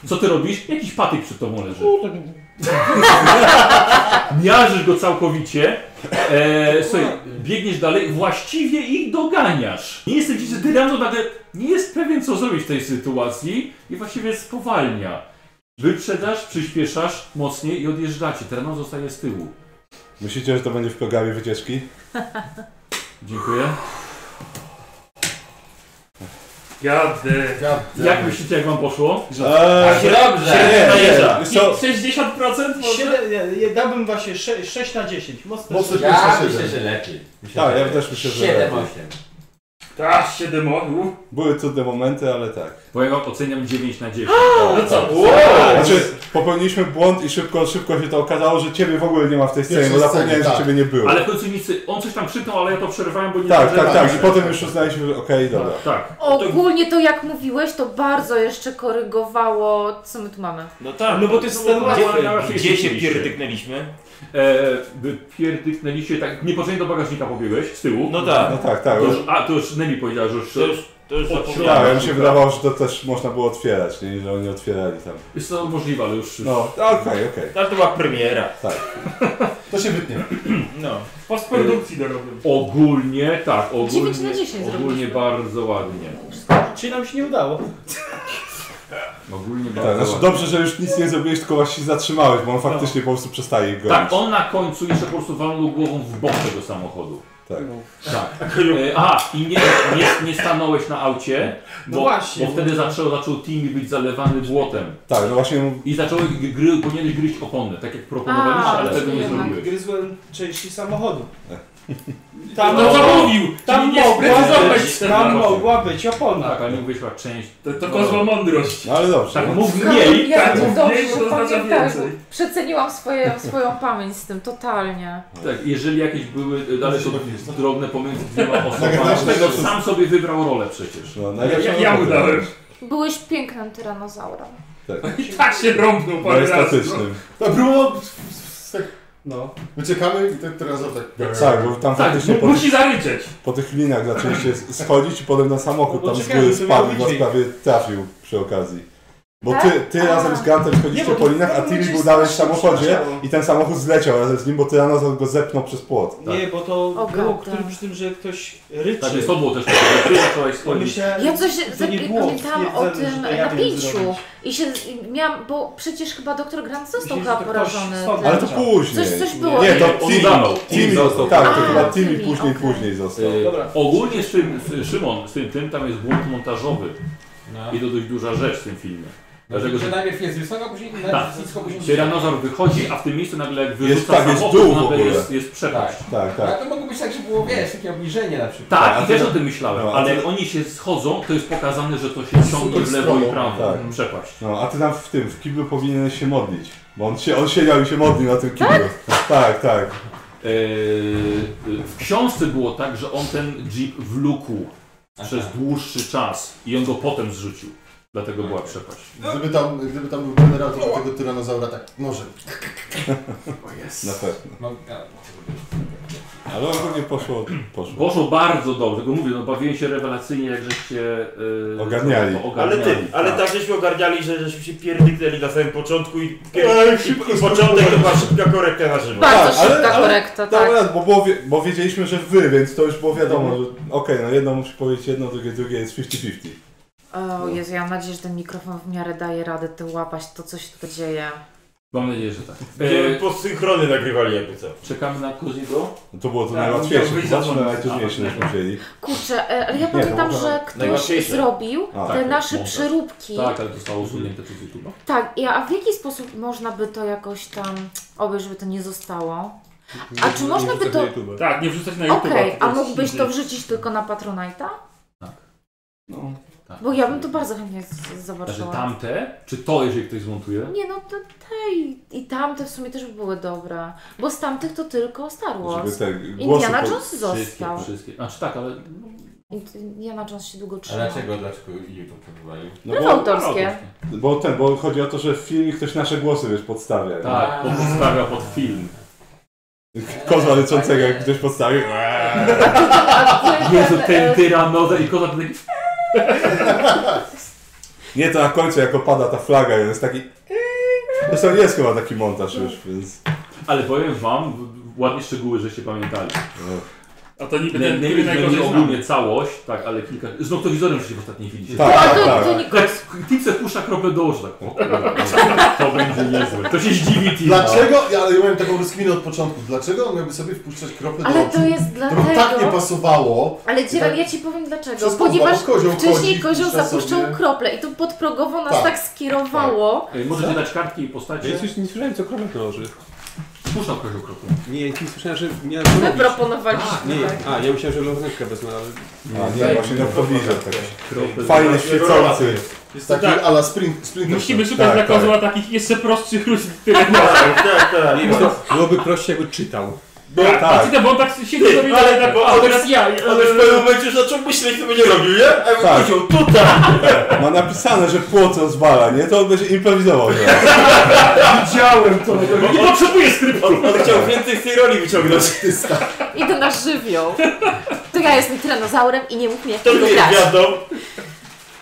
Co ty robisz? Jakiś patyk przed tobą leży. Miażdżysz go całkowicie. E, słuchaj, biegniesz dalej, właściwie ich doganiasz. Nie jestem ci, że Dyrano nagle nie jest pewien, co zrobić w tej sytuacji i właściwie spowalnia. Wyprzedzasz, przyspieszasz mocniej i odjeżdżacie. Terno zostaje z tyłu.
Myślicie, że to będzie w programie wycieczki?
Dziękuję.
Jadę.
Jak myślicie, jak wam poszło?
Eee,
Dobrze!
nie, nie,
Najeżdża.
wiesz co?
60% może?
Siedem- ja- ja Dałbym właśnie 6 na 10. Mocno
Mocno
sześć.
Ja
Myślę,
myślę,
że-
że lepiej. Myślę,
Tak,
że
ja też myślę, że
Siedem,
lepiej.
osiem.
Tak, 7 osób.
Były cudne momenty, ale tak.
Bo ja wam oceniam 9 na tak. 10.
No co?
Znaczy, popełniliśmy błąd i szybko, szybko się to okazało, że ciebie w ogóle nie ma w tej scenie, bo
Pierwszej
zapomniałem,
scenie,
że
tak.
ciebie nie było.
Ale w końcu nic, on coś tam krzyknął, ale ja to przerwałem, bo nie
Tak,
zdążyłem-
tak, tak. I potem już uznaliśmy, że okej, dobra.
Tak.
Ogólnie to jak mówiłeś, to bardzo jeszcze korygowało, co my tu mamy.
No tak.
No bo to jest ten łatwy.
Gdzie,
Gdzie się pierdyknęliśmy?
E, wy pierdyknęliście, tak niepotrzebnie do bagażnika pobiegłeś, z tyłu.
No tak.
No tak, tak.
To
Już,
już, a, to już Nelly powiedziała, że już...
To już, to już
Od
zapomniałem.
tak, mi się
tak.
wydawało, że to też można było otwierać, nie? I że oni otwierali tam. Tak,
Jest to możliwe, ale już... już.
No, okej, okej. Tak.
Ale to była premiera.
To się wytnie.
No.
Postprodukcji dorobią.
Ogólnie, tak, ogólnie...
9 na 10
Ogólnie bardzo ładnie.
Czyli nam się nie udało.
Ogólnie
Tak,
bardzo
znaczy
ładnie.
dobrze, że już nic nie zrobiłeś, tylko właśnie zatrzymałeś, bo on faktycznie po prostu przestaje go.
Tak, on na końcu jeszcze po prostu walnął głową w bok tego samochodu.
Tak.
Tak. E, aha, i nie, nie, nie stanąłeś na aucie, bo,
No właśnie.
bo wtedy zaczął, zaczął Timmy być zalewany błotem.
Tak, no właśnie
I zacząłeś gry, powinieneś gryźć opony, tak jak proponowaliście,
A,
ale tego nie
rozumiem.
zrobiłeś. E.
Gryzłem części samochodu.
Tam
Tam,
no co
mogła-
mówił?
tam,
Czyli nie
mogła,
sprecyzowałeś
być,
ten
tam
temat.
mogła być opona.
Tak, ale nie wyszła część.
To, to kozła mądrość.
No ale dobrze.
Tak,
no.
mów mniej.
ja
tak,
to
mniej,
dobrze
to oznacza
pamiętam.
więcej.
Przeceniłam swoje, swoją pamięć z tym totalnie.
Tak, jeżeli jakieś były y, dalej to drobne pomiędzy
(laughs)
dwiema
Tak,
osobami,
tak, tak,
tego
tak.
sam sobie wybrał rolę przecież.
No,
Ja,
najlepsza
ja, ja
robota.
udałem.
Byłeś pięknym tyranozaurem.
I tak się
No
rąbnął parę razy.
Majestatycznym.
Tak, próbował...
No.
Uciekamy i ten teraz tak...
Tak, bo tam
Tak,
faktycznie
Mu-
po, tych-
Musi zaryczeć.
po tych linach zaczęliście schodzić i potem na samochód
No bo
tam z
czekamy,
góry
co
spadł i
miał
was
wyjść.
prawie trafił przy okazji. Bo
Tak?
ty, ty razem z Grantem
Nie,
chodzicie
bo
po
to
linach, a
pewnie
Tilly
gdzieś
był dalej w
strasznie
samochodzie
przyleciało.
i ten samochód zleciał razem z nim, bo Tyranozor go zepnął przez płot. Tak.
Nie, bo to
O,
było
gada.
który, przy tym, że ktoś ryczy.
Tak, jest to było też takie, że zacząłeś
To
schodzić.
myślałem,
Ja coś
że to nie
zap-
było
pamiętałam o
stwierdzone,
tym
że to ja wiem
napięciu
zrobić.
i się i miałam, bo przecież chyba doktor Grant został
Myślę,
chyba
że to ktoś
porażony.
stąd
tym.
Ale to później.
Coś, coś było.
Nie, to
Nie, on
Timmy,
udawał.
Timmy,
Timmy został.
tak, to
A,
chyba Timmy
Timmy,
później,
okej.
później został.
Y,
Dobra.
Ogólnie z tym, z Szymon, z tym, tym tam jest błąd montażowy
No.
i to dość duża rzecz w tym filmie.
Dlatego,
Dlatego,
że
że
najpierw jest wysoko, później
Tak.
najpierw nisko, później
Tyranozor wychodzi, a w tym miejscu nagle jak wyrzuca
Jest tak, jest
samochód,
dół w
nagle
ogóle.
jest, jest przepaść.
Tak.
Tak,
Ale
tak.
to mogło być tak, że było, wiesz, takie obniżenie na przykład.
Tak,
A
i
ty-
też o tym myślałem,
no, a
ale
ty-
jak oni się schodzą, to jest pokazane, że to się ciągnie w lewo i prawo. Mm,
Tak.
Przepaść.
No, a ty tam w tym, w kiblu powinieneś się modlić. Bo on, się, on siedział i się modlił na tym kiblu. Tak, tak.
Eee, w książce było tak, że on ten jeep wlókł przez dłuższy czas i on go potem zrzucił. Dlatego była przepaść.
No. Gdyby tam, gdyby tam był generator do tego tyranozaura, tak nożem.
(laughs)
Na pewno.
No, tak.
Ale ogólnie poszło, poszło.
Poszło bardzo dobrze, tylko mówię, no bawiłem się rewelacyjnie, jak żeście yy,
Ogarniali.
to
Ale
ogarniali.
ty, ale tak żeśmy ogarniali, że żeśmy się pierdyknęli na samym początku i,
No,
pier... i, i początek to była szybka korekta na żywo.
Tak,
Bardzo
ale-
szybka
ale-
korekta, tak.
Dobra, bo, było, wie- bo wiedzieliśmy, że wy, więc to już było wiadomo,
Mhm.
że okej, no jedno musi powiedzieć jedno, drugie, drugie jest 50-50.
O Jezu, ja mam nadzieję, że ten mikrofon w miarę daje radę ty łapać to, co się tu dzieje.
Mam nadzieję, że tak.
Będziemy
Eee,
po synchrony nagrywali jakby co.
czekamy na Koziego.
No to było to
Tak,
najłatwiejsze,
musiał być
chyba, czy
zapomnieć.
najtrudniejsze, żeśmy
tak.
wzięli.
Kurczę, e, ale ja
Nie,
pamiętam,
to było
że ktoś
najłatwiejsze.
zrobił
A,
te
tak,
nasze
montaż.
przeróbki.
Tak, ale zostało usunięte przez YouTube'a.
Tak, i- a w jaki sposób można by to jakoś tam obejrzeć, żeby to nie zostało? A czy można by to...
Tak, nie wrzucać na YouTube.
Okej, a mógłbyś to wrzucić tylko na Patronite'a?
No,
Tak.
Bo ja bym to bardzo chętnie z- z-
Znaczy
zobaczyła.
tamte, czy to, jeżeli ktoś zmontuje?
Nie no, to te i, i tamte w sumie też by były dobre. Bo z tamtych to tylko Star
Żeby
Wars.
te głosy
Indiana
po-
Jones
Wszystkie,
został.
wszystkie. Znaczy tak, ale
Ind- Indiana Jones się długo
A
trzyma.
dlaczego, dlaczego YouTube to wywalił?
No
Prawa
bo,
autorskie.
bo ten, bo chodzi o to, że w filmie ktoś nasze głosy wiesz podstawia. nie?
tak, to zostawia pod film.
Kozła ryczącego jak ktoś
(laughs)
podstawił.
A ty
Jezu,
ten,
ten
e, (laughs)
tyranozer i koza ten...
Nie, to na końcu jak opada ta flaga i on jest taki... Zresztą jest chyba taki montaż już, więc...
Ale powiem wam, w- w- ładnie szczegóły, że się pamiętali.
A to niby
Nie,
ten,
nie,
który
nie, nie
najgorzej znamy.
ogólnie całość, tak, ale kilka... Z noktowizorem się w ostatniej chwili się...
Tak,
a
tak,
to,
tak.
to nie...
Tak, Tipse puszcza kropę do oczu, tak. O, kurde, To będzie niezłe. To się zdziwi no. Tim.
Dlaczego? Ja, ale ja miałem taką rozkminę od początku. Dlaczego on miałby sobie wpuszczać krople do
Ale
oczu?
to jest
To by tak nie
dlatego...
pasowało.
Ale Dzieran,
tak-
ja ci powiem dlaczego.
Wszystko
Ponieważ
złapał kozioł,
wcześniej
kozik,
kozioł
puszcza
zapuszczał
sobie.
krople i to podprogowo nas
Tak.
tak skierowało.
E, Możecie dać kartki i postacie.
Ja coś nie słyszałem, co kromę krąży.
Puszczał kozioł kropę.
Nie, ja nie słyszałem, że miałem
My
robić.
proponowaliśmy
Nie,
tak.
a ja myślałem, że lornetkę wezmę, ale... tak.
A nie, właśnie na podwizor taki
Kropę
fajny, świecący.
Jest to
Taki
tak.
ala spring, spring
Musimy szukać
Tak,
dla
tak.
kozła takich jeszcze prostszych ludzi. Tyle.
Tak, tak, tak.
Nie, wiesz co, byłoby prościej, jakby czytał.
Tak,
tak.
tak. Znaczy, bo on tak siedzi
Ty,
sobie
ale-
ale tak,
bo-
a teraz ja.
On już w pewnym momencie już zaczął myśleć, co będzie robił, nie? A ja
Tak.
tak. tutaj!
(laughs)
tak."
Ma napisane, że płot rozwala, nie? To on będzie improwizował
(laughs)
teraz.
Widziałem to!
Nie potrzebuję skryptu.
On, on
Tak.
chciał więcej z tej roli wyciągnąć.
No,
(laughs)
Idę na żywioł. To ja jestem tyranozaurem i nie mów mi jak
To
tego
jest
grać.
gwiazdą.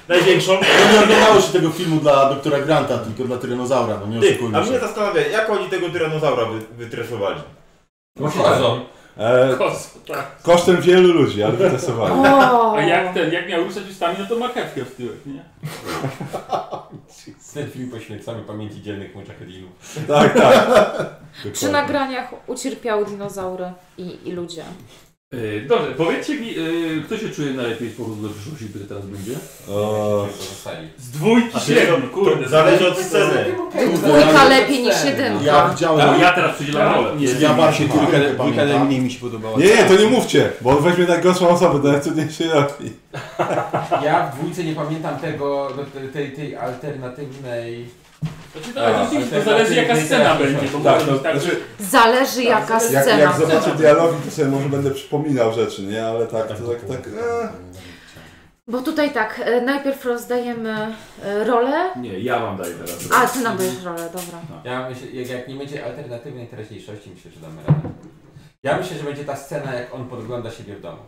Największą.
No nie oglądało się tego filmu dla doktora Granta, tylko dla tyranozaura, no nie
Ty, a
oszukujmy
mnie
się.
zastanawia, jak oni tego tyranozaura wy, wytresowali? No,
Kozą.
E,
Kozo, tak.
kosztem wielu ludzi, ale wytestowali.
O,
A jak ten, jak miał ruszać ustami, no to marchewkę w tyłek, nie?
Ten film poświęcamy pamięci dzielnych muczachedinów.
Tak, tak.
Przy nagraniach ucierpiały dinozaury i, i ludzie.
E, Dobrze, powiedzcie mi, e, kto się czuje najlepiej z powodu do przyszłości, który teraz będzie?
O,
Z dwójki
A
średnio, kurde.
To zależy od sceny.
Dwójka lepiej niż jedynka.
Ja widziałem...
Tak? Ja teraz przydzielam rolę.
Nie.
Ja bardziej
Dwójka
trójkę
dwójka
pamiętam.
najmniej mi się podobała.
nie, nie, to nie mówcie, bo on weźmie najgorszą osobę, to najtrudniejszy robi.
Ja w dwójce nie pamiętam tego, no, te- tej, tej alternatywnej...
Znaczy, to, ale rzeczywiście, to zależy jaka scena będzie, bo
Tak,
może
no,
być tak, że
znaczy,
Zależy jaka
jak,
scena.
jak zobaczę dialogi, to sobie może będę przypominał rzeczy, nie? Ale tak, to tak, tak. e.
Bo tutaj tak, e, najpierw rozdajemy e, rolę,
Nie, ja wam daję teraz.
a ty nam bierzesz rolę, dobra.
No. Ja myślę, jak, jak nie będzie alternatywnej teraźniejszości, myślę, że damy radę. Ja myślę, że będzie ta scena, jak on podgląda siebie w domu.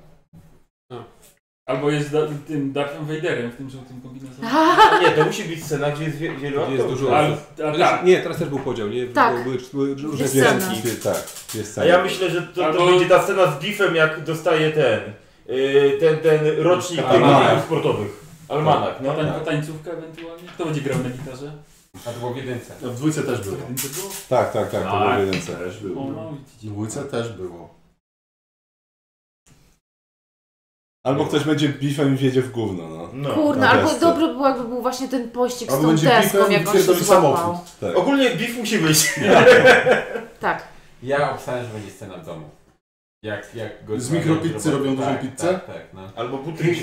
Albo jest da, tym Darthem Vaderem w tym żółtym kombinezonie.
A nie, to musi być scena, gdzie jest wie- wielu
Gdzie jest
aktorów.
dużo
Ale-
osób.
a
Ale
tak.
Nie, teraz też był podział, nie?
Tak.
Były, były, były różne
Jest
sceny.
scena.
Ty, tak, jest
A
tak.
ja myślę, że to, to
Albo-
będzie ta scena z Gifem, jak dostaje ten, yy, ten, ten rocznik
Almanak.
almanach sportowych. Almanak, no.
Tań, Tańcówka ewentualnie. Kto będzie grał na gitarze?
A to było w jedynce.
No,
A w dwójce też było.
Będzie było?
Tak, tak, tak, to
Tak.
było w jedynce.
Też
O,
był.
no,
W
widzicie.
dwójce też było.
Albo ktoś będzie bifem i wiedzie w gówno, no.
no.
Kurna,
na
albo
desce.
dobry był, jakby był właśnie ten pościg z
Albo
tą
będzie
deską,
piwem i
jak on się
pierdoli
złapał.
samochód.
Tak.
Ogólnie Gif musi być.
(laughs) Tak.
Ja obstawiam, że będzie scena w domu. Jak, jak go
Z mikropizzy robią dużą
tak,
pizzę?
Tak, tak, no.
Albo butryk.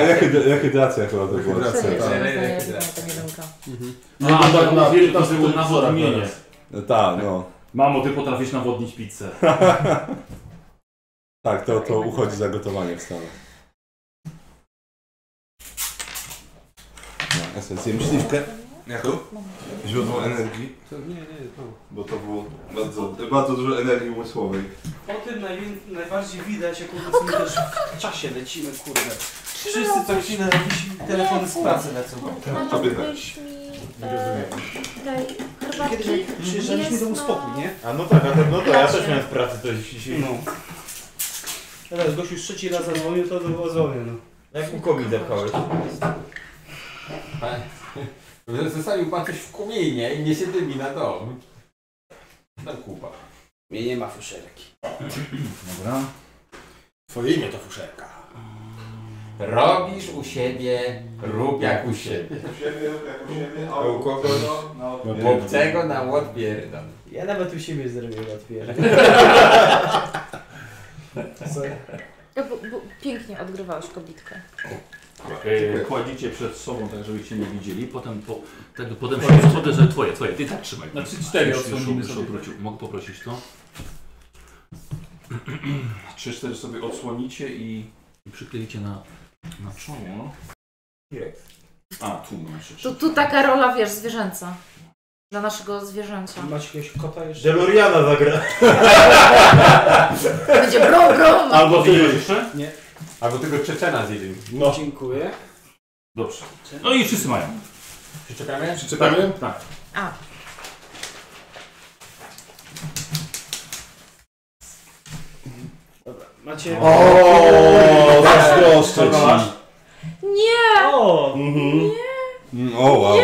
(laughs)
Rehydracja chyba to była.
Rehydracja,
Serio,
tak.
że
tak,
nie
tak.
znam tego jedynka.
A, tak, na,
No, piętnastu
to było na
wzorach
odmienienie.
teraz.
Tak, no.
Mamo, ty potrafisz nawodnić
(laughs)
pizzę.
Tak, to, to uchodzi za gotowanie w Stanach. No, esencję myśliwkę jako źródło energii,
To, nie, nie, to...
bo to było bardzo, bardzo dużo energii umysłowej.
Po tym najwię- najbardziej widać, jak obecnie też w czasie lecimy, kurde. Wszyscy co chwilę jakieś telefony z pracy lecą.
No, Znalazłbyś mi... e, Daj, herbatki.
Kiedy przyjeżdżaliśmy
Jest
do
na-
uspokój, nie?
A no tak, a ten, no to ja też miałem w pracy to dzisiaj.
No. Teraz gość już trzeci raz zadzwonił, to było zadzwonił, no.
Jak mu komin zapchałeś.
Tak. Że Zostawił pan coś w kuminie i niesie dymi na dom. Na kupa.
Mnie nie ma fuszerki.
Dobra.
Twoje imię to fuszerka.
Robisz u siebie, rób jak u siebie.
A u kogoś?
No,
Łobcego na łodpierdol.
Ja nawet u siebie zrobię łatwiej.
(laughs)
Ja bu- bu- Pięknie odgrywałeś kobitkę.
E, kładziecie przed sobą, tak żeby cię nie widzieli. Potem, po, tak, potem się podchodzę, że twoje, twoje. Ty tak trzymaj.
Na trzy, cztery
Już- już,
odsłonimy
już
sobie.
obrócił. Mogę poprosić to? (clears throat) Trzy, cztery sobie odsłonicie i, i przykleicie na, na czoło. A, tu masz jeszcze.
Tu, tu taka rola, wiesz, zwierzęca. Dla naszego zwierzęcia.
Macie jakiegoś kota jeszcze?
Deloriana zagra.
Będzie bro, bro!
Albo ty jeszcze?
Albo tego Czeczena zjedli.
No.
Dziękuję.
Dobrze. No i wszyscy mają.
Przyczekamy?
Przyczepiamy?
Tak.
A.
Dobra, macie...
O, zazdroszczę
Tak.
ci.
Nie!
O!
Mhm. Mm, O, wow.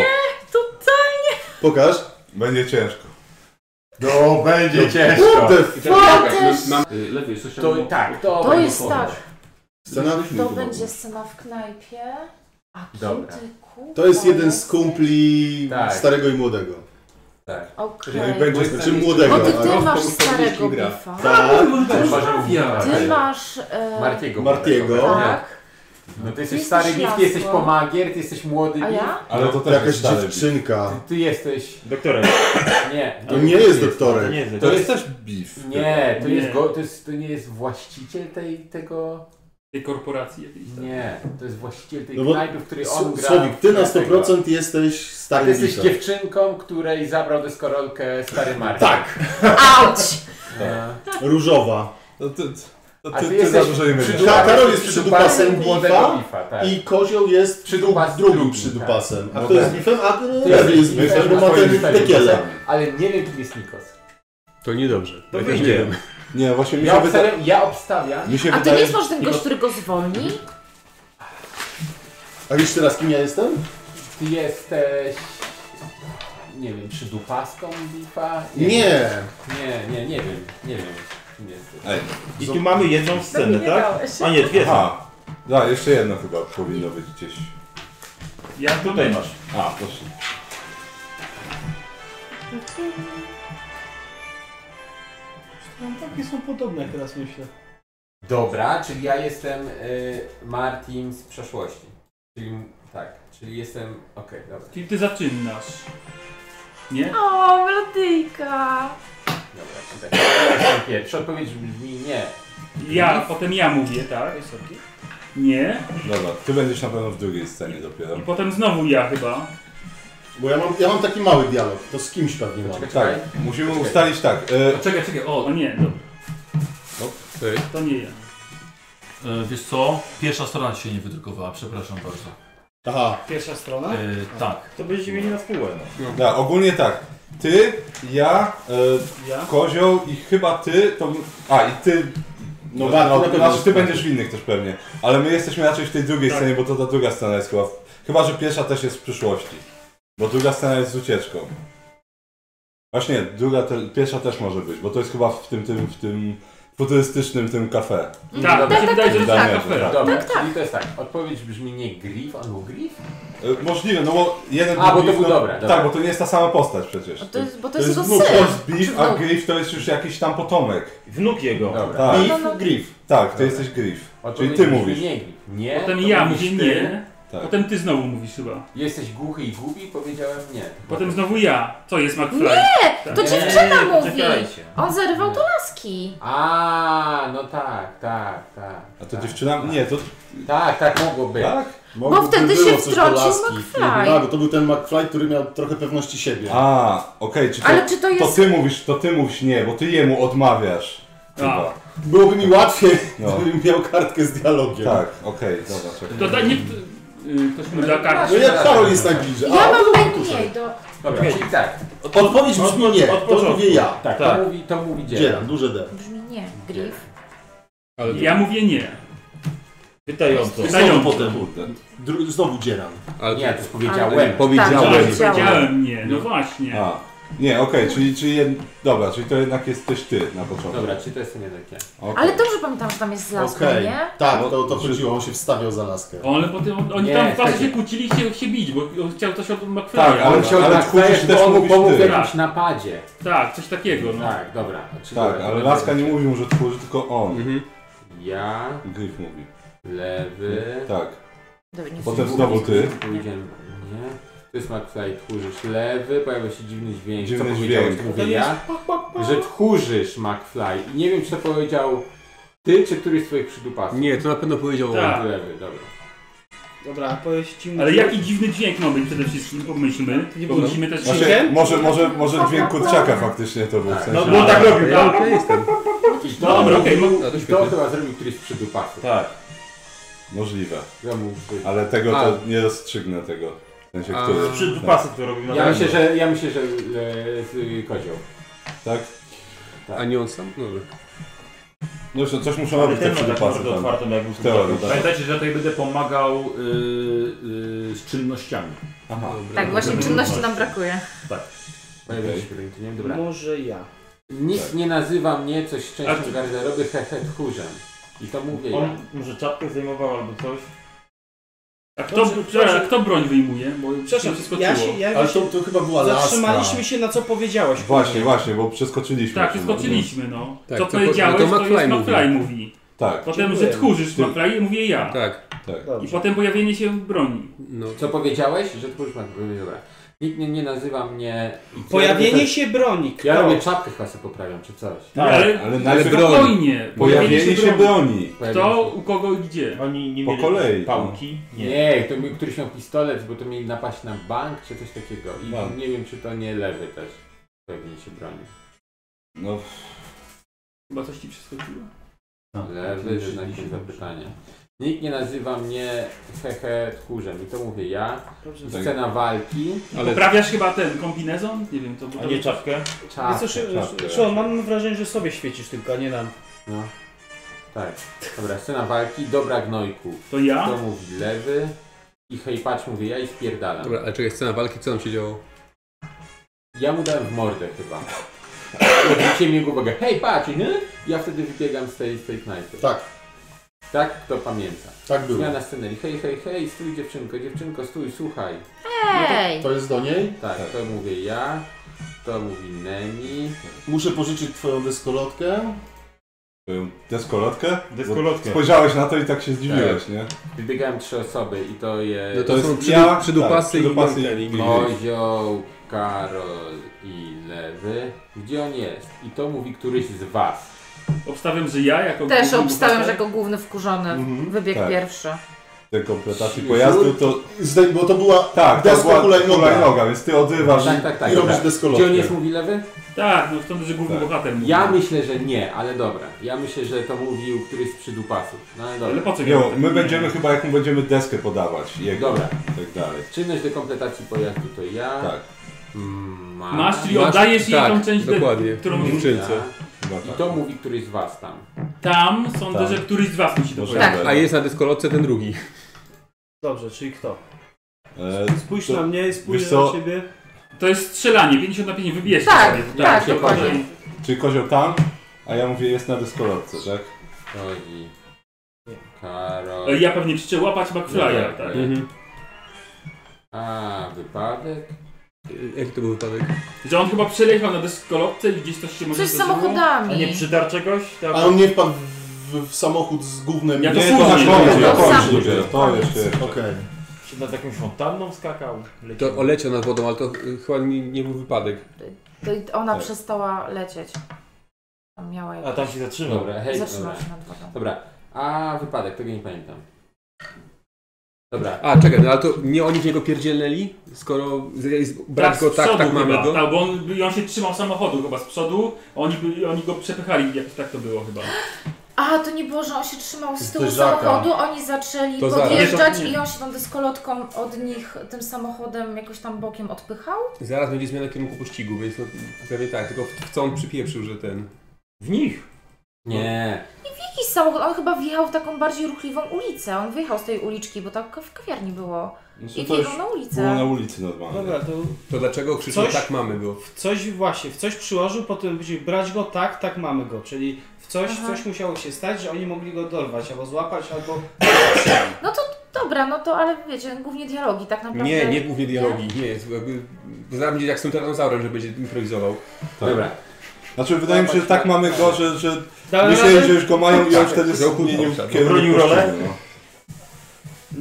Totalnie!
Pokaż.
Będzie ciężko.
No, będzie
ciężko.
What the
To, też,
Y, Lewy jest Tak. coś
To i
albo-
tak,
to jest tak.
Scena
To będzie scena w knajpie. A kim
Dobra.
ty kurwa
To jest jeden z
jesteś?
kumpli
Tak.
starego i młodego.
Okej.
Jeżeli będzie
Znaczy
Bo
młodego.
ty,
ale
ty
on
masz
komuś powinniśmy
starego
gra.
bifa.
Tak.
Ja.
Ty masz... E,
tak. Martiego.
Martiego.
Tak.
No
Jesteś
ty jesteś stary
jasno.
gif, ty jesteś pomagier, ty jesteś młody
A
gif.
ja?
Ale to też
Jakaś
jest dalej.
dziewczynka.
Ty, ty jesteś...
Doktorem.
(coughs) Nie.
To nie jest
To
doktorek.
nie jest.
To
To
jest-
jest.
też beef.
Nie, to,
Nie.
Jest go, to, jest, to nie jest właściciel tej, tego...
Tej korporacji jakiejś tak? tam.
Nie, to jest właściciel tej
No bo
knajpy, w której on
S-
gra.
Słowik, ty na
Dlatego.
100% jesteś
A ty
stary
jesteś
Lisa.
dziewczynką, której zabrał deskorolkę stary Marek.
Tak,
(laughs)
Auć!
E,
różowa.
No to, to,
A
ty,
ty
ty za
jesteś
dużo nie
przydu-
będziesz.
Tak, Karol jest
przydupasem
przydupasem
młodego
bifa
bifa, tak.
i kozioł jest
Przydupas
drugim
drugi,
przydupasem. A
No
kto jest
tak.
bifem? A
Ty
lewy jest
jesteś
bifem, bo
bifem,
ma
twoim
ten
bifem.
tekielę.
Ale nie wiem, kim jest Nikos.
To niedobrze.
To wyjdzie.
Nie, właśnie mi
Ja
się wydaje...
obstawiam, ja obstawiam.
Mi się
A to nie
wydaje...
jest może ten gość, który go zwolni?
A wiesz teraz kim ja jestem?
Ty jesteś... Nie wiem, przydupaską bifa?
Nie.
Nie, nie, nie wiem. Nie wiem, kim jesteś.
Ej,
I tu mamy jedną scenę, tak? A nie, dwie. są.
aha. Da, jeszcze jedno chyba powinno być gdzieś.
Ja
Tutaj masz.
A, proszę.
No, takie są podobne, jak teraz myślę.
Dobra, czyli ja jestem y, Martin z przeszłości. Czyli tak, czyli jestem... Okej, dobra.
Czyli ty zaczynasz. Nie?
O, melodyjka!
Dobra, czyli tak. Ja jestem pierwszy. Odpowiedź brzmi nie.
Ja, potem ja mówię, tak? Nie.
Dobra, ty będziesz na pewno w drugiej scenie dopiero.
I potem znowu ja chyba.
Bo ja mam, ja mam taki mały dialog, to z kimś pewnie mam.
Tak, musimy ustalić tak. E,
Czekaj, czekaj, o,
O nie, dobra.
No,
To nie ja.
E, wiesz co? Pierwsza strona ci się nie wydrukowała, przepraszam bardzo.
Aha.
Pierwsza strona?
E, tak.
To będziecie mieli na spółę. no.
Da, ogólnie tak. Ty, ja, e,
Ja?
Kozioł i chyba ty, to... A, i ty...
No Bartek na pewno
znaczy,
jest
ty
tak.
będziesz winny też pewnie. Ale my jesteśmy raczej w tej drugiej
Tak.
scenie, bo to ta druga scena jest chyba... Chyba, że pierwsza też jest w przyszłości. Bo druga scena jest z ucieczką. Właśnie, druga, te, pierwsza też może być, bo to jest chyba w tym, tym, w tym futurystycznym tym kafe.
Tak, mi się wydaje, że to
Damianie,
jest kafe.
tak.
Dobra, czyli to jest tak. Odpowiedź brzmi nie Griff, albo Griff?
E, Możliwe, no bo jeden
A, bo to
Griff,
był
no,
dobra, dobra.
Tak, bo to nie jest ta sama postać przecież.
to jest- bo to jest jego syn.
Griff,
Znaczy
to jest Beef, a
Czy
Griff to jest już jakiś tam potomek.
Wnuk jego.
Dobra.
Tak,
No, no.
Griff.
tak ty jesteś Griff. Czyli
Odpowiedź
ty
brzmi
mówisz.
Nie Griff. Nie.
Potem
to
ja
mówisz
mówię
ty.
nie,
Tak.
potem ty znowu mówisz chyba.
Jesteś głuchy i głupi, powiedziałem nie.
Potem znowu ja. To jest Tak. McFly.
Nie, to
Nie,
dziewczyna mówi.
Poczekajcie.
On zerwał to laski.
A, no tak, tak, tak.
A to dziewczyna? Nie, to
Tak, tak mogło być.
tak?
Mogłoby
wtedy
było
się
coś do
wtrącił
laski.
McFly.
Tak, bo to był ten McFly, który miał trochę pewności siebie.
A, okej, czy to,
Ale czy to
to
jest-
ty mówisz, to ty mówisz nie, bo ty jemu odmawiasz. Chyba.
Byłoby mi łatwiej,
No.
gdybym miał kartkę z dialogiem.
Tak, okej, dobra, czekaj.
To da, nie, y, ktoś mu da
No
kartę.
jak Karol jest najbliżej.
Ja
A,
mam
to-
najmniej do...
Dobra, czyli tak.
Odpowiedź
No
brzmi nie,
od
to
początku.
mówię ja.
Tak,
Tak.
To mówi, to mówi dzielam.
Dzielam, duże D.
Brzmi nie, Griff.
Ja mówię nie.
Pytająco.
Znowu
Pytają
potem. Dru- Znowu dzielam.
Nie, to już powiedziałem.
Tak,
Powiedziałem.
powiedziałem.
Powiedziałem nie, no właśnie.
A, nie, okej, czyli, czyli jed... dobra, czyli to jednak jesteś ty na początku.
Dobra, czy to jest nie takie?
Okej.
Ale dobrze pamiętam, że tam jest z laską,
Okej.
nie?
Tak, to, to chodziło, on się wstawiał za laskę.
No, Ale potem on- oni
Nie,
tam w klasie
czekaj.
się kłócili i chciał się bić, bo on chciał coś od McFly'a.
Tak,
Ale
ale-
chciał
ale
tak
tchórz
stajesz,
też
bo on mu
mówisz
pomógł w
ty.
jakimś napadzie.
Tak, coś takiego, no.
Tak, dobra. Czyli
Tak,
dobra,
ale
dobra. Mhm.
Laska nie mówił, że tchórzy, tylko on.
Ja,
Griff mówi.
lewy...
Tak,
Dobra, nie
potem znowu ty.
Powiedziałem nie. To jest McFly, tchórzysz lewy, pojawia się dziwny dźwięk.
Dziwny
co powiedziałeś,
dźwięk.
to mówię ja. Że tchórzysz McFly. I nie wiem, czy to powiedział ty, czy któryś z twoich przydupasów.
Nie, to na pewno powiedział
Tak.
Lewy, dobra.
Dobra, pojeździmy.
Ale jaki dziwny dźwięk ma być przede wszystkim, pomyślmy.
Nie
Bo musimy też...
Właśnie, Znaczy, może, może, może dźwięk kurczaka faktycznie to był w sensie.
No,
że-
No tak robił,
Ja
tak?
okej jestem.
Dobra, okej, no.
No to
I to
świetnie.
chyba zrobił któryś z przydupasów.
Tak. Możliwe.
Ja mu-
Ale tego to
A.
nie rozstrzygnę tego. W sensie, tak.
A.
który.
Przy dupasy to robił na
Ja myślę,
pewno.
że, ja myślę, że e, z y, kozioł.
Tak?
A nie on sam? Dobra.
No jeszcze coś muszą
Ale
robić te
ten ma tak
przydupasy
mordę
tam.
otwartą jak był
Teorie,
tak?
Pamiętajcie, że ja tutaj będę pomagał y, y, z czynnościami.
Aha.
Tak, właśnie czynności nam brakuje.
Pojawia się tutaj, nie wiem, dobra.
Może ja.
Nikt
Tak.
nie nazywa mnie coś
A
szczęścią
ty-
garderoby hehe tchórzem. I to mówię ja.
On może czapkę zdejmował albo coś.
A kto,
Dobrze, przepraszam.
a kto broń wyjmuje? Bo
Przepraszam,
wszystko
ja
czuło.
się, ja
Ale
się
to, to chyba była laska.
zatrzymaliśmy się na co powiedziałeś.
Właśnie, właśnie, bo przeskoczyliśmy.
Tak,
przy-
przeskoczyliśmy, no.
Tak,
Co
to po-
powiedziałeś,
to
to,
McFly
jest
mówi.
McFly mówi.
Tak,
Potem, że
Dziękuję.
tchórzysz
Ty-
McFly, mówię ja.
Tak.
tak.
I
Dobrze.
potem pojawienie się broni.
No.
Co powiedziałeś? Że tchórz ma dobra. Nikt nie, nie nazywa mnie... i co ja robię
Pojawienie się broni.
te-
Kto?
Ja robię czapkę chyba sobie poprawiam, czy coś.
Tak,
ale-
Ale
Ale
najpierw
spokojnie.
pojawienie się broni.
Kto, u kogo i gdzie.
Oni nie
Po
mieli
kolei.
pałki?
Nie,
Nie.
to mi, któryś miał pistolet, bo to mieli napaść na bank, czy coś takiego. I
Bank.
nie wiem, czy to nie lewy też. Pewnie się broni.
No,
Chyba coś ci przeskoczyło. No,
No.
tak,
Lewy, że znakiem zapytania. Nikt nie nazywa mnie hehe tchórzem. I to mówię ja.
Dobrze.
Tak.
Scena walki.
Ale
Poprawiasz chyba ten kombinezon? Nie wiem, to
A
było.
nie czapkę?
Czas.
Wiesz co, Szy-
tak, tak.
Szymon, mam wrażenie, że sobie świecisz tylko, a nie nam.
No. Tak. Dobra, scena walki, dobra gnojku.
To ja?
To mówi lewy. I hej patrz mówię ja i spierdalam.
Dobra, ale czekaj, scena walki, co tam się działo?
Ja mu dałem w mordę chyba. Zwróciłem jego uwagę, hej patrz! i hy? Ja wtedy wybiegam z tej, z tej knajpy.
Tak,
Tak kto pamięta.
tak było.
Zmiana scenerii. Hej, hej, hej, stój dziewczynko, dziewczynko, stój, słuchaj.
Ej!
To jest do niej?
Tak, to mówię ja, to mówi Nemi.
Muszę pożyczyć twoją deskolotkę.
y, deskolotkę?
Deskolotkę.
Spojrzałeś na to i tak się zdziwiłeś, nie?
Wybiegałem trzy osoby i to
No
jest
to,
to
są
jest
przydu-
ja,
przydupasy
tak,
i
przydupasy
Duncan
i
i
Griff.
Kozioł, Karol i Lewy. Gdzie on jest? I to mówi któryś z was.
Obstawiam, że ja jako.
Też
główny
obstawiam, że
bohater.
jako
Mhm,
główny wkurzony wybieg
tak.
pierwszy.
te kompletacji pojazdu, to...
Zdaj, bo to była
Tak, to
deska
była
hulajnoga.
hulajnoga, więc ty odrywasz
Tak, tak, tak.
i robisz
tak.
deskolotkę.
Gdzie on jest, mówi lewy?
Tak, no stąd, że główny
Tak.
bohater mówi.
Ja myślę, że nie, ale dobra. Ja myślę, że to mówił któryś z przydupasów. No ale
Ale
dobra.
po co
Nie,
gramy?
my będziemy chyba, jak mu będziemy deskę podawać, jego
Dobra.
i tak dalej.
Czynność do kompletacji pojazdu to ja.
Tak,
Mm, Ma.
Masz, czyli
Masz-
oddajesz jej
tak,
tą część, de-
dokładnie.
którą
Ja.
Dziewczynce.
chyba
I
tak.
to mówi któryś z was tam.
Tam sądzę,
Tam.
że któryś z was musi to powiedzieć.
Możemy.
Tak. A jest na dyskolotce ten drugi.
Dobrze, czyli kto?
E,
Spójrz
To-
na mnie i
wiesz
spójrz
co?
na ciebie.
To jest strzelanie, 50 na 5 wybierzcie
Tak,
sobie.
tak,
się
dokładnie.
powiem.
Czyli kozioł tam, a ja mówię, jest na deskolotce, tak?
Chodzi. Karol.
E, Ja pewnie krzyczę łapać McFly'a, tak.
Mhm.
A, wypadek?
Y, Jaki to był wypadek?
Że on chyba przeleciał na deskolotce i gdzieś coś się może
Coś z
zdarzyło.
A nie
samochodami.
przydarł czegoś? Tak?
A on nie wpadł w, w samochód z gównem.
Ja
i-
to
Nie, to na
później.
koniec,
To
na
sam.
koniec dopiero, to
Tak.
jeszcze.
Okej.
Czy nad jakąś fontanną skakał?
To oleciał nad wodą, ale to y, chyba nie, nie był wypadek.
To i ona
Tak.
przestała lecieć. Tam miała
A
jak...
tam się zatrzymał.
Dobra, hej, dobra.
Zatrzymała się nad wodą.
Dobra. A, wypadek, tego nie pamiętam. Dobra.
A, czekaj, no ale to nie oni w niego pierdzielnęli? Skoro z- z- brać
z
go tak,
przodu
tak mamy
chyba.
go.
Tak, bo on, by- on się trzymał samochodu chyba z przodu, oni, by- oni go przepychali, jakoś tak to było chyba.
A, to nie było, że on się trzymał z tyłu
Zderzaka.
samochodu, oni zaczęli
To zaraz.
podjeżdżać
Nie, to nie.
i on się tą dyskolotką od nich, tym samochodem jakoś tam bokiem odpychał.
Zaraz będzie zmiana kierunku pościgu, więc no, pewnie tak, tylko w, w co on przypieprzył, że ten...
W nich.
Nie.
Jakiś samochód, on chyba wjechał w taką bardziej ruchliwą ulicę, on wyjechał z tej uliczki, bo tak w kawiarni było. I
Znaczy, to już
wjechał No na ulicę.
było na ulicy normalnie.
Dobra, to
To dlaczego krzyczał
Coś-
tak mamy go?
w coś właśnie, w coś przyłożył, potem będzie brać go tak, tak mamy go. Czyli w coś,
Aha.
coś musiało się stać, że oni mogli go dorwać, albo złapać, albo...
Dobra, no to ale wiecie, głównie dialogi tak naprawdę.
Nie, nie głównie dialogi, nie, jest jakby... Zaraz będzie jak z tym tyranozaurem, że będzie improwizował.
Tak.
Dobra.
Znaczy wydaje mi się, że tak mamy go, że, że
Dałem
myśleli,
radę,
że już go mają i on
Tak,
wtedy
że
nie, nie
obszar.
kierunku
Bronił
puścili,
rolę?
no.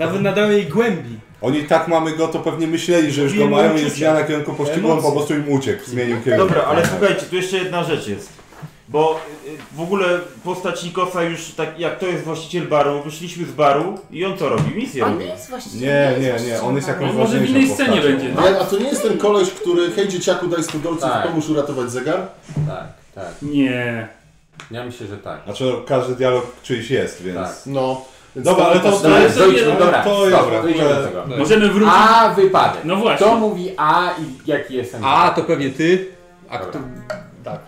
nawet nadałem jej głębi.
Oni tak mamy go, to pewnie myśleli, że już go mają
Mówiłem
i
uczucia.
jest zmiana kierunku pościgu, on po
Emocje.
prostu im uciekł, zmienił kierunek.
Dobra, ale
Tak.
słuchajcie, tu jeszcze jedna rzecz jest. Bo y, y, w ogóle postać Nikosa już tak jak to jest właściciel baru, wyszliśmy z baru i on co robi? Misję
On
robi.
nie jest właściwie.
Nie, nie, nie, on jest jakąś
No może w
ważniejszą
innej scenie
postacią.
będzie.
Ale, a to nie jest ten koleś, który hej dzieciaku daj 100 dolców,
Tak.
pomóż uratować zegar?
Tak, tak.
Nie.
Ja myślę, że tak.
Znaczy no, każdy dialog czyjś jest, więc...
Tak.
No. Więc
Dobra, ale to, to
też-
jest...
to nie-
ale
dobra,
to jest
Dobra,
w ogóle-
wyjdziemy do tego.
Możemy wrócić.
A, wypadek.
No właśnie.
To mówi A i jaki jest M.
A, to pewnie ty, a
Dobra.
kto...
Tak.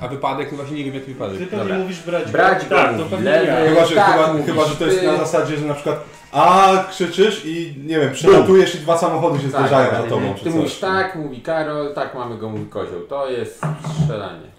A wypadek? No właśnie nie wiem jaki
Ty
wypadek.
pewnie
Dobra.
mówisz brać
Brać go
Tak, to
mówi
pewnie
lewy,
ja.
Chyba, że,
tak
chyba,
mówisz
chyba, że to jest
ty.
na zasadzie, że na przykład a krzyczysz i nie wiem, przelatujesz i dwa samochody się
Tak,
zderzają
tak,
za tobą.
Ty
czy coś. no.
mówisz tak, mówi Karol, tak mamy go, mówi Kozioł. To jest strzelanie. No.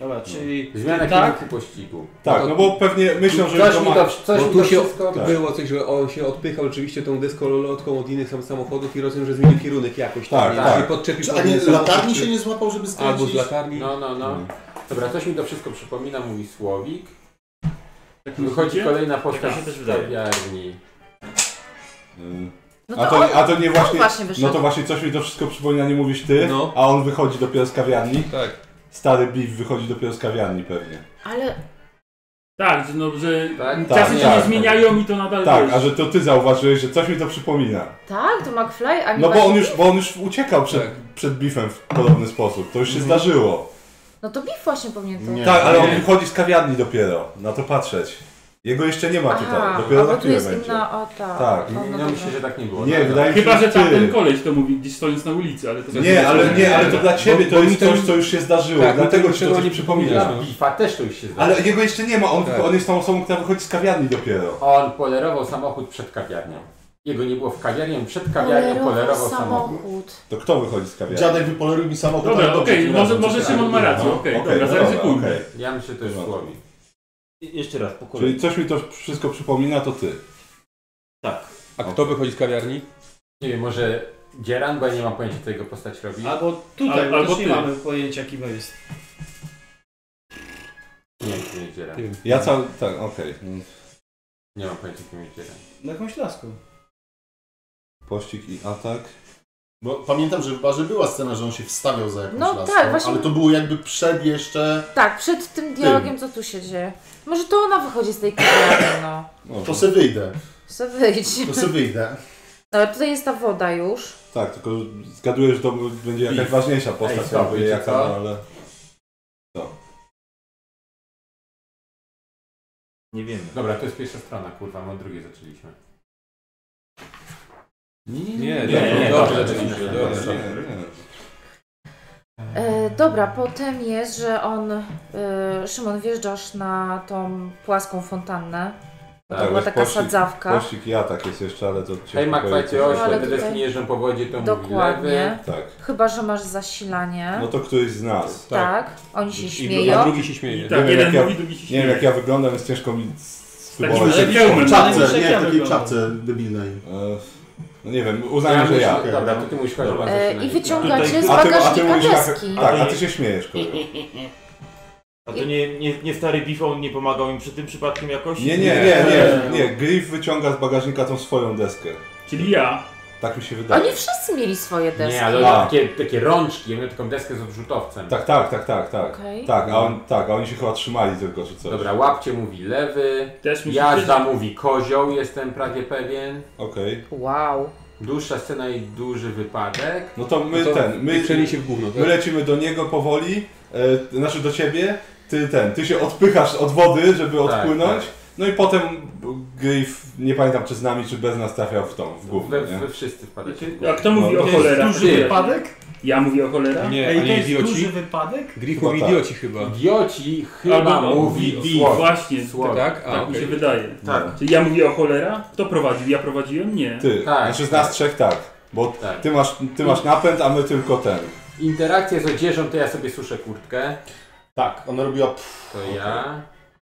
Dobra, czyli
Zmiana
tak,
kierunku pościgu.
Tak, no bo pewnie myślą, że
coś
to
mi
ma...
to, coś
Bo
mi
tu
to
się
wszystko...
Tak.
Było coś, że on się odpychał oczywiście tą deskolotką od innych sam samochodów i rozumiem, że zmienił kierunek jakoś.
Tak,
nie?
tak.
Czyli podczepił
Czy,
pod
a nie,
inny samochód,
latarni
czy-
się nie złapał, żeby
Albo z
skręcić?
latarni.
No, no, no.
Mm.
Dobra, coś mi to wszystko przypomina, mówi Słowik.
Tak
Wychodzi
myślicie?
kolejna postać
się też
z
wydaje.
kawiarni.
Mm.
No
A
to,
to,
on,
a to nie właśnie...
właśnie wyszedł.
No to właśnie coś mi to wszystko przypomina, nie mówisz ty,
No.
a on wychodzi dopiero z kawiarni.
Tak.
Stary Biff wychodzi dopiero z kawiarni pewnie.
Ale
Tak, że, no, że
Tak?
czasy się
tak,
nie
tak.
zmieniają i to nadal
Tak,
jest.
a że to ty zauważyłeś, że coś mi to przypomina.
tak, to McFly, a nie
No bo
właśnie-
on już, bo on już uciekał przed,
Tak.
przed Biffem w podobny sposób, to już się
Mhm.
zdarzyło.
No to Biff właśnie powinien to.
Nie.
Tak, ale on
nie.
wychodzi z kawiarni dopiero, na to patrzeć. Jego jeszcze nie ma
Aha,
tutaj, dopiero
albo
na
tu
chwilę
jest
będzie.
inna, o tak.
Tak,
O,
Nie,
no
Ja myślę,
dobra.
że tak nie było.
Nie,
Dobra.
wydaje mi się,
Chyba, że tamten
ty.
koleś to mówi gdzieś stojąc na ulicy, ale to tak
Nie, ale nie, ale to dla ciebie
Bo-
to
bo mi
jest
ten-
coś, co już się zdarzyło,
Tak, mi
dlatego
ten
ci to coś
czerwony
przypomina.
przypomina.
Bifa też to już się zdarzyło.
Ale jego jeszcze nie ma, on,
Tak.
on jest tą osobą, która wychodzi z kawiarni dopiero.
On polerował samochód przed kawiarnią. Jego nie było w kawiarni, on przed kawiarnią polerował
Polerował
samochód.
samochód.
To kto wychodzi z kawiarni?
Dziadek wypoleruj mi samochód.
Dobra,
ale dobrze,
okej,
tym
może,
razem
może
coś
Szymon ma
tam.
rację,
No,
okej,
okej,
dobra,
dobra,
zaryzykujmy.
okej.
Ja myślę, to już
Dobra.
słowi.
Jeszcze raz, po kolei.
Czyli coś mi to wszystko przypomina, to ty.
Tak.
A kto wychodzi z kawiarni?
Nie wiem, może Dzieran, bo ja nie mam pojęcia, co jego postać robi.
albo tutaj,
Al-
bo
albo
też nie
ty.
mamy pojęcia kim on jest.
Nie wiem, kim jest Dzieran.
Nie wiem.
Ja cały, tak, okej. Mm,
Nie
No
mam pojęcia, kim jest Dzieran.
Na jakąś laską.
Pościg i atak.
Bo pamiętam, że w barze była scena, że on się wstawiał za jakąś
No
laską,
tak, właśnie-
ale to było jakby przed jeszcze...
Tak, przed tym dialogiem, co tu się dzieje. Może to ona wychodzi z tej kawiarni, no.
To se wyjdę.
Se wyjdź.
To se wyjdę.
No ale tutaj jest ta woda już.
Tak, tylko zgaduję, że to będzie jakaś
Beef.
ważniejsza
Ej,
postać,
stop,
albo
wiecie
jaka,
co?
ale...
Nie wiemy.
Dobra, to jest pierwsza strona, kurwa, my od drugiej zaczęliśmy.
Nie,
nie,
nie,
nie,
nie,
dobrze
nie,
zaczęliśmy,
nie,
dobrze.
nie, nie, nie.
E, dobra, potem jest, że on, e, Szymon, wjeżdżasz na tą płaską fontannę.
Tak,
to była
jest
taka
pościg-
sadzawka. No,
Pościg i atak jest jeszcze, ale to... ciężko
Hej,
powiedzieć.
Makwacie, ośle,
Ale
te
tutaj-
deski jeżdżą po wodzie, to mówi lewy.
Dokładnie.
Tak.
Chyba, że masz zasilanie.
No to któryś z nas.
tak. Oni się
I-
śmieją.
A drugi się śmieje.
I
nie,
tak,
wiem,
jeden
jak ja,
mówi, drugi się
nie wiem jak
śmieje. Tak,
ja wyglądam, więc ciężko mi
Takim
spróbować. Tak,
żywiołem,
W
no.
czapce, nie,
Jak
w takiej
wygląda?
czapce debilnej.
No nie wiem, uznałem, że ja.
myślę- Dobra, to ty mówisz
Dobra.
chorobę.
E, I wyciągacie
Tutaj-
z
A ty, a ty
bagażnika
mówisz,
deski.
tak, a ty się śmiejesz, kolego.
A to nie, nie, nie stary Bifo, on nie pomagał im przy tym przypadkiem jakoś?
Nie, nie, nie, nie, nie. Griff wyciąga z bagażnika tą swoją deskę.
Czyli ja.
Tak mi się wydaje.
Oni wszyscy mieli swoje deski.
Nie, ale
A.
takie, takie rączki, ja miałem taką deskę z odrzutowcem.
Tak, tak, tak, tak, tak.
Okej.
Tak, a on, tak, a oni się chyba trzymali tylko, czy coś.
Dobra, łapcie mówi lewy,
Też mi się
jazda
śmieje.
mówi kozioł, jestem prawie pewien.
Okej.
Wow.
Dłuższa scena i duży wypadek.
No to my
To
ten, my,
I przeniesie w gówno,
my
tak?
lecimy do niego powoli, e, znaczy do ciebie, ty ten, ty się odpychasz od wody, żeby
Tak,
odpłynąć.
tak.
No i potem Griff, nie pamiętam czy z nami, czy bez nas trafiał w tą, w gówno,
We,
nie?
we wszyscy wpadacie.
A kto mówi
No,
o
to
cholera?
duży
Ty.
wypadek?
Ja mówię o cholera?
Nie,
Ej,
a
to
nie
jest
idioci.
duży wypadek?
Griff
Chyba
mówi
tak.
idioci chyba.
Idioci chyba
Albo-
mówi
o,
słodki.
właśnie,
Słodki.
Tak? A,
Tak mi się
okej.
wydaje.
Tak.
Czyli ja mówię o cholera? Kto prowadził? Ja prowadziłem? Nie.
Ty,
Tak,
znaczy z
tak.
nas trzech tak, bo
Tak.
ty masz, ty masz napęd, a my tylko ten.
Interakcje z odzieżą, to ja sobie suszę kurtkę.
Tak, ona robiła... Pff,
To ja.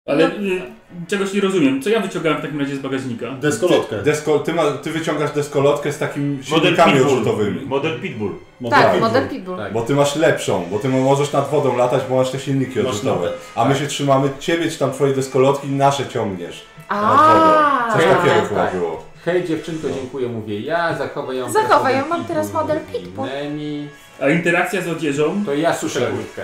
Ale
No.
y, czegoś nie rozumiem. Co ja wyciągałem w takim razie z bagażnika?
deskolotkę.
Desko, ty, ma, ty wyciągasz deskolotkę z takimi
Model
silnikami
Pitbull.
odrzutowymi.
Model Pitbull.
Tak, model people.
Tak.
Bo ty masz lepszą, bo ty możesz nad wodą latać, bo masz te silniki
Masz
odrzutowe.
napęd,
A my się trzymamy ciebie, czy tam twoje deskolotki, nasze ciągniesz.
A,
Coś
Tak.
takiego chyba
Tak.
było. No.
Hej dziewczynko, dziękuję, mówię ja. Zachowaj ją.
Zachowaj
teraz
ją,
obok
mam teraz
Pitbull,
model
mówi
Pitbull.
Nemi.
A interakcja z odzieżą?
To ja suszę kurtkę.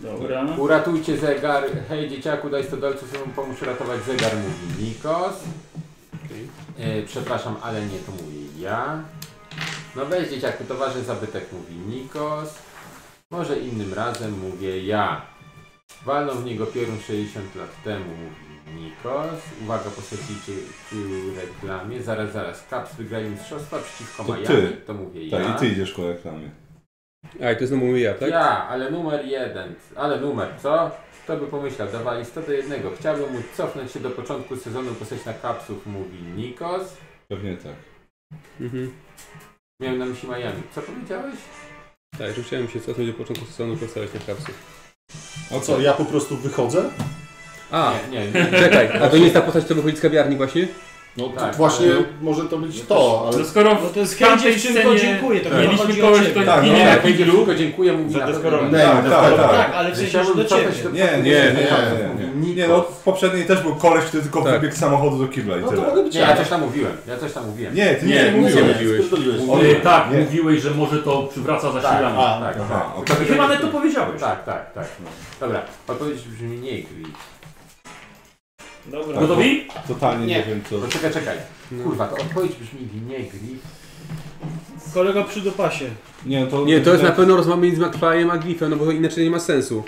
Dobra.
Uratujcie zegar. Hej dzieciaku, daj 100 dolców, ja mu pomóż uratować zegar, mówi Nikos. E, przepraszam, ale nie, to mówi ja. No weź dzieciaku, towarzysz zabytek, mówi Nikos. Może innym razem mówię ja. Walną w niego piorun 60 lat temu, mówi Nikos. Uwaga, poświęcicie reklamie. Zaraz, zaraz, Caps wygrają mistrzostwa przeciwko
To
Miami.
ty.
To mówię ja.
Tak, i ty idziesz ku reklamie.
A, i to znowu mówię ja, tak?
Ja, ale numer jeden. Ale numer, co? Kto by pomyślał, dawali 100 do jednego. Chciałbym móc cofnąć się do początku sezonu postać na kapsów, mówi Nikos.
Pewnie tak.
Mhm.
Miałem na myśli Miami. Co powiedziałeś?
Tak, że chciałem się cofnąć do początku sezonu postawić na kapsy.
A co, ja po prostu wychodzę?
A,
Nie, nie, nie.
czekaj, a to nie
(laughs)
jest ta postać, co wychodzi z kawiarni właśnie?
No to
Tak,
właśnie
ale-
może to być to, ale...
No skoro
No
w
to jest
tamtej
chęć dziewczynko,
scenie
dziękuję, to chyba
mieliśmy
chodzi o
kogoś,
ciebie.
kto
Tak,
ginie
no.
no,
Jak
jakiś
będzie
ruch,
długo, dziękuję, mówi
Za
na
deskorolę.
pewno.
Nie,
Tak,
no
tak,
tak.
tak.
Tak, ale w sensie, że
Chciałbym
do
cofnąć
ciebie.
do Tak.
Nie, nie,
początku
nie,
sezonu
nie.
kapsów, mówi
nie.
Nikos.
Nie, no w poprzedniej też był koleś, który tylko
Tak.
wybiegł z samochodu do kibla i
No to mogę
tyle.
być
Nie,
ja.
ja coś tam mówiłem. Ja coś tam mówiłem.
Nie, ty
Nie,
nie,
nie
mówiłeś.
mówiłeś.
spierdoliłeś.
Yy, tak,
Nie.
mówiłeś, że może to przywraca zasilanie.
A,
Tak,
Aha,
tak.
okej.
Tylko
Chyba
będzie-
nawet to powiedziałeś.
Tak, tak, tak. Dobra, odpowiedź brzmi nie, Gri.
Dobra.
Gotowi?
Totalnie nie
Nie.
wiem co.
No czekaj, czekaj. Kurwa, to odpowiedź brzmi nie, Gri.
Kolega przy dopasie.
Nie, no to,
Nie, to jest na pewno rozmowa między McFlyem a Griffem, no bo to inaczej nie ma sensu.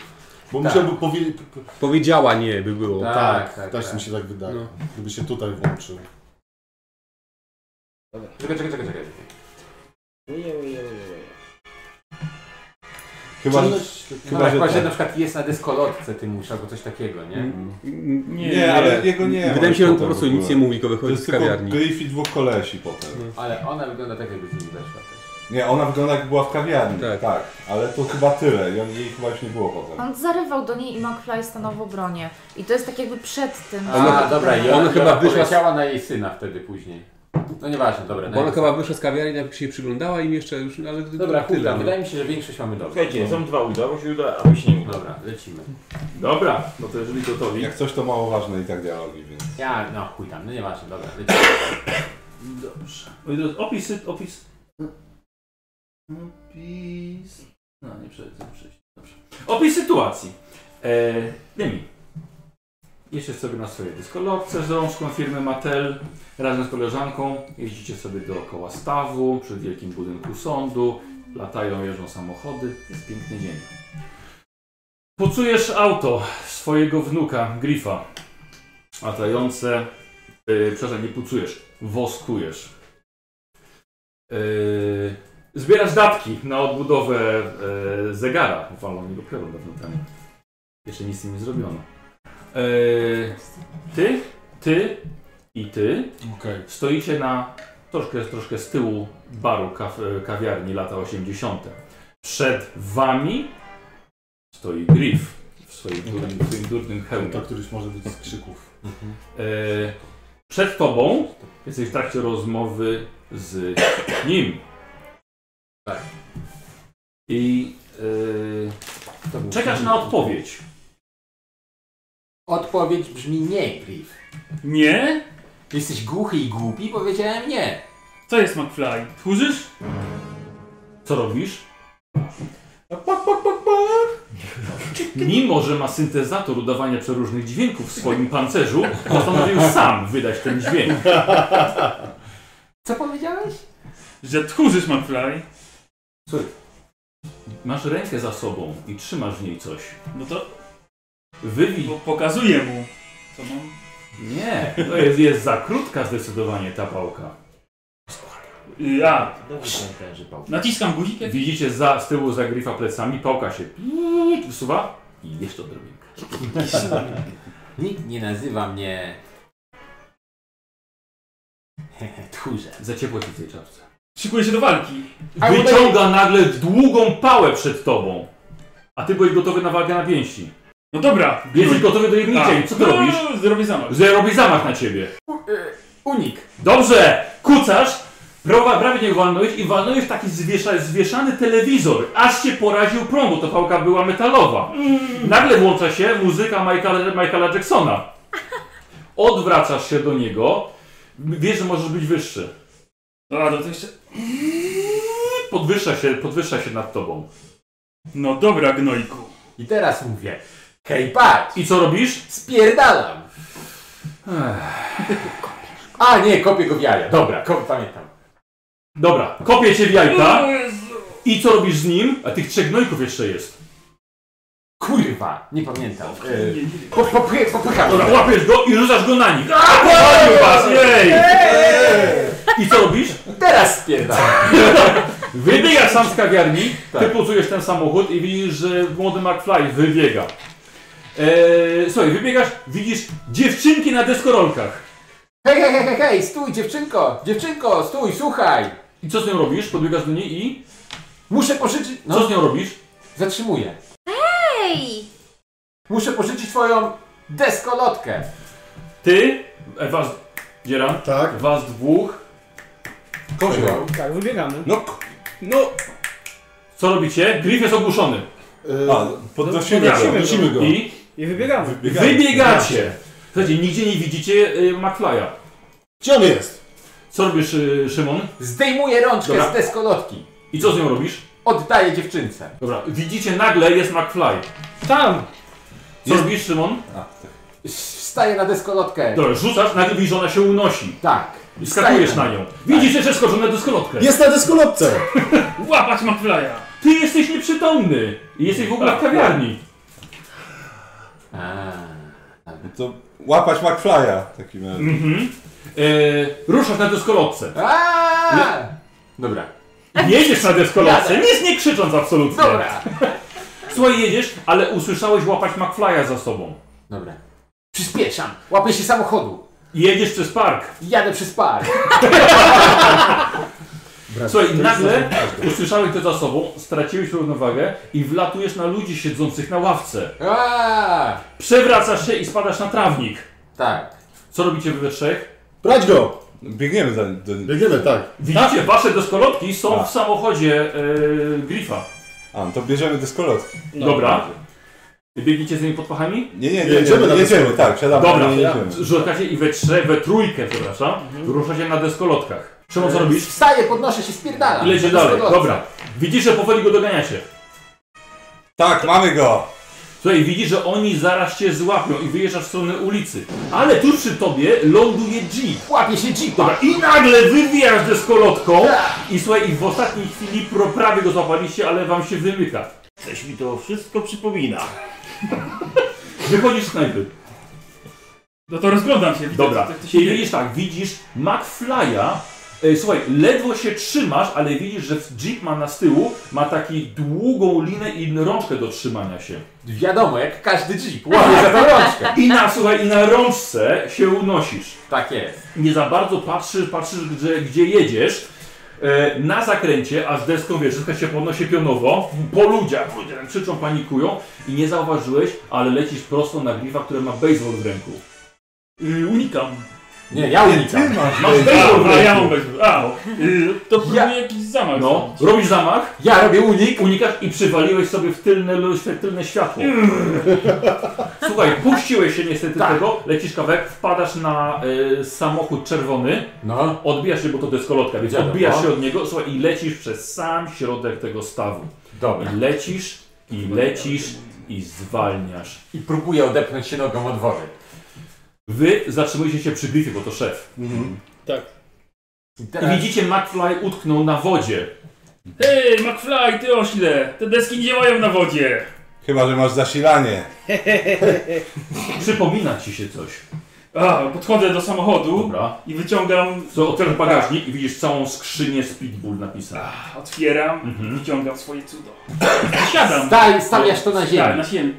Bo
Tak.
musiałby powiedzieć...
Powiedziała nie by było.
Tak, tak, też mi się tak wydaje.
No.
Gdyby się tutaj włączył.
Czekaj, czekaj, czekaj, czekaj.
Ojej, ojej, ojej.
Chyba, że...
No,
Chyba,
chyba,
że
chyba, że
tak.
na przykład jest na dyskolotce ty musisz albo coś takiego, nie?
Mm. Nie, ale jego nie ma
Mm. Wydaje mi się, że on po
potem w
prostu
ogóle.
nic nie mówi, tylko
To
wychodzi
jest
z
tylko
kawiarni. Mm.
Griff i dwóch kolesi potem.
Ale ona wygląda tak, jakby z nim weszła też.
Nie, ona wygląda jak była w kawiarni. Tak,
Tak.
ale to chyba tyle. I on- Jej chyba już nie było potem.
On zarywał do niej i McFly stanął w obronie. I to jest tak jakby przed tym.
A,
Ona-
dobra, i
ona
ona
chyba
chyba
wyszła z-
poleciała na jej syna wtedy później. No nieważne, dobra.
Bo ona
najpierw-
chyba wyszła z kawiarni, tak się przyglądała im jeszcze, już, ale
Dobra,
tyle.
chuda,
no.
wydaje mi się, że większość mamy dobrze.
Słuchajcie, są dwa, udało się, uda, a mi się nie uda.
Dobra, lecimy.
Dobra, no to jeżeli gotowi.
Jak coś to mało ważne i tak dialogi, więc...
Ja, no chuj tam, no nieważne, dobra, lecimy.
Dobrze. Moi drodzy, opisy, opis
Opis... No, nie przejdę, przejść. Dobrze.
Opis sytuacji. E, Dymi. Jesteś sobie na swojej dyskolotce z rączką firmy Mattel. Razem z koleżanką jeździcie sobie dookoła stawu, przy wielkim budynku sądu. Latają, jeżdżą samochody. Jest piękny dzień. Pocujesz auto swojego wnuka, Grifa. Latające... Yy, przepraszam, nie pucujesz. Woskujesz. Yy, zbierasz datki na odbudowę yy, zegara. Walą mi go krewą dawno temu. Jeszcze nic z nim nie zrobiono. Yy, ty, ty i ty stoicie na troszkę, troszkę z tyłu baru kaf, kawiarni lata 80. Przed wami stoi Griff w swoim durnym, w swoim durnym hełmie. Mhm. To któryś może być z krzyków. E, przed tobą jesteś w trakcie rozmowy z nim. Tak. I yy, czekasz na odpowiedź.
Odpowiedź brzmi nie, Griff.
Nie?
Jesteś głuchy i głupi? Powiedziałem nie.
Co jest McFly? Tchórzysz?
Co robisz? Mimo, że ma syntezator udawania przeróżnych dźwięków w swoim pancerzu, postanowił sam wydać ten dźwięk.
Co powiedziałeś?
Że tchórzysz McFly?
Słuchaj, masz rękę za sobą i trzymasz w niej coś.
No to
Wywi...
po- pokazuję mu. Co mam?
Nie, to jest, jest za krótka zdecydowanie ta pałka.
Y, A,
Naciskam guzik. Widzicie za, z tyłu za Grifa plecami, pałka się piiit wysuwa i jeszcze odrobinkę.
Nikt nie nazywa mnie... (laughs) Tchórze.
Za ciepło ci w tej czapce.
Szykuję się do walki.
Wyciąga nagle długą pałę przed tobą. A ty byłeś gotowy na walkę na pięści.
No dobra.
Jesteś gotowy do jedniczej.
A.
Co ty
No,
robisz?
Zrobię zamach.
Zrobi zamach na ciebie.
Unik.
Dobrze! Kucasz! Prawa, prawie nie walnąłeś i walnąłeś w taki zwiesza, zwieszany telewizor, aż cię poraził prąd, bo ta pałka była metalowa. Nagle włącza się muzyka Michaela, Michaela Jacksona. Odwracasz się do niego. Wiesz, że możesz być wyższy.
Dobra, to jeszcze...
Podwyższa się, podwyższa się nad tobą.
No dobra, gnojku.
I teraz mówię. Hej, patrz!
I co robisz?
Spierdalam! A nie, kopię go w jaja. Dobra, ko- pamiętam.
Dobra, kopię cię w jajka.
O Jezu.
I co robisz z nim? A tych trzech gnojków jeszcze jest.
Kurwa, nie pamiętam. E, po, po, popchy- popycham.
Dobra, łapiesz go i rzucasz go na nich. A, powalił was, jej! I co robisz?
Eee. Teraz
(laughs)
spierdalam.
Wybiegasz sam z kawiarni,
Tak.
ty pocujesz ten samochód i widzisz, że młody McFly wybiega. Eee, słuchaj, wybiegasz, widzisz dziewczynki na deskorolkach.
Hej, hej, hej, hej, hej, stój dziewczynko! Dziewczynko, stój, słuchaj!
I co z nią robisz? Podbiegasz do niej i...
Muszę pożyczyć... No,
Co z nią robisz?
Zatrzymuję.
Ej!
Muszę pożyczyć twoją deskolotkę.
Ty, e, was... Dzieram?
Tak.
Was dwóch.
Kozioł.
Tak, wybiegamy.
No,
No... Co robicie? Griff jest ogłuszony.
A, podnosimy go.
Podnosimy go.
I
I wybiegamy.
wybiegacie. Słuchajcie, nigdzie nie widzicie y, McFly'a.
Gdzie on jest?
Co robisz, y, Szymon?
Zdejmuję rączkę
Dobra.
z deskolotki.
I co z nią robisz?
Oddaję dziewczynce.
Dobra, widzicie nagle jest McFly.
Tam!
Co robisz, Szymon?
Wstaję na deskolotkę.
Dobra, rzucasz, nagle widzisz, że ona się unosi.
Tak.
I skakujesz
Wstaję Tak.
na nią. Widzicie, że skoczone do skolotkę.
Jest na deskolotce!
Łapać McFly'a.
Ty jesteś nieprzytomny. I jesteś w ogóle w kawiarni.
A,
No to łapać McFly'a w takim razie.
Mhm. E, ruszasz na deskolotce.
A! Dobra.
Jedziesz na deskolotce,
Jadę.
nic nie krzycząc absolutnie.
Dobra.
Słuchaj, jedziesz, ale usłyszałeś łapać McFly'a za sobą.
Dobra. Przyspieszam. Łapię się samochodu.
Jedziesz przez park.
Jadę przez park.
Słuchaj, nagle usłyszałeś to za sobą, straciłeś równowagę i wlatujesz na ludzi siedzących na ławce.
A!
Przewracasz się i spadasz na trawnik.
Tak.
Co robicie wy we trzech?
Brać go!
Biegniemy za do nim.
Biegniemy, tak.
Widzicie, wasze deskolotki są
Tak.
w samochodzie e, Grifa.
A, no to bierzemy deskolotki.
No. Dobra. Biegiecie z tymi podpachami?
Nie, nie, nie,
Jedziemy
jedziemy,
na
nie, jedziemy
deskolotkę.
tak, siadamy.
Dobra,
nie, nie, jedziemy.
Mhm.
rzucacie i we trzech, we trójkę, przepraszam, ruszacie na deskolotkach. Szymon,
E,
co robisz?
Wstaję, podnoszę się, spierdalam.
I lecie dalej. Dobra. Widzisz, że powoli go doganiacie.
Tak, mamy go!
Słuchaj, widzisz, że oni zaraz cię złapią i wyjeżdżasz w stronę ulicy. Ale tu przy tobie ląduje Jeep.
Łapie się Tak. jeep.
Dobra, i nagle wywijasz deskolotką i słuchaj, i w ostatniej chwili pro, prawie go złapaliście, ale wam się wymyka.
Coś mi to wszystko przypomina.
Wychodzisz z knajpy.
No to rozglądam się, widzę,
Dobra,
co- co- co się
i
dzieje.
widzisz tak, widzisz McFly'a, e, słuchaj, ledwo się trzymasz, ale widzisz, że Jeep ma na z tyłu, ma taki długą linę i rączkę do trzymania się.
Wiadomo, jak każdy jeep. (laughs) Łapie za tą rączkę.
I na, słuchaj, i na rączce się unosisz.
Tak jest.
Nie za bardzo patrzysz, patrzysz gdzie, gdzie jedziesz. E, Na zakręcie, a z deską wiesz, deska się podnosi pionowo, po ludziach, ludzie tam krzyczą, panikują i nie zauważyłeś, ale lecisz prosto na gliwa, które ma baseball w ręku.
Y, unikam.
Nie, ja unikam.
Masz baseball w
A, a ja mam
ręku.
bez... A, y, to próbuję
Ja-
jakiś zamach
No,
zrobić.
robisz zamach,
Ja robię unik.
unikasz i przywaliłeś sobie w tylne, lu- w tylne światło.
Mm.
Słuchaj, puściłeś się niestety
Tak.
tego, lecisz kawałek, wpadasz na y, samochód czerwony,
No.
odbijasz się, bo to deskolotka, więc
Wiadomo.
odbijasz się od niego słuchaj, i lecisz przez sam środek tego stawu.
Dobra.
I lecisz, i lecisz, i zwalniasz.
I próbuję odepchnąć się nogą od wody.
Wy zatrzymujecie się przy grifie, bo to szef.
I
I widzicie, McFly utknął na wodzie.
Hej, McFly, ty ośle! Te deski nie działają na wodzie!
Chyba, że masz zasilanie.
(laughs) Przypomina ci się coś.
A, podchodzę do samochodu
Dobra.
i wyciągam... Tak.
Co, otwierasz bagażnik i widzisz całą skrzynię z Pitbull napisaną.
A, otwieram,
Mhm.
wyciągam swoje cudo. (coughs) Siadam.
Daj, stawiasz to na
Tak,
ziemi.
na ziemi.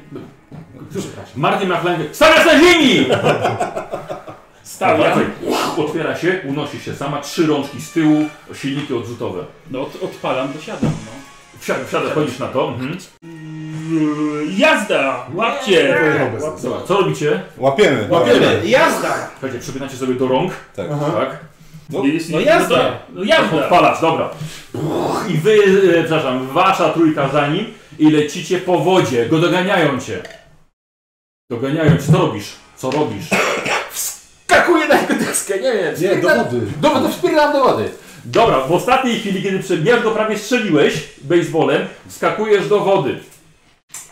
Martin McFly... Stawiasz na ziemi!
Stawiam.
Otwiera się, unosi się sama, trzy rączki z tyłu, silniki odrzutowe.
No, od, odpalam, to siadam, no.
Wsiadasz, wsiadasz chodzisz na to. Mhm.
Yy, (laughs) Jazda! Łapcie!
Pojechał bez nas.
Dobra, co robicie?
Łapiemy.
Łapiemy.
Tak.
Jazda!
Słuchajcie, przypinacie sobie do rąk,
Tak.
tak?
No,
Jeśli-
no jazda.
to- No jazda!
Odpalasz, dobra. Puch, I wy, e, przepraszam, wasza trójka za nim i lecicie po wodzie, go doganiają cię. Doganiają cię, co robisz? Co robisz?
Skakuję na jego deskę, nie wiem.
Nie, do wody.
Do wody, wspieram do wody.
Dobra, w ostatniej chwili, kiedy przebijasz go prawie strzeliłeś baseballem, skakujesz do wody.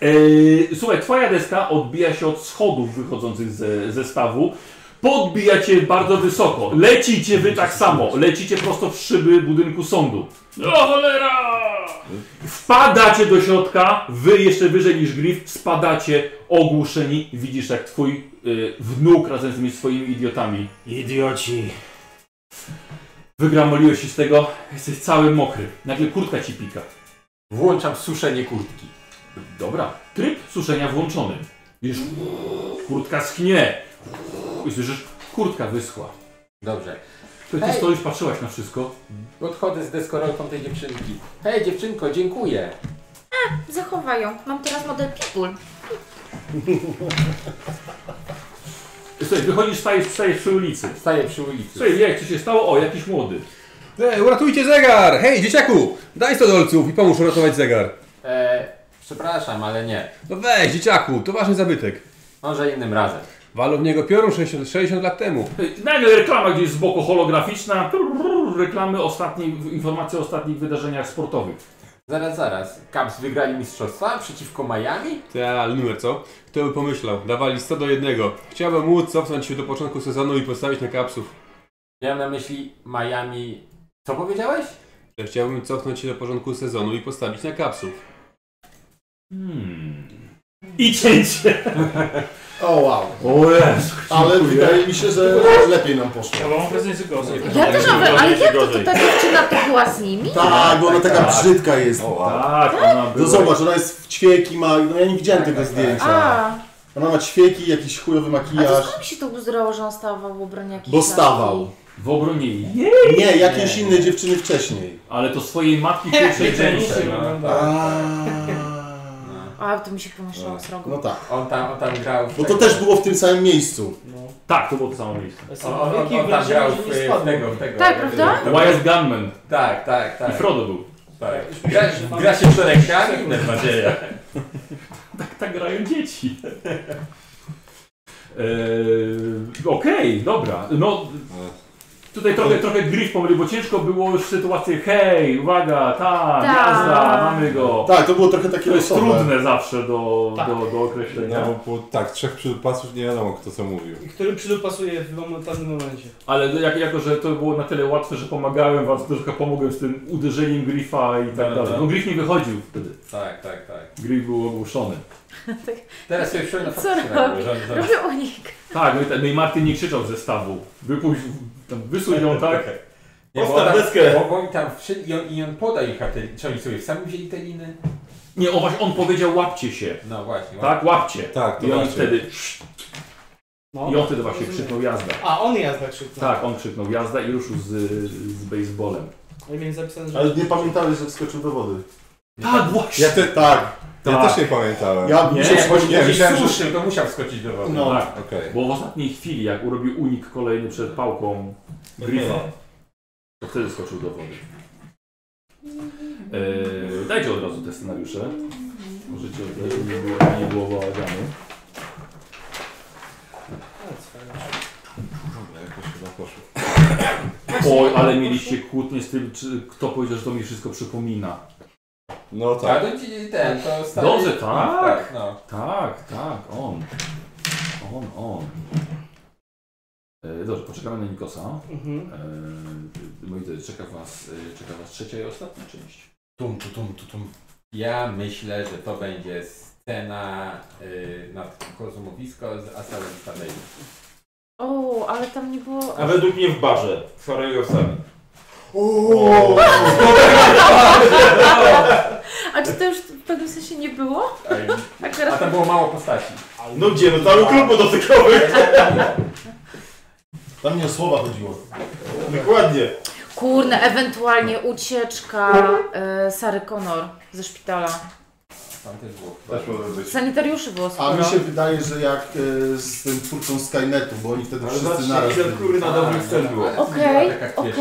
Eee, słuchaj, twoja deska odbija się od schodów wychodzących ze, ze stawu. Podbija cię bardzo wysoko. Lecicie wy tak samo. Lecicie prosto w szyby budynku sądu.
O cholera!
Wpadacie do środka, wy jeszcze wyżej niż Griff, spadacie ogłuszeni. Widzisz jak twój y, wnuk razem z tymi swoimi idiotami
Idioci.
wygramoliłeś się z tego. Jesteś cały mokry. Nagle kurtka ci pika.
Włączam suszenie kurtki.
Dobra, tryb suszenia włączony. Widzisz, kurtka schnie. I słyszysz, kurtka wyschła.
Dobrze.
Ty, ty
Hej.
stoisz, patrzyłaś na wszystko.
Podchodzę z deskorolką tej dziewczynki. Hej dziewczynko, dziękuję.
Zachowaj ją. Mam teraz model Pitbull.
Słuchaj, wychodzisz, stajesz, stajesz przy ulicy.
Staję przy ulicy.
Słuchaj, jak co się stało? O, jakiś młody.
Ej, uratujcie zegar! Hej, dzieciaku! Daj 100 dolców i pomóż uratować zegar.
E, przepraszam, ale nie.
No weź, dzieciaku, to ważny zabytek.
Może innym razem.
Walą w niego piorun 60, 60 lat temu.
Ej, Nagle reklama gdzieś z boku holograficzna. Trrr, Reklamy ostatniej, informacje o ostatnich wydarzeniach sportowych.
Zaraz, zaraz. Cubs wygrali mistrzostwa przeciwko Miami?
Ta, ale numer co? Kto by pomyślał? Dawali 100 do jednego. Chciałbym móc cofnąć się do początku sezonu i postawić na kapsów.
Miałem na myśli Miami... Co powiedziałeś?
Chciałbym cofnąć się do początku sezonu i postawić na kapsów.
Hmm. I cięcie.
O wow.
O jest.
Ale wydaje mi się, że lepiej nam poszło.
Ja mam prezent z gorzej.
Ja też mam, ale
gorzej,
jak to,
gorzej.
ta dziewczyna to była z nimi?
Tak, bo ona taka brzydka jest.
O, wow.
Tak, ona
No
była.
zobacz, ona jest w ćwieki, ma... No ja nie widziałem
Tak,
tego zdjęcia.
A,
Ona ma ćwieki, jakiś chujowy
a to
makijaż.
skąd mi się to uzdrało, że on stawał w obronie jakiejś
Bo
laski?
stawał.
W obronie jej,
Nie, jakiejś innej dziewczyny wcześniej.
ale to swojej matki pierwszej części. no.
A, to mi się pomyślało z rogu.
No tak.
On tam, on tam grał w...
Bo
No.
to też było w tym samym miejscu.
Tak, to było to samo miejsce.
Jestem
On, on,
w
on,
wielkim
on tam grał
No,
wrażeniu,
w,
że
w
nie
tego, w
spadł.
tego.
Tak, prawda?
Wyatt Gunman
Tak, tak,
i
tak.
Frodo był.
tak. Gra, gra się przed rękami?
Nadzieja.
(laughs) Tak grają dzieci. (laughs) E, Eee, Okej, dobra. No, Tutaj
E.
trochę, trochę gryź pomylił, bo ciężko było już sytuację hej, uwaga, ta,
Tak.
jazda, mamy go.
Tak, to było trochę takie
To jest
losowe.
trudne zawsze do,
Tak.
do, do określenia.
No bo tak, trzech przydupasów nie wiadomo kto co mówił.
I który przydopasuje w momentalnym momencie.
Ale no, jak, jako, że to było na tyle łatwe, że pomagałem wam, to trochę pomogłem z tym uderzeniem Griffa i tak
No,
dalej.
tak.
No Griff nie wychodził wtedy.
Tak, tak, tak.
Griff był ogłuszony.
Teraz sobie przypomnę
Co
faktycznie
robi?
nagle, że- że-
Robię unik.
Tak, no i, ta- no i Martin nie krzyczał ze stawu. Wypuść, tam wysuń ją tak.
Nie, bo
Postaw
ona-
deskę.
Bo, bo oni tam wszyscy, i on, i on poda ich, a te, czy oni sobie sami wzięli te liny?
Nie, on, właśnie- on powiedział łapcie się.
No właśnie.
Tak, łapcie.
Tak, to
I on
właśnie.
wtedy,
No.
i on wtedy właśnie
Rozumiem.
krzyknął jazda.
A, on jazda krzyknął.
Tak, on krzyknął jazda i ruszył z, z baseballem.
Ja No miałem zapisane, że...
Ale nie pamiętałeś, że wskoczył do wody.
Tak, właśnie.
Ja te, tak, ja
Tak.
też nie pamiętałem.
Ja
Nie,
nie,
Nie, bo
Nie,
nie,
myślałem, że-
suszył, to musiał skoczyć do wody.
No.
Tak,
Okej.
bo w ostatniej chwili, jak urobił unik kolejny przed pałką Griffa, to wtedy skoczył do wody. Eee, dajcie od razu te scenariusze. Możecie oddać, żeby nie było, nie było bałaganu.
Dobra, jakoś chyba poszło.
Oj, ale mieliście kłótnie z tym, czy, kto powiedział, że to mi wszystko przypomina.
No
A
tak.
to ci ten, to stary...
Dobrze, tak.
No, tak, no.
Tak, tak, on. On, on. Eee, dobrze, poczekamy na Nikosa.
Mhm.
Eee, moi drodzy, czeka was, e, czeka was trzecia i ostatnia część.
Tum, tu, tum, tu, tum. Ja myślę, że to będzie scena y, na kozumowisko z Asalem Stanley.
O, ale tam nie było...
A według mnie w barze z Faragosami.
A czy to już w pewnym sensie nie było? Tak
A
teraz...
tam było mało postaci.
No gdzie, no cały klub motocyklowy.
Tam nie o słowa chodziło.
Dokładnie.
Kurne, ewentualnie ucieczka e, Sary Connor ze szpitala.
Tam też było.
Też może być.
Sanitariuszy było
A
sporo.
mi się wydaje, że jak e, z tym twórcą Skynetu, bo oni wtedy
Ale
wszyscy
zobaczcie,
naraz
ile
byli.
kurna dobrych scen było.
Okej,
okej.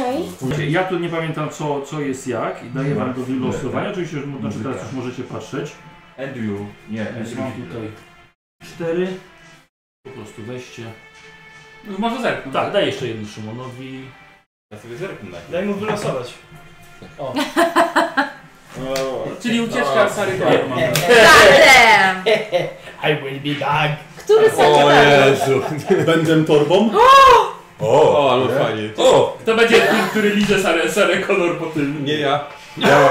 okej.
Ja tu nie pamiętam co, co jest jak i daję wam do wylosowania. Oczywiście już, znaczy teraz już możecie patrzeć.
Andrew. Nie,
Więc
Andrew.
mam tutaj cztery. Po prostu weźcie.
No może zerknąć.
Tak, daję jeszcze jedno Szymonowi.
Ja sobie zerknę. na chwilę.
Daj mu wylosować.
Czyli ucieczka Sary Connor. mam.
(laughs)
Zatem!
Tak. (laughs) I will be back.
Który
O
sanitariusz?
Jezu.
Będę torbą.
O,
O, ale
nie?
fajnie.
O,
To będzie ten, który liże Sarę, Sarę Connor po tym.
Nie ja.
ja,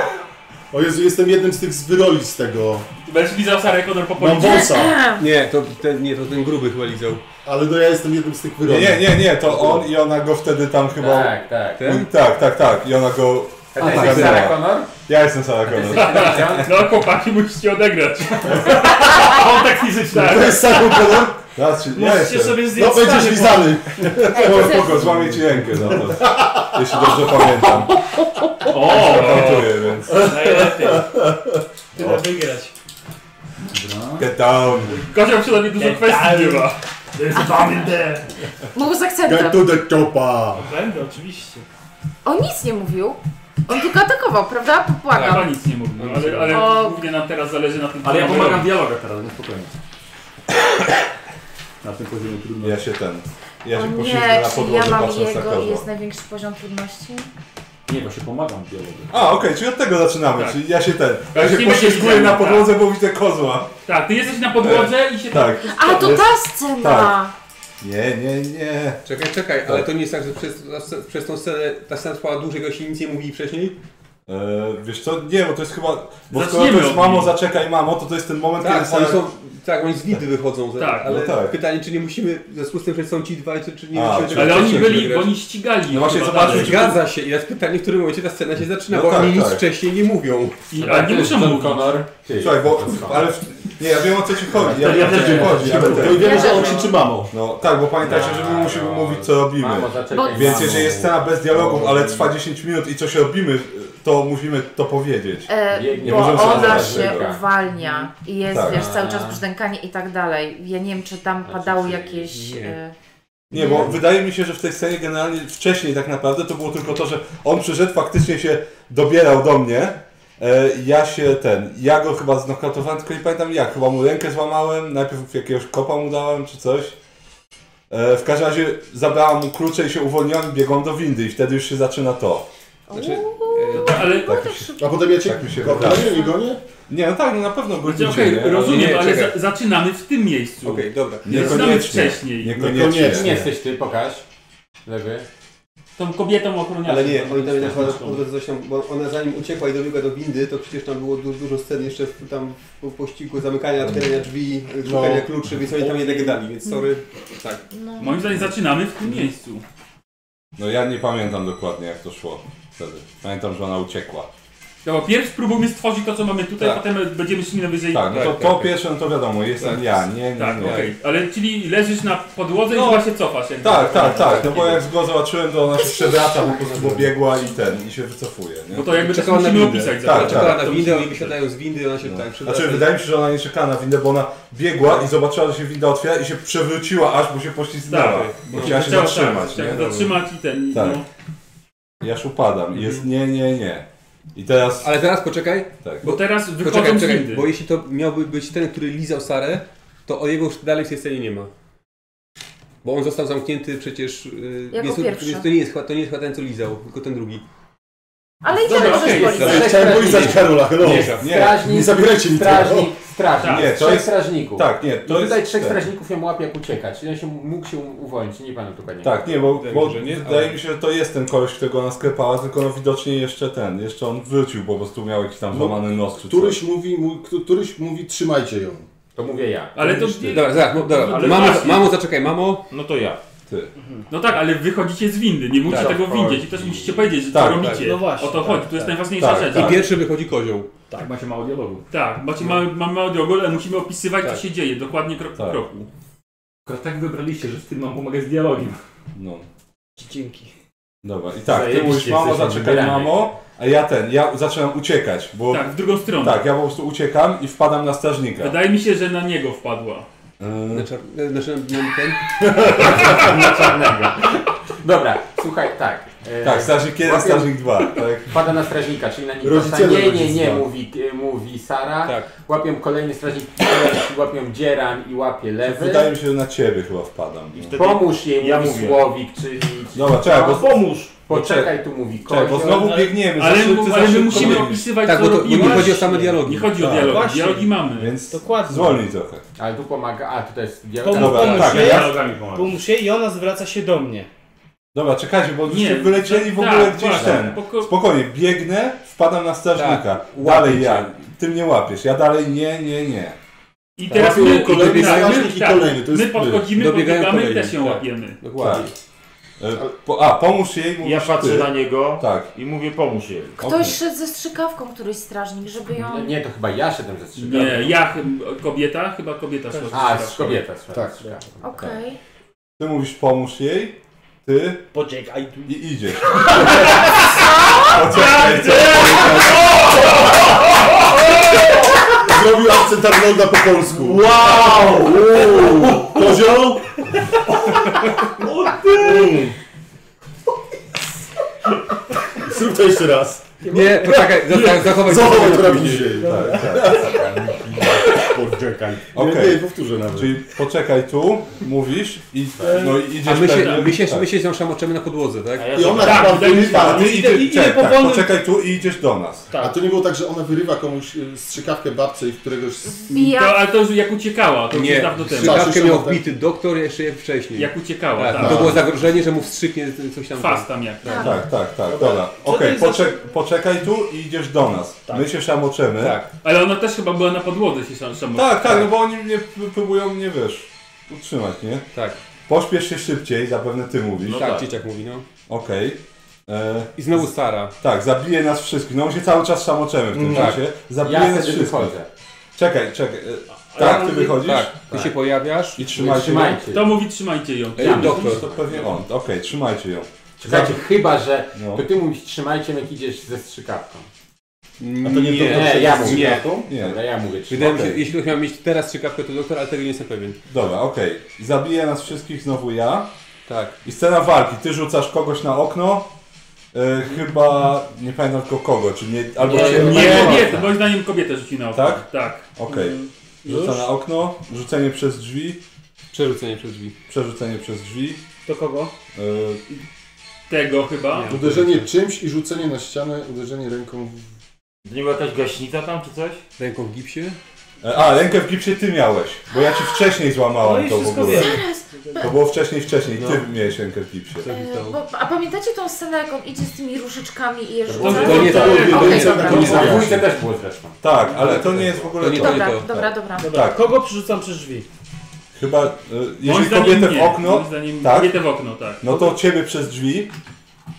O Jezu, jestem jednym z tych z wyroli z tego.
Będziesz lizał Sarę Connor po policji.
Wąsa.
Nie, to ten, nie, to ten gruby chyba lizał.
Ale no ja jestem jednym z tych
nie,
wyroli.
nie, nie, nie, to on i ona go wtedy tam chyba...
Tak, tak.
Ten? Tak, tak, tak. I ona go...
A to
tak,
jest Sarah
tak.
Connor?
Ja jestem Sarah Connor.
Tak.
No chłopaki, musicie
(laughs)
odegrać. A on tak fizycznie.
To jest Sarah Connor?
Znaczy, ja
Musicie
jestem.
sobie
No
zdjąć
będziesz
stary, bo...
lizany.
Spoko, spoko, złamię ci rękę za to. Jeśli dobrze pamiętam.
O!
Kontuję, więc...
Tyle wygrać.
Get down.
Kozioł przynajmniej dużo kwestii nie ma.
Mówił z
Get
akcentem.
to the chopa.
Będę, oczywiście.
On nic nie mówił. On tylko atakował, prawda?
Tak,
Popłakał.
to nic nie mówi. No, ale ale
O.
głównie nam teraz zależy na tym,
Ale ja
co
pomagam
robi.
dialoga teraz, no spokojnie. Na tym poziomie trudno.
Ja się ten... Ja
O
się
nie,
posiedzę Tak, na
czyli ja
podłodze
mam
patrząc
jego
na
i
kozła.
jest największy poziom trudności.
Nie, właśnie pomagam dialogowi.
A, okej, czyli od tego zaczynamy,
Tak.
czyli ja się ten... Ja
Tak,
się
nie myślisz,
posiedzę
że-
na
tak.
podłodze, bo widzę kozła.
Tak, ty jesteś na podłodze i się
Tak.
A, to
Jest- tak.
ta scena!
Nie, nie, nie.
Czekaj, czekaj, ale to nie jest tak, że przez, przez tą scenę ta scena trwała dłużej, bo się nic nie mówili wcześniej?
E, wiesz co, nie, bo to jest chyba... Bo skoro
Zaczniemy
to jest
od
mamo,
niej.
zaczekaj mamo, to to jest ten moment,
Tak,
kiedy
oni
Sarah-
są, tak, oni z windy wychodzą, tak,
Tak,
ale
no tak.
pytanie, czy nie musimy, w związku z tym, że są ci dwaj, czy, czy nie
A,
musimy...
czyli-
Ale oni
wcześniej
byli,
wygrać?
bo oni ścigali.
No właśnie,
chyba
zobaczmy,
dalej.
Zgadza się, i teraz pytanie, w którym momencie ta scena się zaczyna,
No
bo
tak,
oni nic
tak.
wcześniej nie mówią.
I, a nie muszą
John
mówić.
Connor.
Słuchaj, bo... Ale... Nie, ja wiem o co ci chodzi, ja
Ja
wiem o co
też
ci
wiem,
chodzi, ale...
No i wiemy, że on
też.
krzyczy mamo.
No tak, bo pamiętajcie, że my musimy mówić co robimy.
Mamo, zaczekaj.
Więc
mamo.
jeżeli jest scena bez dialogów, ale trwa 10 minut i coś robimy, to musimy to powiedzieć.
E,
Biegnie.
Nie możemy
bo
sobie
ona
wyobrazić
się
tego.
uwalnia i jest,
Tak.
wiesz, cały czas brzdękanie i tak dalej. Ja nie wiem, czy tam padały jakieś...
nie.
E,
Nie, bo wydaje mi się, że w tej scenie generalnie wcześniej tak naprawdę to było tylko to, że on przyszedł, faktycznie się dobierał do mnie. E, ja się ten, ja go chyba znokautowałem, tylko nie pamiętam jak, chyba mu rękę złamałem, najpierw jakiegoś kopa mu dałem czy coś. E, w każdym razie zabrałam mu klucze i się uwolniłam i biegłam do windy i wtedy już się zaczyna to.
Znaczy,
ale...
A potem ja cię
Tak mi się
gonię,
wydaje.
nie gonię?
Nie, no tak, no na pewno go
Znaczy, Okej,
widzicie, nie?
rozumiem,
nie,
ale
czekaj.
za, zaczynamy w tym miejscu.
Okej, dobra.
Nie znamy wcześniej.
Niekoniecznie.
Kim jesteś ty? Pokaż. Lewy.
Tą kobietą ochroniarzem.
Ale nie, oni tam jednak chyba po drodze coś tam, bo ona zanim uciekła i dobiegła do windy, to przecież tam było du- dużo scen jeszcze w- tam po pościgu zamykania, otwierania drzwi, y, szukania kluczy, więc oni tam jednak dali, więc sorry. Tak.
Moim zdaniem zaczynamy w tym miejscu.
No ja nie pamiętam dokładnie jak to szło wtedy. Pamiętam, że ona uciekła.
Dobra, pierw spróbujmy stworzyć to, co mamy tutaj,
Tak.
potem będziemy szli na wyżej.
Tak, no to
tak,
po
tak.
pierwsze no to wiadomo, jestem
Tak.
ja, nie, nie,
Tak,
nie.
okej. Ale czyli leżysz na podłodze
No.
i chyba się cofasz. jakby.
Tak, tak, tak, no bo jak go zobaczyłem, to ona się przewraca, po prostu pobiegła i ten, i się wycofuje, nie?
Bo to jakby
No. Czekała
czekała
na
musimy
windę.
opisać.
Tak,
zaraz.
Czekała na
To
windę,
musimy No.
oni wysiadają z windy, ona się tak przyda.
Znaczy, wydaje mi się, że ona nie czekała na windę, bo ona biegła i zobaczyła, że się winda otwiera i się przewróciła, aż bo się poślizgnęła.
Tak,
bo chciała się
Chciała,
zatrzymać,
tak, chciała
nie?
się zatrzymać i ten.
Tak.
No, Mhm.
Ja już upadam i jest nie, nie, nie. I teraz...
Ale teraz poczekaj,
Tak.
bo teraz wychodzą
poczekaj,
z
czekaj,
windy.
bo jeśli to miałby być ten, który lizał Sarę, to o jego już dalej w tej scenie nie ma. Bo on został zamknięty przecież... y,
Jako
więc,
pierwszy.
więc to, nie jest, chyba- to nie jest chyba ten, co lizał, tylko ten drugi.
Ale i tak
Dobra,
możesz
okej,
policzyć.
dobra.
Chciałem polizać Karola,
No.
hello.
No, Nie, nie,
Strażnik,
nie zabierajcie mi tego.
strażnik, strażnik.
Nie, to
trzech
jest-
strażników.
tak, nie,
To
to
I tutaj
jest...
trzech
tak.
strażników ją łapie jak ucieka, czyli on się mógł się uwolnić, nie pamiętam dokładnie.
Tak, nie, bo,
Wydaje mi
bo
się, że nie,
wydaje
ale-
mi się, że to jest ten koleś, którego ona sklepała, tylko no widocznie jeszcze ten, jeszcze on wrócił, bo po prostu miał jakiś tam
No,
złamany nos czy coś.
Któryś mówi, mu, któryś mówi, trzymajcie ją.
To mówię ja.
Ale to.
Dobra, zaraz, mo- dobra.
Ale
Mamo,
właśnie.
(laughs)
mamo, zaczekaj, mamo.
No to ja.
Ty.
No tak, ale wychodzicie z windy. Nie mówcie
Tak.
tego w windzie. Ci też musicie powiedzieć, że
Tak,
co
tak.
robicie.
No właśnie,
o to
tak,
chodzi. To
tak.
jest najważniejsza
Tak, No.
rzecz.
I pierwszy wychodzi kozioł.
Tak, macie mało dialogu.
Tak, macie, mamy, mamy audiogol, ale musimy opisywać,
Tak.
co się dzieje, dokładnie krok po
Tak.
kroku.
Akurat tak wybraliście, że w tym mam pomagać z dialogiem.
No.
Dzięki.
Dobra, i tak, ty
Zajebiście
mówisz, mamo,
jesteśmy
zaczekaj,
wybrani.
mamo, a ja ten, ja zaczynam uciekać, bo
Tak, w drugą stronę.
Tak, ja po prostu uciekam i wpadam na strażnika.
Wydaje mi się, że na niego wpadła.
Yy,
Na czar... na- Znaczy, na na
(laughs)
ten.
Na czarnego. Dobra, słuchaj, tak. E,
tak, strażnik 1,
łapię-
strażnik 2. Tak.
Pada na strażnika, czyli na Nikosa.
Rodziciele
Nie, nie, nie,
rodziców.
mówi, e, mówi Sara.
Tak.
Łapią kolejny strażnik, łapią Dzieran i łapie lewy.
Wydaje mi się, że na ciebie chyba wpadam.
I
No.
wtedy...
Pomóż jej,
Ja
mówi
mówię.
Słowik, czyli...
Dobra, czekaj, bo,
Pomóż!
Poczekaj, tu mówi
czekaj, bo
Kozioł.
znowu biegniemy.
Ale,
za szybko, za
ale my
szybko
musimy
biegniemy.
opisywać,
Tak,
co
bo to bo
robimy.
nie chodzi o same dialogi.
Nie chodzi o
Tak,
dialogi,
właśnie.
dialogi mamy.
Więc
Dokładnie.
zwolnij trochę.
Ale tu pomaga, a tutaj jest
Pomóż-
dialog.
Dobra,
pomóż
tak,
jej,
ja,
Dialogami pomagać.
pomóż jej i ona zwraca się do mnie.
dobra, czekajcie, bo
Nie,
nie, wylecieli w
tak,
ogóle gdzieś
właśnie,
ten.
poko-
Spokojnie, biegnę, wpadam na strażnika.
łapię
dalej
cię.
ja, ty mnie łapiesz, ja dalej nie, nie, nie.
I teraz
Łapię
my,
kolejny
tak,
strażnik
my-
i
tak,
kolejny, to jest
My podchodzimy,
Dobiegają
podbiegamy i
kolejni,
też ją
tak.
łapiemy.
Dokładnie.
Yy, Po, a, pomóż jej, mówisz
Ja patrzę
ty.
na niego
Tak.
i mówię pomóż jej.
Ktoś szedł ze strzykawką, któryś strażnik, żeby
No
ją...
nie, to chyba ja szedłem ze strzykawką.
Nie, ja, chy- kobieta, chyba kobieta szła.
A,
z
z kobieta szła.
Tak.
strzykawką.
Okej.
Ty mówisz pomóż jej, ty
Poczekaj tu.
i
(laughs)
idziesz.
Tak.
Zrobił akcent Arnolda po polsku.
Wow!
Kozioł?
No
Mm. Zrób to jeszcze raz.
Nie, poczekaj, za- za- zachowaj
Zachowaj
na
to na
później.
dzisiaj.
Tak, tak.
Poczekaj.
Okej.
Nie, nie, powtórzę nawet. Tak.
Czyli poczekaj tu, mówisz i, no, i idziesz
A my się,
pewnie-
my się,
tak.
my się z nią szamoczemy na podłodze, tak?
A ja
I ona
Tak,
chyba
wydaje mi się,
wyrywa.
A ty
Idę-
idziesz,
idę
tak,
powoli.
poczekaj tu i idziesz do nas.
A to nie było tak, że ona wyrywa komuś y, strzykawkę babce i któregoś z...
To,
Wbija...
ale to już jak uciekała, to już jest dawno temu.
strzykawkę
Słyszałem,
miał
tak.
wbity doktor jeszcze jak wcześniej.
Jak uciekała,
tak,
tak.
no to było zagrożenie, że mu wstrzyknie coś tam.
Kwas tam jak.
Tak.
Tak, tak, tak, dobra. Okej,
to jest
poczek- poczekaj tu i idziesz do nas. My się szamoczemy.
Tak.
Ale ona też chyba była na podłodze się sam sam-
tak, tak, no bo oni mnie p- próbują mnie wiesz, utrzymać, nie?
Tak,
Pośpiesz się szybciej, zapewne ty mówisz.
tak, tak, dzieciak mówi, no.
Okej. E,
I znowu Sara.
tak, zabije nas wszystkich. No my się cały czas szamoczemy w tym
Tak.
czasie. Zabije
Ja
nas
wtedy
wszystkich.
wychodzę.
Czekaj, czekaj. e,
Ale
Tak,
on
ty
mówi-
wychodzisz?
Tak, ty się pojawiasz.
I trzymajcie, ją.
Trzymajcie.
To mówi trzymajcie ją.
Ej,
Ja
doktor.
To pewnie on. Okej, trzymajcie ją.
Czekajcie, chyba, że
No.
to ty mówisz trzymajcie, jak idziesz ze strzykawką.
A to nie,
Nie.
doktor
nie,
szedł
ja
z
mówię.
strzykawką?
Nie,
Dobra, ja mówię
Wydaje
trzymajcie.
mi się, jeśli ktoś miał mieć teraz strzykawkę, to doktor, ale tego nie jestem pewien.
Dobra, okej. Zabije nas wszystkich znowu ja.
Tak.
I scena walki. Ty rzucasz kogoś na okno. E, chyba nie pamiętam tylko kogo, czy nie. Albo
Nie,
się
nie,
Nie,
Okej.
kobietę, moim zdaniem kobietę rzuci na oko.
Tak?
Tak.
Rzuca na okno, rzucenie przez drzwi.
Przerzucenie przez drzwi.
Przerzucenie przez drzwi.
To kogo?
E,
Tego chyba.
Uderzenie czymś i rzucenie na ścianę, uderzenie ręką. w-
To nie była jakaś gaśnica tam czy coś?
Ręką w gipsie?
e, a, rękę w gipsie ty miałeś, bo ja ci wcześniej
No
złamałam
i
to w
wszystko
ogóle.
wiem.
To było wcześniej, wcześniej. Ty
No.
miałeś rękę w gipsie.
Co się
E,
stało?
bo, a pamiętacie tą scenę, jak on idzie z tymi różyczkami i je rzuca?
To
było-
nie
to
było-
Okej,
to nie-
dobra.
to nie-
Na dwójce też było zresztą.
Tak, ale to nie jest w ogóle
To nie
to.
tak.
Dobra,
to-
dobra, dobra.
Dobra,
Tak.
kogo przerzucam przez drzwi?
Chyba, e,
Moim
jeżeli
zdaniem
kobietę w
nie. Moim
okno,
zdaniem
tak?
kobietę w okno, tak.
no to ciebie przez drzwi,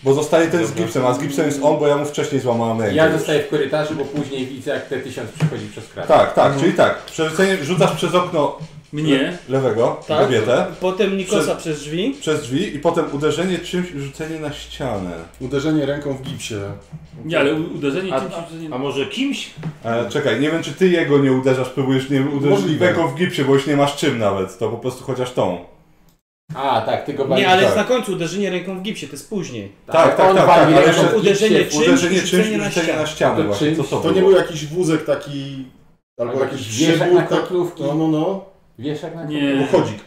bo zostaje ten z gipsem, a z gipsem jest on, bo ja mu wcześniej złamałem rękę.
Ja zostaję w korytarzu, bo później widzę jak T1000 przychodzi przez kratę.
Tak,
No.
No.
tak, czyli tak, przerzucenie, rzucasz przez okno
Mnie.
lewego,
Tak.
kobietę,
Potem Nikosa
Przez-
przez drzwi.
przez drzwi i potem uderzenie czymś i rzucenie na ścianę.
Uderzenie ręką w gipsie.
Nie, ale u- uderzenie
A-
czymś... uderzenie-
A może kimś?
E, czekaj, nie wiem czy ty jego nie uderzasz, próbujesz nie uderzyć
Możliwe.
lewego w gipsie, bo już nie masz czym nawet, to po prostu chociaż tą.
A, tak, ty go
Nie,
walisz.
ale jest
tak.
na końcu uderzenie ręką w gipsie, to jest później.
Tak, tak,
on
tak,
wali
tak, ale
ręką
jeszcze
w gipsie,
uderzenie
w-
Czymś
uderzenie
i
czymś i
rzucenie na
rzucenie na
ścianę.
ścianę
To
właśnie, co
czymś-
to
To nie
było?
był jakiś wózek taki, albo
Albo
jakiś
jakiś wieszak
grzybuk,
na
tak,
kotlówki.
no, no, no.
Wieszak na
Nie.
Albo chodzik.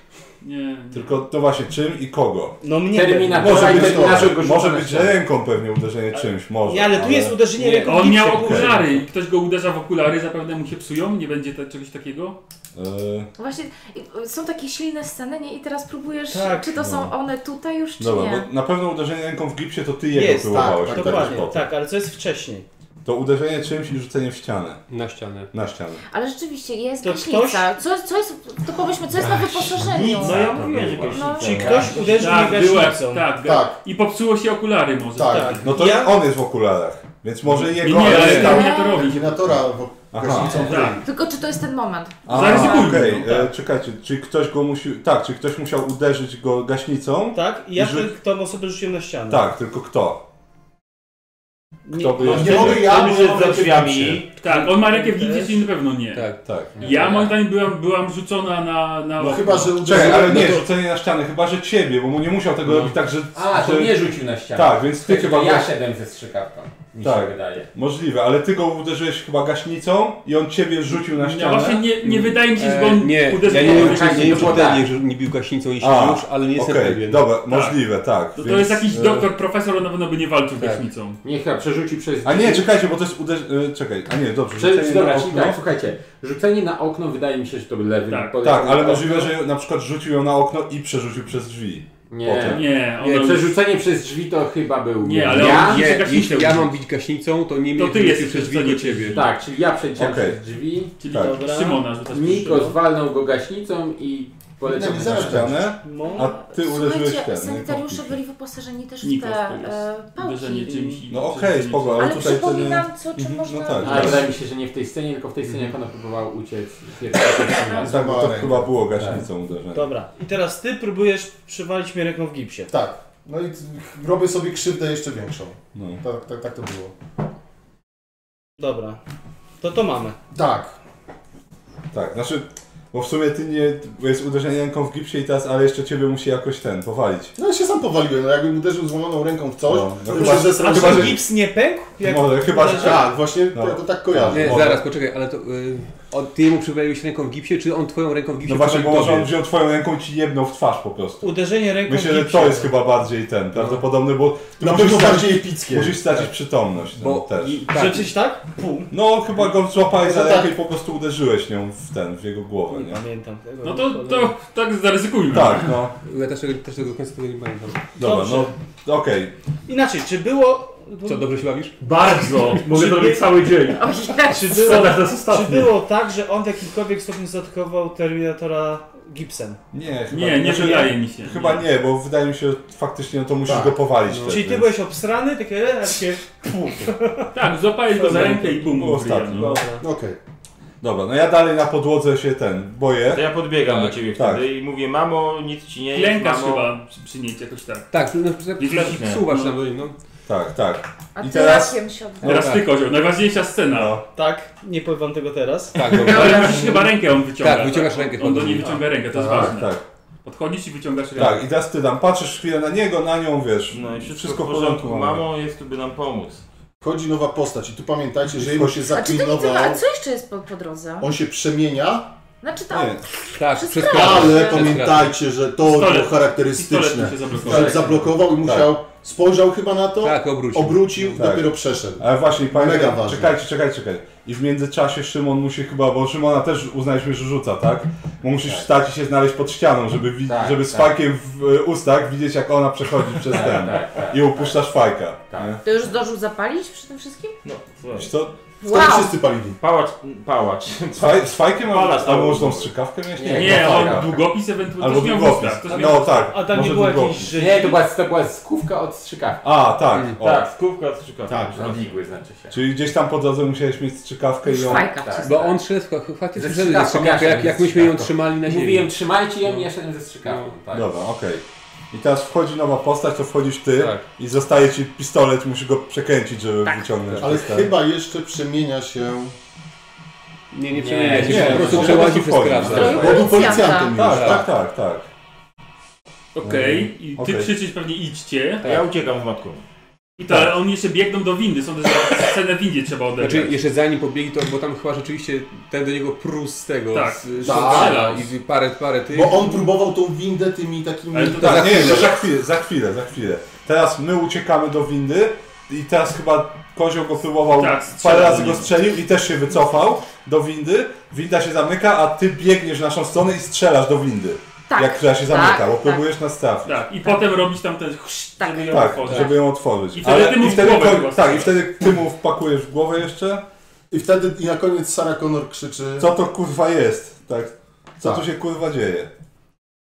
Nie, nie.
Tylko to właśnie czym i kogo.
No mnie.
Termina-
pewnie.
Może
Dawaj,
być,
ten naszego
to,
rzuca
może
na
być
ścianę.
ręką pewnie uderzenie czymś, może.
Nie, ale tu jest uderzenie
Nie,
ręką w
On
gipsie.
miał okulary i ktoś go uderza w okulary, zapewne mu się psują, nie będzie te, czegoś takiego.
E,
Właśnie i- y, są takie silne sceny, nie? I teraz próbujesz,
Tak,
czy to są one tutaj już, czy
Dobra,
nie?
bo na pewno uderzenie ręką w gipsie to ty jego
Jest, tak,
próbowałeś.
tak,
uderzyć
Dokładnie,
potem.
tak, ale co jest wcześniej?
To uderzenie czymś i rzucenie w ścianę.
Na ścianę.
Na ścianę.
Ale rzeczywiście jest
To
gaśnica. Co, co jest, to powiedzmy, co jest na wyposażeniu?
No ja mówiłem, że gaśnica.
No.
Tak, Czy ktoś
Tak.
uderzył mnie
byłem,
gaśnicą?
tak, tak.
Tak,
I popsuło się okulary może.
tak.
Tak.
No to
Ja-
on jest w okularach, więc może
Nie,
jego...
nie, ale
ale-
tam ja to robi.
Kombinatora w
Aha.
gaśnicą.
Tak.
Tylko czy to jest ten moment?
A,
Zaryzykujmy,
Okej,
no,
tak.
e, czekajcie, czyli ktoś go musi... Tak, czyli ktoś musiał uderzyć go gaśnicą?
Tak, i ja
I rzu-
tę- tą osobę rzuciłem na ścianę.
Tak, tylko kto?
Nie-
Kto by
No,
jeszcze...
nie mogę ja,
Tam
bo
już
ja
jest za
mam
drzwiami.
Tak, on ma rękę w gipsie, czyli na pewno nie.
Tak.
Tak.
Ja moim zdaniem byłam, byłam rzucona na... na
No
okno.
chyba, że
Czekaj,
uderzenie...
ale
no
nie,
to-
rzucenie na ścianę, chyba że ciebie, bo mu nie musiał tego
No.
robić tak, że...
A, to
że-
nie rzucił na ścianę.
Tak, więc ty
Słuchaj,
chyba...
to ja
byłeś-
siedem ze strzykawką, mi
Tak.
się wydaje.
Możliwe, ale ty go uderzyłeś chyba gaśnicą i on ciebie rzucił na
Ja
ścianę.
No właśnie nie, nie wydaje mi się, że on
E, nie,
uderzył
ja nie
mnie
wiem,
w
czy
rękę.
nie wiem,
było
czy
tak.
nie, że nie bił gaśnicą i
A,
już, ale nie jestem
Okej,
pewien.
dobra, możliwe, tak.
No To, to
więc,
jest jakiś
e,
doktor, profesor, on na pewno by nie walczył
Tak.
gaśnicą.
Nie, chyba przerzucił przez
A nie, czekajcie, bo to jest uderz... e, Czekaj, a nie, dobrze,
Prze-
rzucenie na
dobra, czyli
okno.
tak, słuchajcie, rzucenie na okno wydaje mi się, że to lewy.
Tak.
podejście
Tak,
na
ale
okno.
możliwe, że na przykład rzucił ją na okno i przerzucił przez drzwi.
Nie,
Nie, on
nie,
nie,
przerzucenie przez drzwi to chyba był
Nie, ale
ja.
on-
Nie,
Gaśnicą
jeśli ja
uderzył.
mam bić gaśnicą, to nie
To
mnie
ty jesteś
przez drzwi
wtedy-
do ciebie.
Tak, czyli ja przeciąłem
Okej.
przez drzwi,
Czyli
Tak.
dobra. Szymona rzucasz
Niko
pierwszego.
zwalnął go gaśnicą i poleciał
Nie,
na
zaraz.
ścianę.
Ścianę,
No,
a ty uderzyłeś
Słuchajcie,
w ten. no
sanitariusze byli wyposażeni też w
Nikos
te
to jest.
e,
Uderzenie
pałki.
czymś i-
No okej, spoko, ale,
Ale
tutaj to nie...
przypominam, co, czy
Mhm, no
można...
tak. Mhm.
Ale wydaje mi się, że nie w tej scenie, tylko w tej scenie, jak ona próbowała uciec. Pierwsza scena.
Tak, bo to
Złamałem.
chyba było gaśnicą uderzenie.
dobra. I teraz ty próbujesz przywalić mnie ręką w gipsie.
Tak. No i t- robię sobie krzywdę jeszcze większą.
No.
Tak, tak, tak to było.
Dobra. To to mamy.
Tak.
Tak, znaczy... Bo w sumie ty nie... Bo jest uderzenie ręką w gipsie i teraz, ale jeszcze ciebie musi jakoś ten, powalić.
No ja się sam powaliłem, no jakbym uderzył złamaną ręką w coś,
No, no
to
chyba-
już ze
A
strony...
chyba,
czy
że-
gips nie pękł?
Może, chyba, że-
uderzyłem?
Tak, właśnie
No.
ja to tak kojarzę.
Nie,
Dobra.
zaraz, poczekaj, ale to y, on, ty jemu przywaliłeś ręką w gipsie, czy on twoją ręką w gipsie
No właśnie, bo
przywalił
może on
tobie?
wziął twoją ręką i ci jebnął w twarz po prostu.
Uderzenie ręką
Myślę,
w
że
gipsie. No.
to jest chyba bardziej ten, prawdopodobny, bo ty
Na
musisz
pewno
stracić,
bardziej epickie. Tak.
musisz stracić przytomność
Bo
bo też.
i-
Tak.
tak,
Rzeczywiście tak? Pół.
No chyba go złapałeś za
No tak.
rękę i po prostu uderzyłeś nią w ten, w jego głowę,
Nie
nie?
pamiętam tego.
No to, to tak zaryzykujmy.
Tak, no.
ja też tego, też tego końca tego nie pamiętam.
Dobra,
Dobrze.
no okej.
Inaczej, czy było...
Co, dobrze się bawisz? (laughs)
Bardzo! Mogę to robić cały dzień.
O Jezu.
Czy
Co
było,
to jest
czy
ostatnie?
było tak, że on w jakimkolwiek stopniu zaatakował Terminatora gipsem?
Nie, chyba
Nie, nie
znaczy,
wydaje mi się.
Chyba nie, bo wydaje mi się, że faktycznie to musisz
Tak.
go powalić.
No.
też,
Czyli ty
więc-
byłeś obsrany,
(laughs)
takie... takie
Tak, złapałeś go za rękę i bum,
Było ostatnio.
wyjadł.
No.
dobra.
Okej.
Dobra, no ja dalej na podłodze się ten boję.
To ja podbiegam do ciebie
Tak.
wtedy i mówię, mamo, nic ci nie jest,
Klękasz
mamo.
chyba przy, przynieść jakoś tak.
Tak, no, tak,
Widzisz?
suwasz
No.
tam do nim, no.
Tak, tak.
A
I
ty
teraz-
rakiem się odda.
No
Teraz
tak.
ty kozioł, najważniejsza scena.
No.
Tak, nie powiem wam tego teraz.
(laughs)
Tak,
No,
dobra.
ale musisz chyba rękę on wyciąga.
Tak, wyciągasz rękę.
On do niej wyciąga rękę, to jest ważne.
Tak, tak.
Podchodzisz i wyciągasz rękę.
Tak, i teraz ty tam patrzysz chwilę na niego, na nią, wiesz.
No i wszystko, w porządku,
mamy.
mamo jest tu, by nam pomóc.
Wchodzi nowa postać i tu pamiętajcie, że jemu się
A czy to nie
zaklinował,
tyle, a co jeszcze jest po, po drodze?
on się przemienia
Znaczy tam.
Nie.
Tak,
Przez
przez
kratę.
kratę.
Ale
Przez
pamiętajcie, że to
Pistolet.
było
Pistolet
charakterystyczne.
mu się zablokował.
Zablokował, zablokował i musiał, spojrzał chyba na to,
Tak, obrócił.
obrócił
Tak.
dopiero przeszedł.
Ale właśnie, pamiętaj,
Mega ważne.
czekajcie, czekajcie, czekajcie. I w międzyczasie Szymon musi chyba, bo Szymona też uznaliśmy, że rzuca, tak? Bo musisz wstać i się znaleźć pod ścianą, żeby, wi-
Tak,
żeby z
tak.
fajkiem w e, ustach widzieć, jak ona przechodzi przez ten.
tak, tak,
I upuszczasz fajka. nie?
To już zdążył zapalić przy tym wszystkim?
No,
Wiesz co?
Wow. Wtedy wszyscy
palili.
Pałacz, pałacz.
Z faj- z fajkiem albo-
Palacz,
albo
tak.
już tą strzykawkę miałeś?
Nie, nie, on długopis
no
ewentualnie
tak. Albo
też miał
długopis.
wózka, też
No
miał-
tak.
A tam nie
może
było jakiejś
długopis.
rzeźby?
Nie, to była, to była skówka od strzykawki.
A, tak. O.
Tak,
skówka od strzykawki.
Tak,
No.
igły znaczy się. Tak,
Czyli gdzieś tam po drodze musiałeś mieć strzykawkę i ją...
Bo on szedł, ch- faktycznie szedł
Ze
ze
strzykawką,
strzykawką,
ja
jak, jak myśmy ją trzymali na ziemi. No.
Mówiłem, trzymajcie ją i ja szedłem ze
No.
strzykawką. Tak.
Dobra, okej. I teraz wchodzi nowa postać, to wchodzisz ty i zostaje ci pistolet, musisz go przekręcić, żeby wyciągnąć.
Ale
pistolet.
chyba jeszcze przemienia się...
Nie, nie
przemienia się,
nie, po prostu przełazi przez
wchodzi.
krawędź.
Tak,
Bo był policjantem już,
Tak, tak,
tak?
tak, tak. No
Okej, i ty
Okej.
krzyczysz pewnie idźcie.
Tak.
Ja uciekam w matku.
I to, ale oni jeszcze biegną do windy, są też scenę w windzie trzeba odebrać.
Znaczy, jeszcze zanim pobiegli, to bo tam chyba rzeczywiście ten do niego prus z tego,
Tak.
z z
Tak.
strzela i parę, parę tych.
Bo on próbował tą windę tymi takimi...
Ale to tak, nie, to za chwilę, za chwilę, za chwilę. Teraz my uciekamy do windy i teraz chyba kozioł go próbował,
Tak,
parę
strzelał
razy
do
go
niego.
strzelił i też się wycofał do windy, winda się zamyka, a ty biegniesz w naszą stronę i strzelasz do windy.
Tak.
Jak która
Tak,
się zamyka, bo
tak.
próbujesz nas trafić.
Tak, i potem robić tam ten chrz,
Tak.
żeby ją
Tak,
otworzyć.
żeby ją otworzyć.
I wtedy ty mu w głowę
tak, i
chyba strzelasz.
wtedy ty mu wpakujesz w głowę jeszcze.
I wtedy i na koniec Sarah Connor krzyczy...
Co to kurwa jest? Tak. Co
Tak.
tu się kurwa dzieje?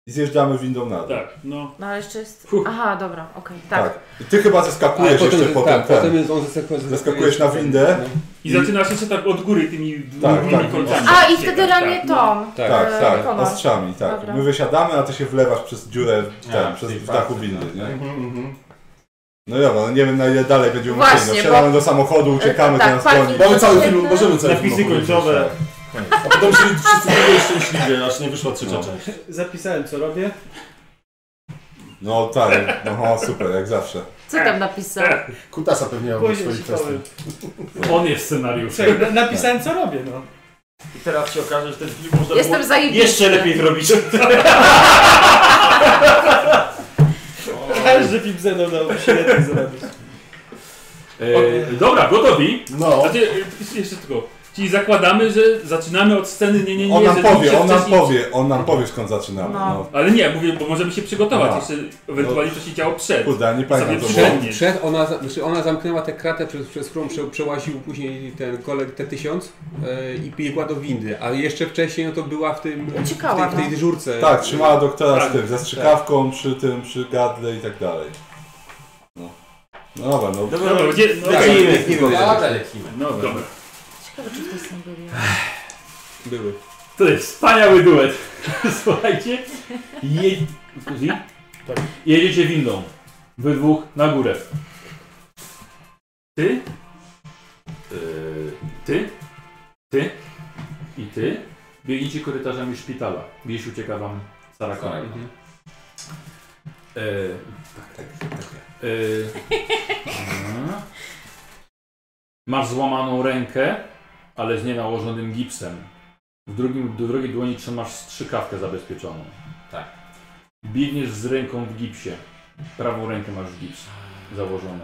I zjeżdżamy windą na dół.
Tak, no.
No ale jeszcze jest. Aha, dobra, okej, tak.
Tak. I ty chyba
Ale
zeskakujesz
potem-
jeszcze potem.
tak,
ten.
potem jest- on zeskakuje-
Zeskakujesz na windę.
I zaczynasz jeszcze tak od góry tymi
Tak,
długimi
tak.
kolcami.
A i wtedy
Tak,
ramię
tak.
Tom.
Tak,
e,
tak, tak.
Konor.
ostrzami, tak.
Dobra.
My wysiadamy, a ty się wlewasz przez dziurę w ten,
A,
przez
czyli
w dachu
bardzo,
windy,
tak.
nie?
Mhm, mhm.
No dobra, no nie wiem na ile dalej będziemy
Właśnie,
musieli. No, wsiadamy
bo-
do samochodu, uciekamy,
tak,
to nas
parking-
goni.
Mamy cały film, możemy cały film
Napisy
opowiedzieć.
końcowe.
A potem się wszyscy byli szczęśliwie, aż nie wyszła trzecia część.
Zapisałem co robię.
No tak, no o, super, jak zawsze.
Co tam napisał?
Tak.
Kutasa pewnie miał
Później
swoich
ci powiem.
kwestii.
On jest scenariusz.
Czekaj, na- napisałem co robię, no.
I teraz się okaże, że ten film można
Jestem
było
zajebisty.
jeszcze lepiej
(laughs)
zrobić.
Każdy film ze mną dał świetnie no, zrobić.
E, dobra, gotowi.
No,
Znaczy, e, jeszcze tylko. Czyli zakładamy, że zaczynamy od sceny, nie, nie, nie.
On nam
że tu się
powie, on nam
wcześniej-
powie, on nam powie skąd zaczynamy.
No.
No.
Ale nie, mówię, bo możemy się przygotować
No.
jeszcze, ewentualnie co się działo przed.
Kurde, nie
Sobie
pamiętam co było.
przypomnieć.
Przed ona, za- znaczy ona zamknęła tę kratę, przez, przez którą prze, przełaził później ten kolek T1000 e, i biegła do windy, a jeszcze wcześniej no to była w tym w
Uciekała,
tej, w tej
no.
dyżurce.
Tak, trzymała doktora
Tak.
z tym, ze strzykawką przy tym, przy gadle i tak dalej. No. No dobra, no.
Dobra,
Dobra, gdzie, no,
Tak,
okej.
nie, nie było.
Dobra, lecimy.
no dobra.
Ciekawe, czy ktoś tam byli.
Były.
To jest wspaniały duet. (laughs) Słuchajcie. Je... Suzy? Jedziecie windą. Wy dwóch na górę. Ty. Yy, ty. Ty. I ty. Biegnijcie korytarzami szpitala. Gdzieś ucieka wam Sara Connor.
Mhm.
Yy, Yy, mhm. Masz złamaną rękę, ale z nienałożonym gipsem. W, drugim, w drugiej dłoni trzymasz strzykawkę zabezpieczoną.
Tak.
Biegniesz z ręką w gipsie. Prawą rękę masz w gipsie założoną.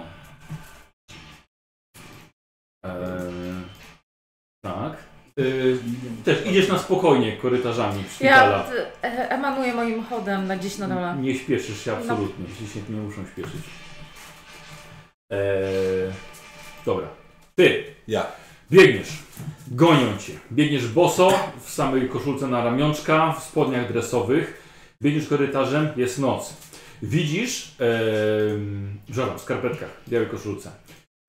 Eee, tak. Yy, też idziesz na spokojnie korytarzami
Ja
szpitala.
t- e- emanuję moim chodem na gdzieś na dole. No.
Nie śpieszysz się absolutnie. Jeśli się nie muszą śpieszyć. Eee, dobra. Ty.
Ja.
Biegniesz. Gonią cię. Biegniesz boso, w samej koszulce na ramionczka, w spodniach dresowych. Biegniesz korytarzem, jest noc. Widzisz, em, żarłam, w skarpetkach, w białej koszulce.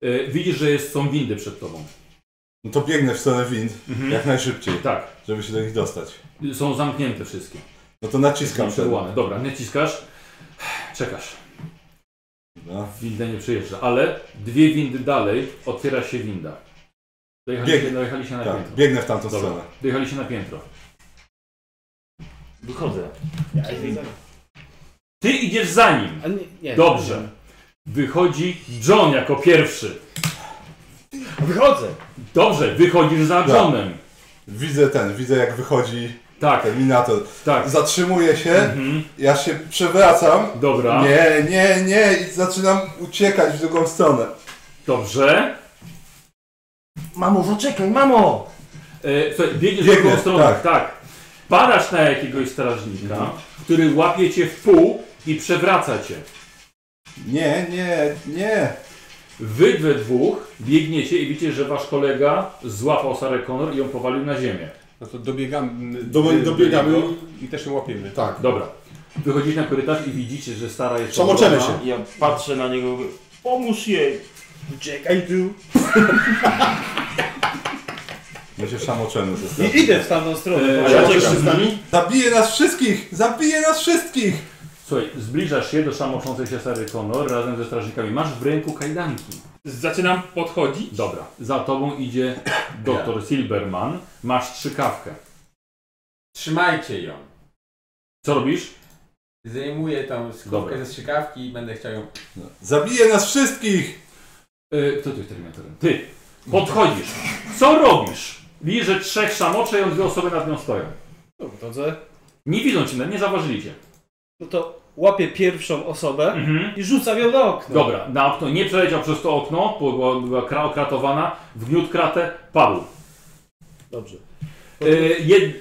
E, widzisz, że jest, są windy przed tobą. Mhm.
No to biegnę w stronę wind, jak najszybciej,
Tak,
żeby się do nich dostać.
są zamknięte wszystkie.
No to naciskam ten.
Przełamane. Dobra, naciskasz, czekasz.
No.
Winda nie przejeżdża, ale dwie windy dalej otwiera się winda. Dojechaliście,
Bieg-
dojechaliście na
Tak,
piętro.
biegnę w tamtą
Dobra.
stronę.
Dojechaliście na piętro.
Wychodzę.
Ty idziesz za nim.
A nie, nie,
Dobrze. Wychodzi John jako pierwszy.
Wychodzę.
Dobrze, wychodzisz za
Tak.
Johnem.
Widzę ten, widzę jak wychodzi Tak. Terminator. Tak. Zatrzymuję się, ja się przewracam.
Mhm. Dobra.
Nie, nie, nie i zaczynam uciekać w drugą stronę.
Dobrze.
Mamo, zaczekaj, mamo!
E, słuchaj, biegniesz
Biegnę,
w drugą stronę,
tak.
tak. Padasz na jakiegoś strażnika, który łapie cię w pół i przewraca cię.
Nie, nie, nie.
Wy we dwóch biegniecie i widzicie, że wasz kolega złapał Sarę Connor i ją powalił na ziemię.
No to dobiegamy.
Do-
do- do
dobiegamy.
niego I też ją łapiemy.
Tak.
Dobra. Wychodzicie na korytarz i widzicie, że stara jest.
Przemoczemy
powolona.
Ja patrzę na niego, mówię, pomóż jej! Uciekaj tu!
My się samoczemy ze
I idę w tamtą stronę.
E,
bo-
A ja
Czekam.
też z nami?
Zabije nas wszystkich! Zabije nas wszystkich!
Słuchaj, zbliżasz się do samoczącej się Sary Connor razem ze strażnikami. Masz w ręku kajdanki.
Zaczynam podchodzić.
Dobra. Za tobą idzie doktor Silberman. Masz trzykawkę.
Trzymajcie ją.
Co robisz?
Zdejmuję tą
Dobra.
skórkę ze strzykawki i będę chciał ją...
No. Zabije nas wszystkich!
E, kto tu jest terminatorem? Ty. Podchodzisz. Co robisz? Widzisz, że trzech samocze i dwie osoby nad nią stoją.
No, Drodze.
Nie widzą cię, nie zauważyli cię.
No to łapię pierwszą osobę
Mhm.
i rzucam ją do okna.
Dobra, na okno nie przeleciał przez to okno, bo była, była kra, okratowana, wgniótł kratę, padł.
Dobrze.
E, jed, e,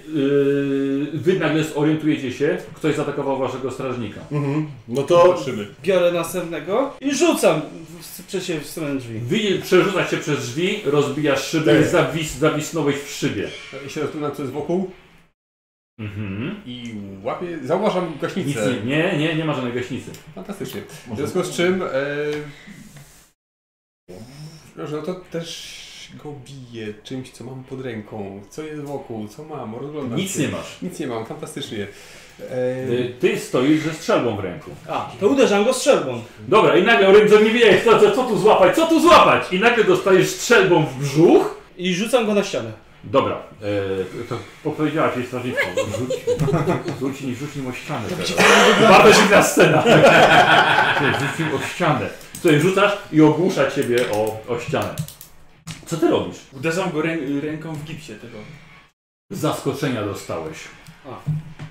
wy nagle zorientujecie się, ktoś zaatakował waszego strażnika.
Mhm. No to
Patrzymy.
Biorę następnego i rzucam w- przecież w stronę drzwi.
Wy przerzucasz się przez drzwi, rozbijasz szybę i
Tak.
zawis, zawisnąłeś w szybie.
Ja się rozglądam, co jest wokół
Mhm.
i łapię. Założam
Nic
gaśnicę.
nie, nie, nie, nie ma żadnej gaśnicy.
Fantastycznie. W
Może-
związku z czym. E... Dobrze, no to też go biję czymś, co mam pod ręką. Co jest wokół, co mam, rozglądam
Nic
się.
nie masz.
Nic nie mam, fantastycznie. E...
E, Ty stoisz ze strzelbą w ręku.
A, to uderzam go strzelbą.
Dobra, i nagle Rybzo nie wiedziałeś, co, co, co tu złapać, co tu złapać? I nagle dostajesz strzelbą w brzuch.
I rzucam go na ścianę.
Dobra, e, to opowiedziałaś jej strażniczką. Rzuć, rzuć, rzuć, rzuć nim o ścianę teraz. Bardzo dziwna scena. Ty, Rzuć nim o ścianę. Słuchaj, rzucasz i ogłusza ciebie o, o ścianę. Co ty robisz?
Uderzam go rę- ręką w gipsie tego.
Zaskoczenia dostałeś.
A.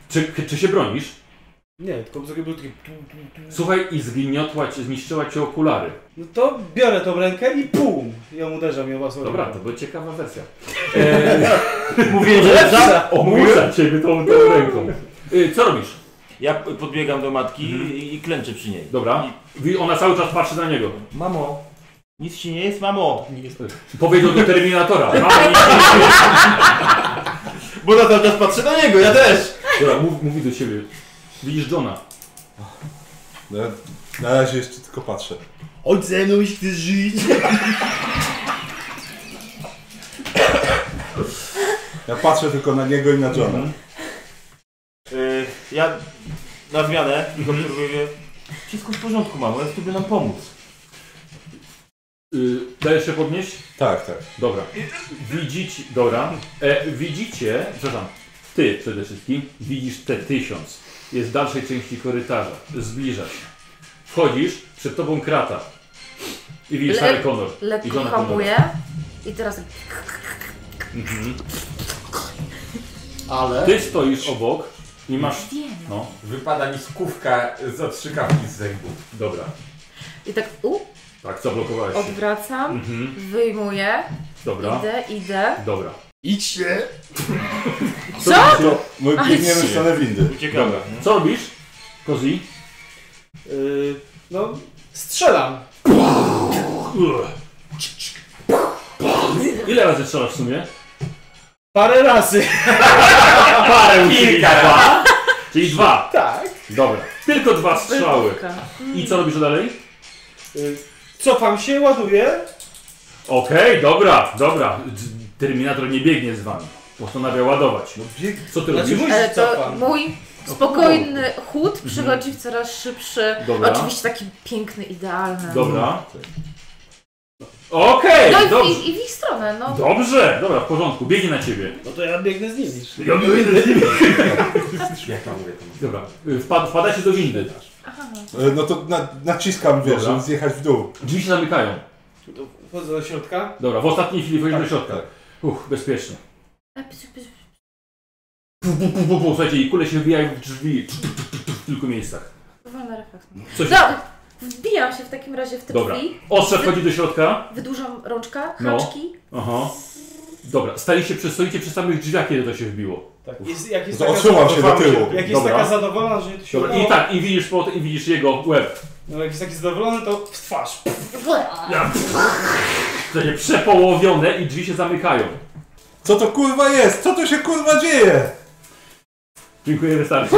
Czy, czy się bronisz?
Nie, tylko zrobił taki...
Słuchaj, i zgniotła cię, zniszczyła ci okulary.
No to biorę tą rękę i pum! Ją uderzam ją własną
Dobra, to
ręką.
była ciekawa wersja.
(laughs)
E,
Mówię, że za...
ogłusza ciebie tą, tą ręką. E, co robisz?
Ja podbiegam do matki
Mhm.
i, i klęczę przy niej.
Dobra. Wi- Ona cały czas patrzy na niego.
Mamo, nic ci nie jest, mamo!
Powiedział do
(laughs)
Terminatora. Mama, nie-
Bo na cały czas patrzę na niego, ja też!
Dobra, mów, mówi do ciebie. Widzisz Johna.
No, ja na razie jeszcze tylko patrzę.
Chodź ze mną, jeśli chcesz żyć!
Ja patrzę tylko na niego i na Johna.
Mhm.
Y, ja na zmianę, tylko
Mhm.
mm mówię, wszystko w porządku, mamo, ja chcę nam pomóc.
Y, dajesz się podnieść?
Tak, tak.
Dobra. Widzicie, dobra. E, widzicie, przepraszam, ty przede wszystkim widzisz te tysiąc. Jest w dalszej części korytarza. Zbliżasz się. Wchodzisz, przed tobą krata. I widzisz
Le-
Sarę Connor. I
Lekko
żona Connora.
hamuję i teraz
Mhm.
ale...
Ty stoisz obok i masz...
wiem.
No,
Wypada mi skówka z odstrzykawki z zębów.
dobra.
I tak u,
Tak, zablokowałeś się.
odwracam,
Mhm,
wyjmuję,
dobra.
idę, idę.
Dobra. No,
Idźcie!
Co?
To my
Ale
biegniemy w
się-
stronę windy.
Uciekamy.
Co robisz? Kozi?
Yy, no, strzelam.
Ile razy strzelasz w sumie?
Parę razy.
(laughs) Parę Kilka dwa. Czyli dwa.
Tak.
Dobra. Tylko dwa strzały. I co robisz dalej?
Yy, cofam się, ładuję.
Okej, dobra, dobra. Terminator nie biegnie z wami. Postanawia ładować.
No bieg...
Co ty
Znaczy
robisz?
mój
Ale
się
to
cofam.
mój spokojny chód przychodzi w coraz szybszy.
Mhm. Dobra.
Oczywiście taki piękny, idealny.
Dobra. Okej,
No i w,
dobrze.
i, i w ich stronę, no.
Dobrze, dobra, w porządku, biegnie na ciebie.
No to ja biegnę z nimi.
Ja biegnę
(laughs)
na ciebie.
Jak mam mówię to?
Dobra, y, wpad, wpadacie do windy.
Aha.
E, No to na, naciskam, wiesz,
Dobra.
żeby zjechać w dół.
Drzwi się zamykają.
To Wchodzę do środka.
Tak,
Dobra, w ostatniej chwili wchodzimy do środka. Uch, bezpiecznie.
E, psiu, psiu, psiu.
Pu, pu, pu, pu, pu. Słuchajcie, i kule się wbijają w drzwi tu, tu, tu, tu, w kilku miejscach.
Wolny refleks.
Coś-
No, wbijam się w takim razie w te
Dobra.
drzwi.
Ostrze wchodzi do środka.
Wydłużam rączka,
No.
haczki.
Aha. Dobra, staliście przy, stoicie przy samych drzwiach, kiedy to się wbiło. No,
Tak,
Uf.
jest, jak jest taka zadowolona- Jak jest taka zadowolona, że nie to się
Dobra,
udało.
i tak, i widzisz, po- i widzisz jego łeb.
No jak jest taki zadowolony, to w twarz.
Ja, Słuchajcie, przepołowione i drzwi się zamykają.
Co to kurwa jest? Co to się kurwa dzieje?
Dziękuję, wystarczy.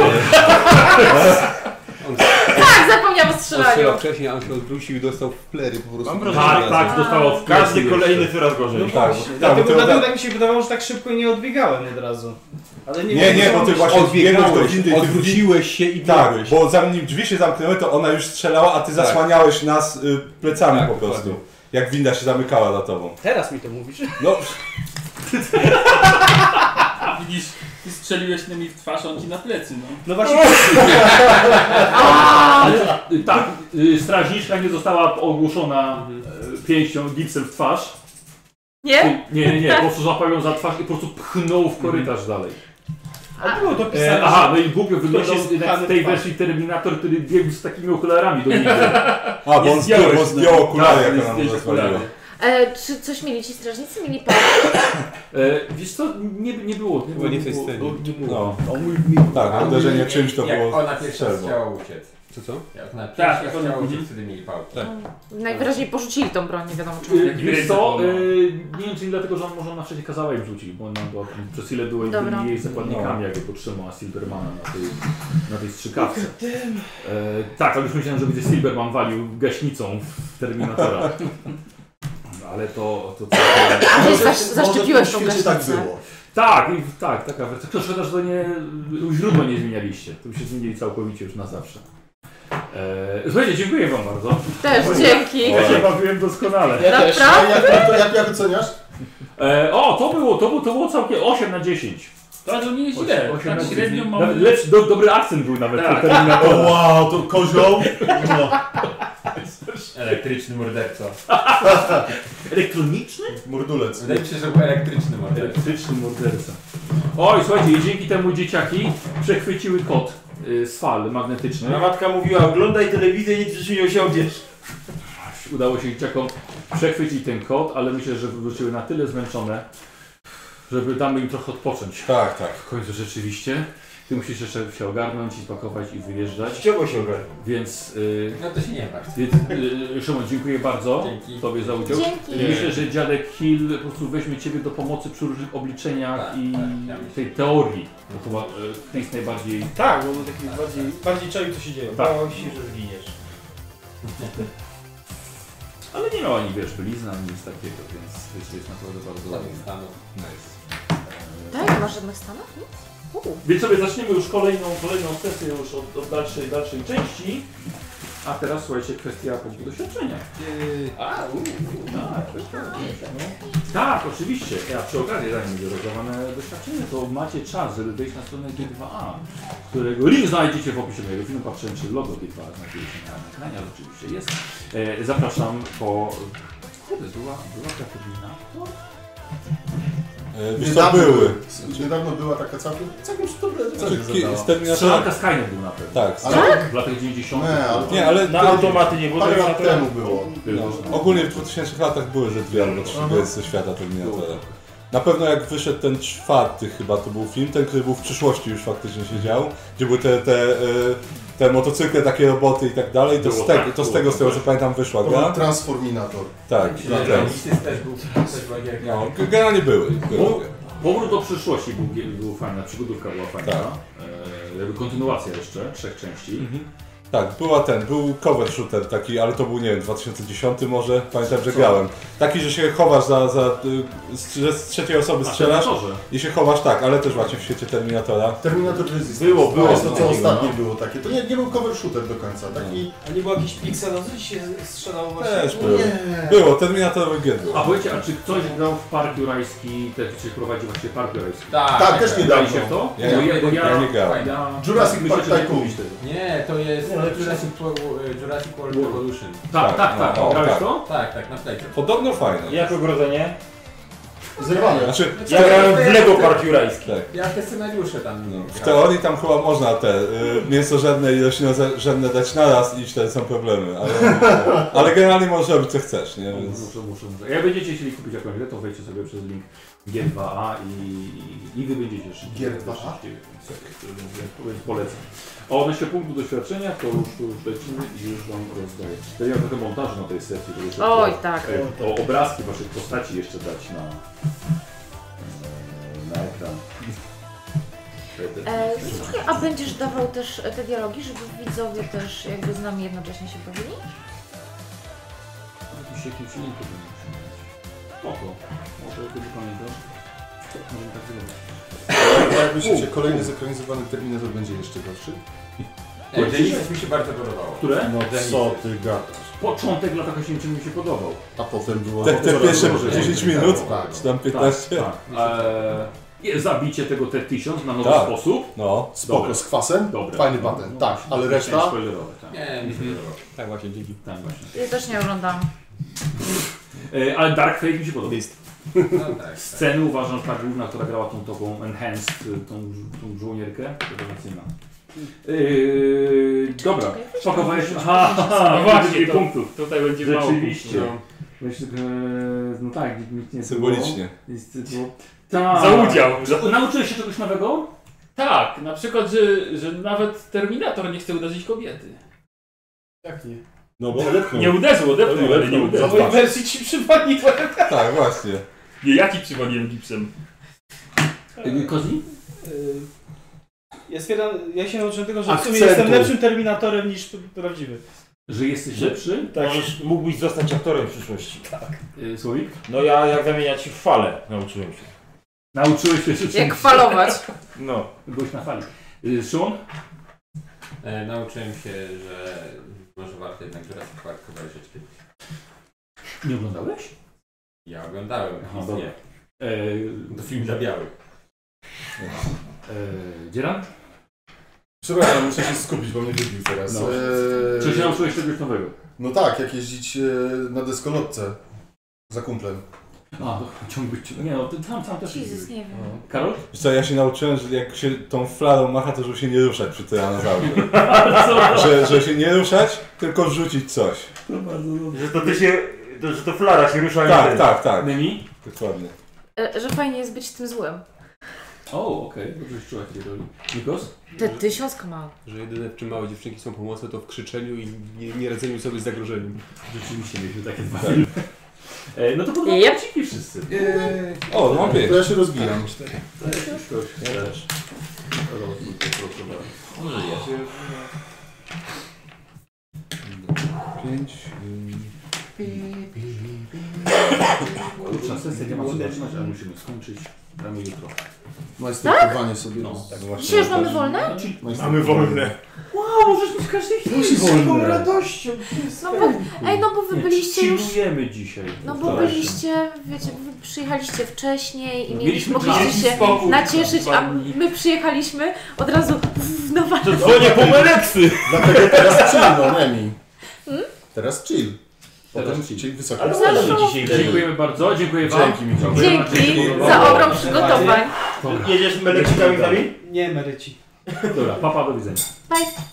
Tak, zapomniałam o
On strzelał
strzelaniu.
wcześniej, a on się odwrócił i dostał w plery po prostu.
Mam
wrażenie, Tak, że- tak, dostało w plecy Każdy jeszcze. kolejny coraz gorzej.
No
Tak,
właśnie,
tak,
dlatego,
to-
dlatego
tak.
tak mi się wydawało, że tak szybko nie odbiegałem od razu. Ale nie,
Nie,
wiem,
nie,
co
bo ty
mam-
właśnie odbiegłeś do windy i ty
odwróciłeś się i
tak, bo zanim drzwi się zamknęły, to ona już strzelała, a ty
Tak.
zasłaniałeś nas y, plecami po prostu. Jak winda się zamykała za tobą.
Teraz mi to mówisz.
(laughs)
No,
Widzisz, ty strzeliłeś nimi w twarz, a on ci na plecy, no.
(laughs)
No właśnie.
(laughs)
(laughs)
Ale, y, tak, y, strażniczka nie została ogłuszona y, pięścią, gipsem w twarz.
Nie?
Nie, nie, nie, po prostu złapał ją za twarz i po prostu pchnął w korytarz dalej.
Mhm. A było to
E,
pisane.
aha,
że-
no i głupio wyglądał
Ktoś jest
jednak w tej
pchany w
wersji Terminator, który biegł z takimi okularami do
(laughs)
niego. A,
bo on zdjął- bo zdjął
Tak,
okulary, jak ona mu zasłoniła.
E, czy coś mieli ci strażnicy? Mieli pan?
E, wiesz co, nie, nie było. Nie było, nie było, nie było. No, mój, mi,
tak, uderzenie
jak-
czymś to
jak
było
Ona pierwsza
strzelbo.
chciała uciec.
Co co?
Jak ona
Tak,
pierwsza
jak ona-
chciała uciec,
mhm.
wtedy mieli pałki.
Tak.
Najwyraźniej porzucili tą broń, nie wiadomo czemu.
Y, Wiesz co, y, nie wiem czy nie dlatego, że on może ona wcześniej kazała im rzucić, bo ona była, przez ile były
Dobra.
byli jej zakładnikami, jak go trzymała Silbermana na tej, na tej strzykawce. E, tak, ale już myślałem, że będzie Silberman walił gaśnicą w Terminatora. No, Ale to... to, to,
A ty zasz, zaszczepiłeś tą gaśnicę.
Tak, i- tak, taka wersja. Tylko szkoda, że to nie, źródło nie zmienialiście. To by się zmienili całkowicie już na zawsze. E, słuchajcie, dziękuję wam bardzo.
Też, dzięki.
Ja się bawiłem doskonale.
Ja też. A jak, jak,
Naprawdę?
jak, jak oceniasz?
E, o, to było, to, było, to było całkiem 8 na 10.
To, to nie jest źle.
Osiem
Tak
na
średnio
10.
mamy...
Nawet lepszy, do, dobry akcent był nawet.
Tak.
Tak. (laughs) Terminator.
Wow,
to kozioł. No.
Elektryczny morderca.
Elektroniczny?
Mordulec.
Wydaje mi się, że był elektryczny morderca.
Elektryczny morderca. Oj, słuchajcie, i dzięki temu dzieciaki przechwyciły kot y, z fal magnetycznych.
Moja matka mówiła, oglądaj telewizję, nic w życiu nie osiągniesz.
Udało się dzieciakom przechwycić ten kot, ale myślę, że wróciły na tyle zmęczone, żeby damy im trochę odpocząć.
Tak, tak.
W końcu rzeczywiście. Ty musisz jeszcze się ogarnąć i pakować i wyjeżdżać.
Chciałbym się ogarnąć.
Więc... y,
No to się nie martw.
Więc, y, Szymon, dziękuję bardzo Tobie za udział.
Dzięki.
I Myślę, że dziadek Hill po prostu weźmie Ciebie do pomocy przy różnych obliczeniach
Tak,
i tej teorii. Bo chyba y, to jest najbardziej...
Tak, bo był taki bardziej, bardziej czaił co się dzieje.
Tak.
Bałem się, że zginiesz.
Ale nie miała ani wiesz, blizna, ani nic takiego, więc to jest naprawdę bardzo ładne. y,
Tak, nie masz żadnych stanów? Nic? Uuu.
Więc sobie zaczniemy już kolejną, kolejną sesję już od, od dalszej, dalszej części.
A teraz słuchajcie, kwestia punktu doświadczenia. Yy, A, uuu, tak, tak, tak, no. tak, oczywiście. Ja przy okazji, zanim będzie rozdawane doświadczenie, to macie czas, żeby wejść na stronę G2A, którego link znajdziecie w opisie mojego filmu. Patrzę, czy logo G2A znajduje się na ekranie, ale oczywiście jest. E, zapraszam po... Kurde, była, była Katowina?
E, Wiesz co, były.
s- Niedawno była taka całkiem, całkiem dobra
Co,
recenzja
ki-
zadała.
z Terminatora-
Strzelanka z Kainem był na pewno.
Tak,
Ale
tak?
w latach 90.
Nie, ale-
była.
nie, ale
Na automaty nie było,
Parę
to jest
lat
na to-
temu było. No, ogólnie w 2000 latach były ze dwie albo trzy
Aha.
gry ze świata Terminatora. Na pewno jak wyszedł ten czwarty chyba to był film, ten, który był w przyszłości już faktycznie się dział, gdzie były te, te, e, te motocykle, takie roboty i tak dalej, to
Było
z tego,
tak,
to z
było
tego, z tego
tak.
co pamiętam wyszła
To
gra.
był Transforminator.
Tak,
Myślę,
na
że
ten.
Genesis też był- też była
tak
gierka.
No, generalnie były. były.
Bo- Powrót do przyszłości był, był fajny, przygodówka była fajna.
Tak.
E, jakby kontynuacja jeszcze, trzech części.
Tak, była ten, był cover shooter taki, ale to był, nie wiem, 2010 może, pamiętam, że
Co?
grałem. Taki, że się chowasz za, za, y, z- że z trzeciej osoby
A,
strzelasz
Terminatorze.
i się chowasz, tak, ale też właśnie w świecie Terminatora.
Terminator Resistance.
Było,
To
było,
jest to, co
było,
ostatnie
no.
było takie. To nie, nie był cover shooter do końca. Taki...
A nie było jakiś pikselowy, No, się strzelało właśnie?
Też
No
było.
nie.
Było, Terminatorowe giedło.
A powiecie, a czy ktoś grał w Park Jurajski, te, czy prowadził właśnie Park Jurajski?
Tak,
Tak, też niedawno.
Graliście w to?
Ja-
Bo bo
ja nie grałem.
Jurassic
myślę,
Park
że nie
Tycoon.
mówisz tego.
(laughs) Nie, to jest
Nie, ale
Jurassic, World,
e,
Jurassic World
World.
Revolution.
Tak, tak, tak.
no,
Grałeś
tak.
to?
Tak, tak, na plecie.
Podobno fajne.
Jak ogrodzenie?
Zerwane.
Znaczy, ja grałem w Lego Park Jurajski. Tak. No.
Ja te scenariusze tam nie
W teorii tam chyba można te y, mięso żadne i roślino żadne dać naraz i wtedy są problemy, ale,
(laughs)
ale generalnie możesz robić co chcesz, nie? Więc...
Muszę, muszę, muszę. Jak będziecie chcieli kupić jakąś grę, to wejdźcie sobie przez link G2A i, i, i wy będziecie szybciej.
G2A?
szybciej, sobie, mówię, więc Polecam. A odnośnie punktu doświadczenia, to już, to już lecimy i już wam rozdaję. Ja miałem trochę montażu na tej sesji, żeby jeszcze
Oj,
to-
tak.
e, To obrazki waszych postaci jeszcze dać na, e, na ekran.
E, słuchaj, a będziesz dawał też te dialogi, żeby widzowie też jakby z nami jednocześnie się bawili?
Jakiś jakiś link powinien przyjmować. Spoko. Może jak będzie pamiętał. Możemy tak zrobić.
A Jak myślicie, kolejny zekranizowany terminator będzie jeszcze gorszy?
Ej, Genesis mi się bardzo podobało.
Które?
No
Genesis.
co ty gadasz?
Początek lat 80 mi się podobał.
A potem było...
Tak, te
coraz
pierwsze
gorzej.
10 minut,
Tak.
czy tam 15.
Tak, tak. Eee, je- zabicie tego T1000 na nowy
Tak.
sposób.
No.
Spoko,
Dobre.
z kwasem?
Dobre.
Fajny
No,
patent, tak, ale
Chciałem
reszta?
spoilerować, tak.
Nie, mi się podobało.
Tak właśnie, dzięki.
Tak, właśnie.
Ja też nie oglądam.
E, ale Dark Fate mi się podoba.
No tak.
Sceny uważam, że ta główna, która grała tą taką enhanced, y, tą, żu- tą żołnierkę, rewelacyjna. Yy, dobra,
czekaj, weź
pakowałeś...
tam
Ha, ha, ha, właśnie,
to-
punktów.
Tutaj będzie mało.
Rzeczywiście. Myślę, że... No tak, nic nie było.
Symbolicznie.
Nic nie było. Tak.
Za udział. Za...
Za- Nauczyłeś się czegoś nowego?
Tak, na przykład, że, że nawet Terminator nie chce uderzyć kobiety.
Jak nie?
No bo odepchnął.
Nie uderzył, odepchnął, ale nie
Odepchnął.
uderzył.
Za-
W mojej wersji ci przypomniałem.
Tak, właśnie.
Nie, jaki przywaliłem gipsem?
Kozi?
E,
Y, Ja stwierdzam, ja się nauczyłem tego, że w sumie
Akcentu.
jestem lepszym terminatorem niż p- prawdziwy.
Że jesteś lepszy?
Tak.
Możesz, mógłbyś zostać aktorem w przyszłości.
Yy, Słowik?
No ja jak zamieniać się w fale nauczyłem się.
Nauczyłeś się rzeczy.
Jak falować.
No.
Byłeś na fali. Yy, Szymon?
E, nauczyłem się, że może warto jednak Jurassic Park obejrzeć.
Nie oglądałeś?
Ja oglądałem,
Aha,
nic
dobra.
nie.
Yy,
To film dla białych.
yy, Dzieran?
Przepraszam, muszę się skupić, bo mnie wybił teraz.
No.
Eee,
Czy się nauczyłeś czegoś nowego?
No tak, jak jeździć e, na deskolotce za kumplem.
A, ciągle, ciągle. Nie no, ty tam, tam też
Jezus,
jest.
nie wiem.
Karol?
Wiesz co, ja się nauczyłem, że jak się tą flarą macha, to żeby się nie ruszać przy tyranozaurze. że, że się nie ruszać, tylko rzucić coś.
Że to ty się, to, że to flara się rusza nie
Tak,
ty.
tak, tak.
Nymi?
Dokładnie.
E, Że fajnie jest być tym złym.
O, okej, dobrze się czuła w tej roli. Nikos?
Te tysiąc kamał.
Że jedyne w czym małe dziewczynki są pomocne to w krzyczeniu i nie, nie radzeniu sobie z zagrożeniem. Tak.
Rzeczywiście mieliśmy takie dwa filmy. E, No to podobno
Yep.
yep. wszyscy.
E,
O, no mam pięć.
To ja się rozbijam.
Ja też. Rozumiem, poproszę.
On żyje.
Kurczę, sesja nie ma co zaczynać, ale musimy skończyć. Gramy jutro.
Majsterkowanie sobie.
No.
No właśnie,
Dzisiaj już
no
mamy
tak.
wolne?
Mamy
tak,
wolne.
Wow, możesz mieć każdej chwili.
radością!
No bo, ej, no bo wy byliście już...
Chillujemy dzisiaj.
No bo byliście, wiecie, wy przyjechaliście wcześniej i
No,
mieliście,
mieliśmy
mogliście
czas.
się
Spokój,
nacieszyć, a
pani.
my przyjechaliśmy od razu w nowa...
To dzwonię po Meleksy!
Dlatego
(laughs)
teraz chill, no Nemi. Teraz chill. Potem
Teraz chill.
chill wysoko.
Ale
Zawsze.
ładnie dzisiaj leży.
Dziękujemy bardzo, dziękuję wam.
Dzięki Michał.
Dzięki za ogrom przygotowań.
Dobra,
Jedziesz Meleksykami z nami?
Nie emeryci.
dobra, papa, do widzenia.
Bye.